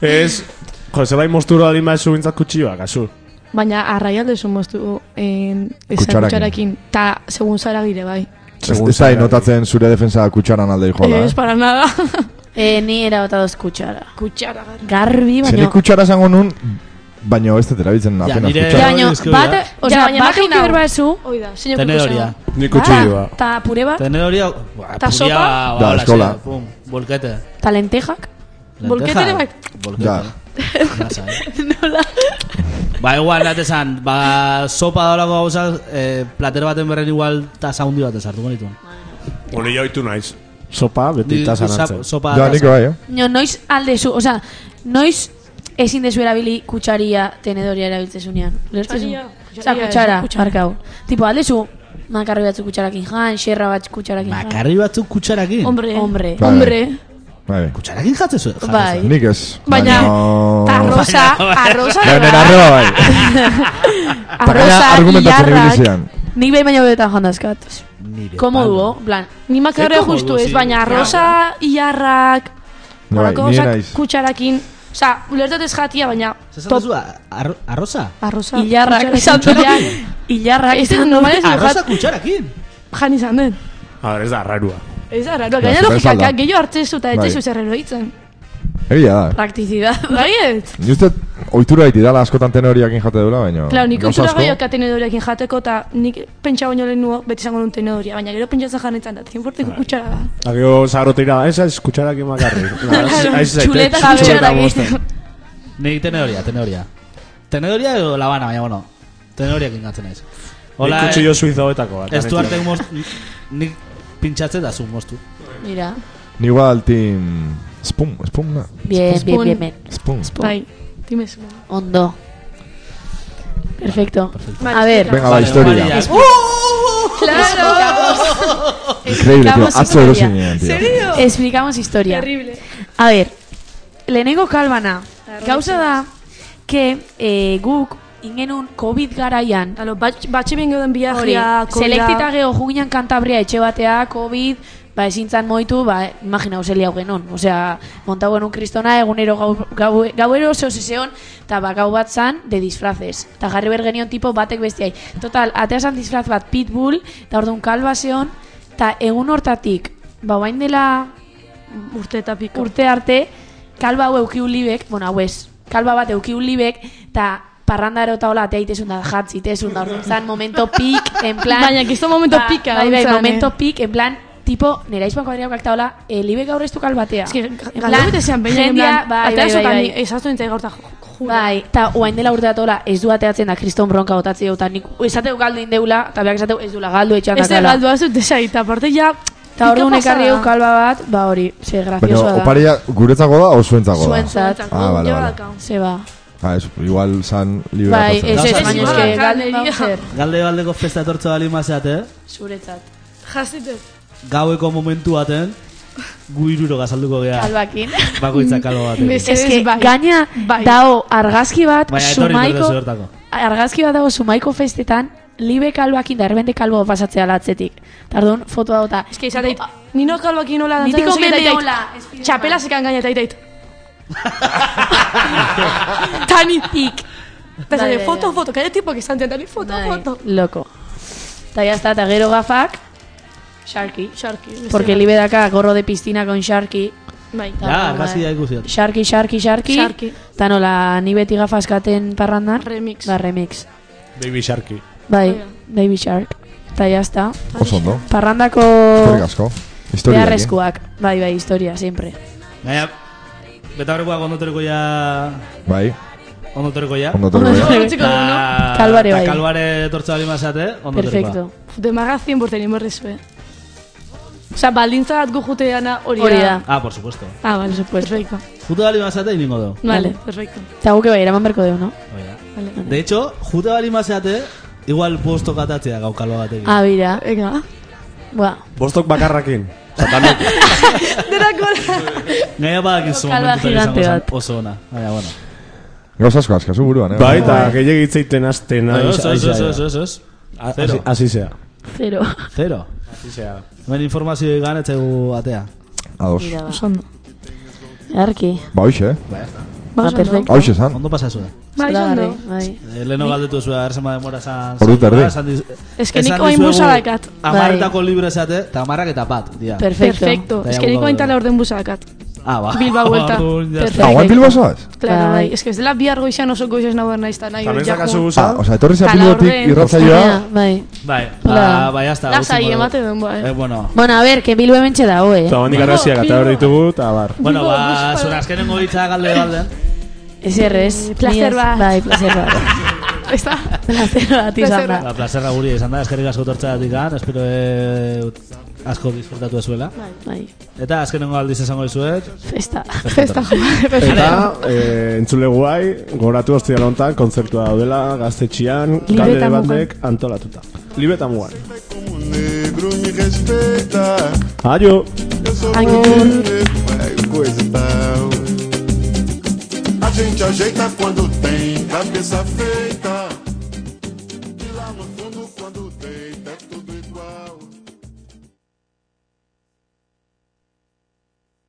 [SPEAKER 4] ez, jo, zerbait mosturo adin bat bintzat kutsi bak, azu.
[SPEAKER 5] Baina arraialde zuen moztu en,
[SPEAKER 3] Kutxarekin.
[SPEAKER 5] kutxarakin. Ta, segun zara gire, bai.
[SPEAKER 3] ez ez da notatzen zure defensa kutsaran alde joala,
[SPEAKER 5] Ez,
[SPEAKER 3] eh?
[SPEAKER 5] para nada.
[SPEAKER 6] Eh, ni era bota dos cuchara.
[SPEAKER 5] Kutxara garbi.
[SPEAKER 6] Garbi,
[SPEAKER 3] Zene
[SPEAKER 6] baina...
[SPEAKER 3] kutsara esango nun, baino ez dut erabiltzen apenas
[SPEAKER 2] nire- Ja,
[SPEAKER 3] kutsara.
[SPEAKER 6] Baina,
[SPEAKER 2] eske hori da.
[SPEAKER 6] bat... Osea,
[SPEAKER 5] baina
[SPEAKER 6] bat
[SPEAKER 5] imajinau.
[SPEAKER 6] eukiber baezu...
[SPEAKER 5] Hoi da, zineko
[SPEAKER 2] Tenedoria.
[SPEAKER 4] Nik utzi joa.
[SPEAKER 6] Ta pure bat,
[SPEAKER 2] Tenedoria,
[SPEAKER 5] Ta sopa?
[SPEAKER 3] Da, eskola.
[SPEAKER 2] Pum, bolkete.
[SPEAKER 6] ta lentejak.
[SPEAKER 5] Bolkete ere bai.
[SPEAKER 2] Bolkete.
[SPEAKER 3] Ja.
[SPEAKER 2] Nola. Ba, eh. igual, nat esan, ba, sopa daulako gauzak, eh, plater baten berren igual tasa hundi bat esartuko nituen.
[SPEAKER 4] Hori joitu naiz. Sopa, beti
[SPEAKER 2] Ni-
[SPEAKER 4] tasan
[SPEAKER 2] sa-
[SPEAKER 4] hartzen.
[SPEAKER 2] Sopa
[SPEAKER 3] Ja, nik
[SPEAKER 2] tasa.
[SPEAKER 3] bai, eh?
[SPEAKER 6] No, noiz aldezu, osea, noiz ezin dezu erabili kutsaria tenedoria erabiltzezunean. Lertzezu?
[SPEAKER 5] Kutxaria,
[SPEAKER 6] Osea,
[SPEAKER 5] kutxaria,
[SPEAKER 6] kutsara,
[SPEAKER 5] kutxa-
[SPEAKER 6] barkau. Tipo, aldezu, makarri batzuk kutsarakin jan, xerra bat kutsarakin jan.
[SPEAKER 2] Makarri batzuk kutsarakin.
[SPEAKER 5] Hombre.
[SPEAKER 6] Hombre.
[SPEAKER 3] Bai.
[SPEAKER 5] Hombre.
[SPEAKER 3] Bai.
[SPEAKER 2] Kutsarakin jatzen zuen.
[SPEAKER 6] Bai.
[SPEAKER 3] Nik ez.
[SPEAKER 5] Baina,
[SPEAKER 3] Baina...
[SPEAKER 5] Arroza, arroza.
[SPEAKER 3] Baina,
[SPEAKER 5] da.
[SPEAKER 3] arroba bai.
[SPEAKER 6] Arroza,
[SPEAKER 3] argumentatzen ibili
[SPEAKER 6] ilarrak.
[SPEAKER 3] zidan.
[SPEAKER 6] Nik behin baino betan jandazkat.
[SPEAKER 2] Bai,
[SPEAKER 6] Komoduo, plan,
[SPEAKER 5] Ni makarra
[SPEAKER 2] Ze komodo,
[SPEAKER 5] justu ez,
[SPEAKER 2] sí.
[SPEAKER 5] baina arroza, iarrak,
[SPEAKER 3] Bai,
[SPEAKER 5] horako
[SPEAKER 3] ni
[SPEAKER 5] gauzak
[SPEAKER 3] naiz.
[SPEAKER 5] kutxarakin. Osa, ulertot ez jatia, baina
[SPEAKER 2] Zazan
[SPEAKER 5] top
[SPEAKER 2] zu, arroza?
[SPEAKER 5] arroza.
[SPEAKER 6] ilarrak,
[SPEAKER 5] kutxarakin,
[SPEAKER 6] izan dira,
[SPEAKER 5] kutxarakin.
[SPEAKER 6] ilarrak,
[SPEAKER 5] Ez da
[SPEAKER 6] izan
[SPEAKER 5] normal ez du
[SPEAKER 2] Arroza
[SPEAKER 5] jat,
[SPEAKER 2] kutsarakin.
[SPEAKER 5] jan izan den.
[SPEAKER 4] A ver, ez da, rarua.
[SPEAKER 5] Ez da, raro,
[SPEAKER 3] Ja,
[SPEAKER 5] gaina
[SPEAKER 3] zure
[SPEAKER 5] logikak,
[SPEAKER 3] salda.
[SPEAKER 5] gehiago hartzezu eta
[SPEAKER 3] Bai.
[SPEAKER 5] etzezu zerrero hitzen.
[SPEAKER 3] Egia da.
[SPEAKER 6] praktizidad.
[SPEAKER 5] Baiet?
[SPEAKER 3] Ni uste, oitura haiti dala askotan tenoriakin jate dula, baina...
[SPEAKER 5] Claro, nik
[SPEAKER 3] gauza
[SPEAKER 5] kultura
[SPEAKER 3] asko-
[SPEAKER 5] gehiago tenedoreakin jateko, eta nik pentsa baino lehen nuo, beti zango nuen tenedoria, baina gero pentsatzen janetzen da,
[SPEAKER 3] Bai.
[SPEAKER 5] 100% kutxara da.
[SPEAKER 4] Agio zaharotira da, ez ez kutsarak makarri.
[SPEAKER 6] Txuleta gabe.
[SPEAKER 2] Nik tenedoria, tenedoria. Tenedoria edo labana, baina bueno. Tenedoria kingatzen naiz.
[SPEAKER 4] Hola,
[SPEAKER 2] Hola,
[SPEAKER 4] kutsillo suizo betako bat.
[SPEAKER 2] ez du arte moztu, nik pintxatzen da zu moztu.
[SPEAKER 6] Mira,
[SPEAKER 3] Ni igual, tim... Spum, spum, na.
[SPEAKER 6] bien, bien,
[SPEAKER 5] Spoon.
[SPEAKER 6] bien, bien.
[SPEAKER 3] Spum.
[SPEAKER 5] Bai, timezu.
[SPEAKER 6] Ondo. Perfecto. A ver,
[SPEAKER 3] Venga, la Ah, bai, historia.
[SPEAKER 2] María.
[SPEAKER 5] Uh!
[SPEAKER 3] Increíble, tío.
[SPEAKER 6] Explicamos
[SPEAKER 3] Atzo erosi
[SPEAKER 6] historia.
[SPEAKER 3] nien, tío.
[SPEAKER 6] explicamos historia.
[SPEAKER 5] Terrible.
[SPEAKER 6] A ber, lehenengo kalbana. Gauza da, que eh, guk ingenun COVID garaian,
[SPEAKER 5] Alo, bat- batxe bengo den
[SPEAKER 6] hori,
[SPEAKER 5] biagia,
[SPEAKER 6] selektita geho juginan kantabria etxe batea, COVID, ba, ezin zan moitu, ba, imagina, useli hau genon. Osea, montau genuen kristona, egunero gau, gau, gauero zeo zeon, eta ba, gau bat zan, de disfrazes. Eta jarri behar genion tipo batek bestiai. Total, atea zan disfraz bat pitbull, eta orduan kalba zeon, eta egun hortatik, ba, bain dela
[SPEAKER 5] urte eta piko.
[SPEAKER 6] urte arte, kalba hau eukiu libek, bueno, hau ez, kalba bat eukiu libek, eta parrandaro eta hola, atea itezun da jatzi, itezun da, orduan zan, momento pik, en plan...
[SPEAKER 5] Baina, kisto momento
[SPEAKER 6] Ba,
[SPEAKER 5] pika,
[SPEAKER 6] Bai, bai,
[SPEAKER 5] ontzan, eh.
[SPEAKER 6] momento pik, en plan, tipo, nera izpan kuadriak eta hola, eh, libek gaur ez du kalbatea.
[SPEAKER 5] Ez que,
[SPEAKER 6] En plan,
[SPEAKER 5] galdu bete zean, baina, en
[SPEAKER 6] jendia,
[SPEAKER 5] plan,
[SPEAKER 6] bai, bai, bai, bai.
[SPEAKER 5] ezaztu nintzen gaur, eta
[SPEAKER 6] Bai, eta oain dela urte datola, ez du ateatzen da kriston bronka botatzen dut, eta nik esateu galdu indeula, eta beak esateu ez dula galdu etxean
[SPEAKER 5] Ez da
[SPEAKER 6] dakala.
[SPEAKER 5] galdu azut desai, eta parte ja...
[SPEAKER 6] Eta orduan ekarri eu kalba bat, ba hori, ze
[SPEAKER 3] Baina,
[SPEAKER 6] graciosa da.
[SPEAKER 3] oparia guretzako da o zuentzako da?
[SPEAKER 6] Zuentzako.
[SPEAKER 5] Zat.
[SPEAKER 3] Ah, vale, vale.
[SPEAKER 6] Ze ba.
[SPEAKER 3] Ah, eso, igual san
[SPEAKER 6] Bai,
[SPEAKER 3] liberatatzen.
[SPEAKER 6] ez ez,
[SPEAKER 2] Gauza
[SPEAKER 6] baina
[SPEAKER 2] asko
[SPEAKER 6] eske
[SPEAKER 2] da.
[SPEAKER 6] galdu bau zer.
[SPEAKER 2] Galde baldeko festa etortze bali mazeate,
[SPEAKER 6] Zuretzat.
[SPEAKER 5] Jazite.
[SPEAKER 2] gaueko momentu baten, gu iruro gazalduko geha,
[SPEAKER 6] Kalbakin.
[SPEAKER 2] bakoitzak kalba baten.
[SPEAKER 5] Bez-
[SPEAKER 6] Ez que
[SPEAKER 5] bai.
[SPEAKER 6] gaina
[SPEAKER 5] Bai.
[SPEAKER 6] dao argazki bat
[SPEAKER 2] Baina etorri
[SPEAKER 6] sumaiko
[SPEAKER 2] berdezu bertako.
[SPEAKER 6] argazki bat dago sumaiko festetan libe kalbakin da erbende kalbo pasatzea latzetik. Tardun foto dago eta
[SPEAKER 5] Ez que izateit, nino kalbakin nola dantzan...
[SPEAKER 6] Mitiko
[SPEAKER 5] no sé qué, eta
[SPEAKER 6] meme
[SPEAKER 5] itait,
[SPEAKER 6] hola, Spiderman.
[SPEAKER 5] Txapela zekan gaina, eta itait. Tani.
[SPEAKER 6] tik.
[SPEAKER 5] Eta
[SPEAKER 6] Bai,
[SPEAKER 5] zate,
[SPEAKER 6] bai,
[SPEAKER 5] foto,
[SPEAKER 6] bai.
[SPEAKER 5] foto, kaia tipo que izan zen, tani, foto,
[SPEAKER 6] Bai,
[SPEAKER 5] foto.
[SPEAKER 6] Loko. Eta jazta, eta gero gafak, Sharky.
[SPEAKER 5] Sharky. beste
[SPEAKER 6] Porque
[SPEAKER 5] bat.
[SPEAKER 6] libedaka gorro de piztina con Sharky.
[SPEAKER 5] Bai.
[SPEAKER 6] Ta-
[SPEAKER 2] Ja,
[SPEAKER 6] bai.
[SPEAKER 2] kasi da ikusi. dut.
[SPEAKER 6] Sharky, Sharky, Sharky.
[SPEAKER 5] Sharky.
[SPEAKER 6] Eta nola, ni beti gafaskaten parrandan.
[SPEAKER 5] Remix.
[SPEAKER 6] Ba, remix.
[SPEAKER 4] Baby Sharky.
[SPEAKER 6] Bai,
[SPEAKER 5] Oia.
[SPEAKER 6] Baby Shark. Eta jazta.
[SPEAKER 3] Oso ondo.
[SPEAKER 6] Parrandako
[SPEAKER 3] Eskerrik asko. Historia.
[SPEAKER 6] beharrezkoak. Bai, bai, historia, siempre.
[SPEAKER 2] Gaina, betaurrekoak ondotoreko ja...
[SPEAKER 3] Bai,
[SPEAKER 2] Ondotoreko ja.
[SPEAKER 3] ondo etorri bai.
[SPEAKER 5] Ondotoreko, no?
[SPEAKER 2] Ta-
[SPEAKER 6] Kalbare
[SPEAKER 2] ta
[SPEAKER 6] bai.
[SPEAKER 2] Kalbare tortza bali mazate, ondotoreko.
[SPEAKER 6] Perfecto.
[SPEAKER 5] Demaga 100% inberrizue. Osa, baldintza bat gu juteana hori da.
[SPEAKER 6] Hori da.
[SPEAKER 2] Ah, por supuesto.
[SPEAKER 5] Ah, vale, supuesto. Perfecto.
[SPEAKER 2] Jute bali mazate iningo dugu.
[SPEAKER 5] Vale,
[SPEAKER 6] Vale.
[SPEAKER 5] perfecto.
[SPEAKER 6] Eta guke bai, eraman berko deu, no?
[SPEAKER 2] Oia.
[SPEAKER 5] Vale.
[SPEAKER 2] De hecho, jute bali mazate, igual posto katatzea gau kalba batekin.
[SPEAKER 6] Ah, bira.
[SPEAKER 5] Venga.
[SPEAKER 6] Ba,
[SPEAKER 4] Bostok bakarrakin. Satanok.
[SPEAKER 2] Gaina badakizu
[SPEAKER 6] Kalba
[SPEAKER 2] momentutan izango
[SPEAKER 6] gigante
[SPEAKER 2] zen
[SPEAKER 6] bat.
[SPEAKER 2] oso ona. Baina, bueno.
[SPEAKER 3] Gauza asko askazu buruan, eh?
[SPEAKER 4] bai, eta gehiagitzeiten azten.
[SPEAKER 2] No, eso, eso, eso, eso, eso, eso. bai, Zero.
[SPEAKER 4] Ah, Asi zea.
[SPEAKER 6] ah, zero.
[SPEAKER 2] Zero.
[SPEAKER 4] Asi zea.
[SPEAKER 2] Hemen informazio egan etzegu atea.
[SPEAKER 3] Ados.
[SPEAKER 6] Mira, ba.
[SPEAKER 5] Sondo.
[SPEAKER 6] Arki.
[SPEAKER 3] Ba, hoxe, eh?
[SPEAKER 6] Ba,
[SPEAKER 5] Oso ondo.
[SPEAKER 6] perfecto.
[SPEAKER 3] Hau esan.
[SPEAKER 2] Ondo pasa zuen.
[SPEAKER 5] Bai, sondo.
[SPEAKER 6] Bai.
[SPEAKER 2] Eh, Leheno galdetu zuen, arzen ma demora zan...
[SPEAKER 3] Ordu
[SPEAKER 2] zan-
[SPEAKER 3] terdi.
[SPEAKER 2] zan diz-
[SPEAKER 5] Ez que
[SPEAKER 2] esan
[SPEAKER 5] niko hain
[SPEAKER 2] dizuegu
[SPEAKER 5] busa dakat.
[SPEAKER 6] Bai.
[SPEAKER 2] Hamarretako libre zate, eta hamarrak eta bat, dia.
[SPEAKER 6] Perfecto.
[SPEAKER 5] Perfecto.
[SPEAKER 2] Perfecto.
[SPEAKER 5] Ez que niko hain tala orden busa dakat.
[SPEAKER 2] Ah, ba.
[SPEAKER 5] Bilbao buelta.
[SPEAKER 2] Orduan, ja
[SPEAKER 6] Perfecto.
[SPEAKER 3] Ah, guain Bilbao zoaz?
[SPEAKER 5] Claro,
[SPEAKER 6] Bai.
[SPEAKER 5] bai. Ez que ez dela bihar goizan oso goizan nagoen nahiz eta nahi.
[SPEAKER 4] Tamen
[SPEAKER 5] ja
[SPEAKER 4] zakazu
[SPEAKER 5] jo.
[SPEAKER 4] guza.
[SPEAKER 3] Ah, osea, etorri zea
[SPEAKER 5] Kalaurren.
[SPEAKER 3] Bilbotik irratzaioa.
[SPEAKER 6] Baina, bai.
[SPEAKER 2] está. Bai,
[SPEAKER 6] Hola.
[SPEAKER 2] ba, bai, hasta.
[SPEAKER 5] Lasai,
[SPEAKER 2] último-
[SPEAKER 5] emate den, bai.
[SPEAKER 2] Eh, bueno.
[SPEAKER 6] Bueno, a ver, que Bilbo hemen dago, eh?
[SPEAKER 4] Eta bandik arraziak atera behar ditugu, eta bar.
[SPEAKER 2] Bueno,
[SPEAKER 5] Bilbao,
[SPEAKER 2] ba,
[SPEAKER 5] Bilbao.
[SPEAKER 2] zure azkenengo hitza galde galden.
[SPEAKER 6] Ez errez.
[SPEAKER 5] Placer
[SPEAKER 6] Ni ez-
[SPEAKER 5] bat.
[SPEAKER 6] Bai, placer bat.
[SPEAKER 5] Ez da?
[SPEAKER 6] placer bat izan
[SPEAKER 5] Placer
[SPEAKER 6] da.
[SPEAKER 5] bat.
[SPEAKER 2] Ba, plazerra guri izan da, eskerrik asko tortzatik espero eh, asko disfrutatu ezuela.
[SPEAKER 6] Bai,
[SPEAKER 2] Eta azkenengo aldiz esango dizuet.
[SPEAKER 6] festa.
[SPEAKER 5] Festa jo, bai,
[SPEAKER 4] Eta,
[SPEAKER 5] perfecto.
[SPEAKER 4] eh, entzule guai, goratu hostia lontan, kontzertua daudela, gaztetxian,
[SPEAKER 6] eta
[SPEAKER 4] kaldere
[SPEAKER 6] mugan.
[SPEAKER 4] batek antolatuta. Libre eta mugan.
[SPEAKER 12] Como un negro me respeita.
[SPEAKER 4] Aio!
[SPEAKER 12] Eu sou
[SPEAKER 5] Ai,
[SPEAKER 12] bonito, é coisa e tal. A gente ajeita quando tem cabeça feita. tá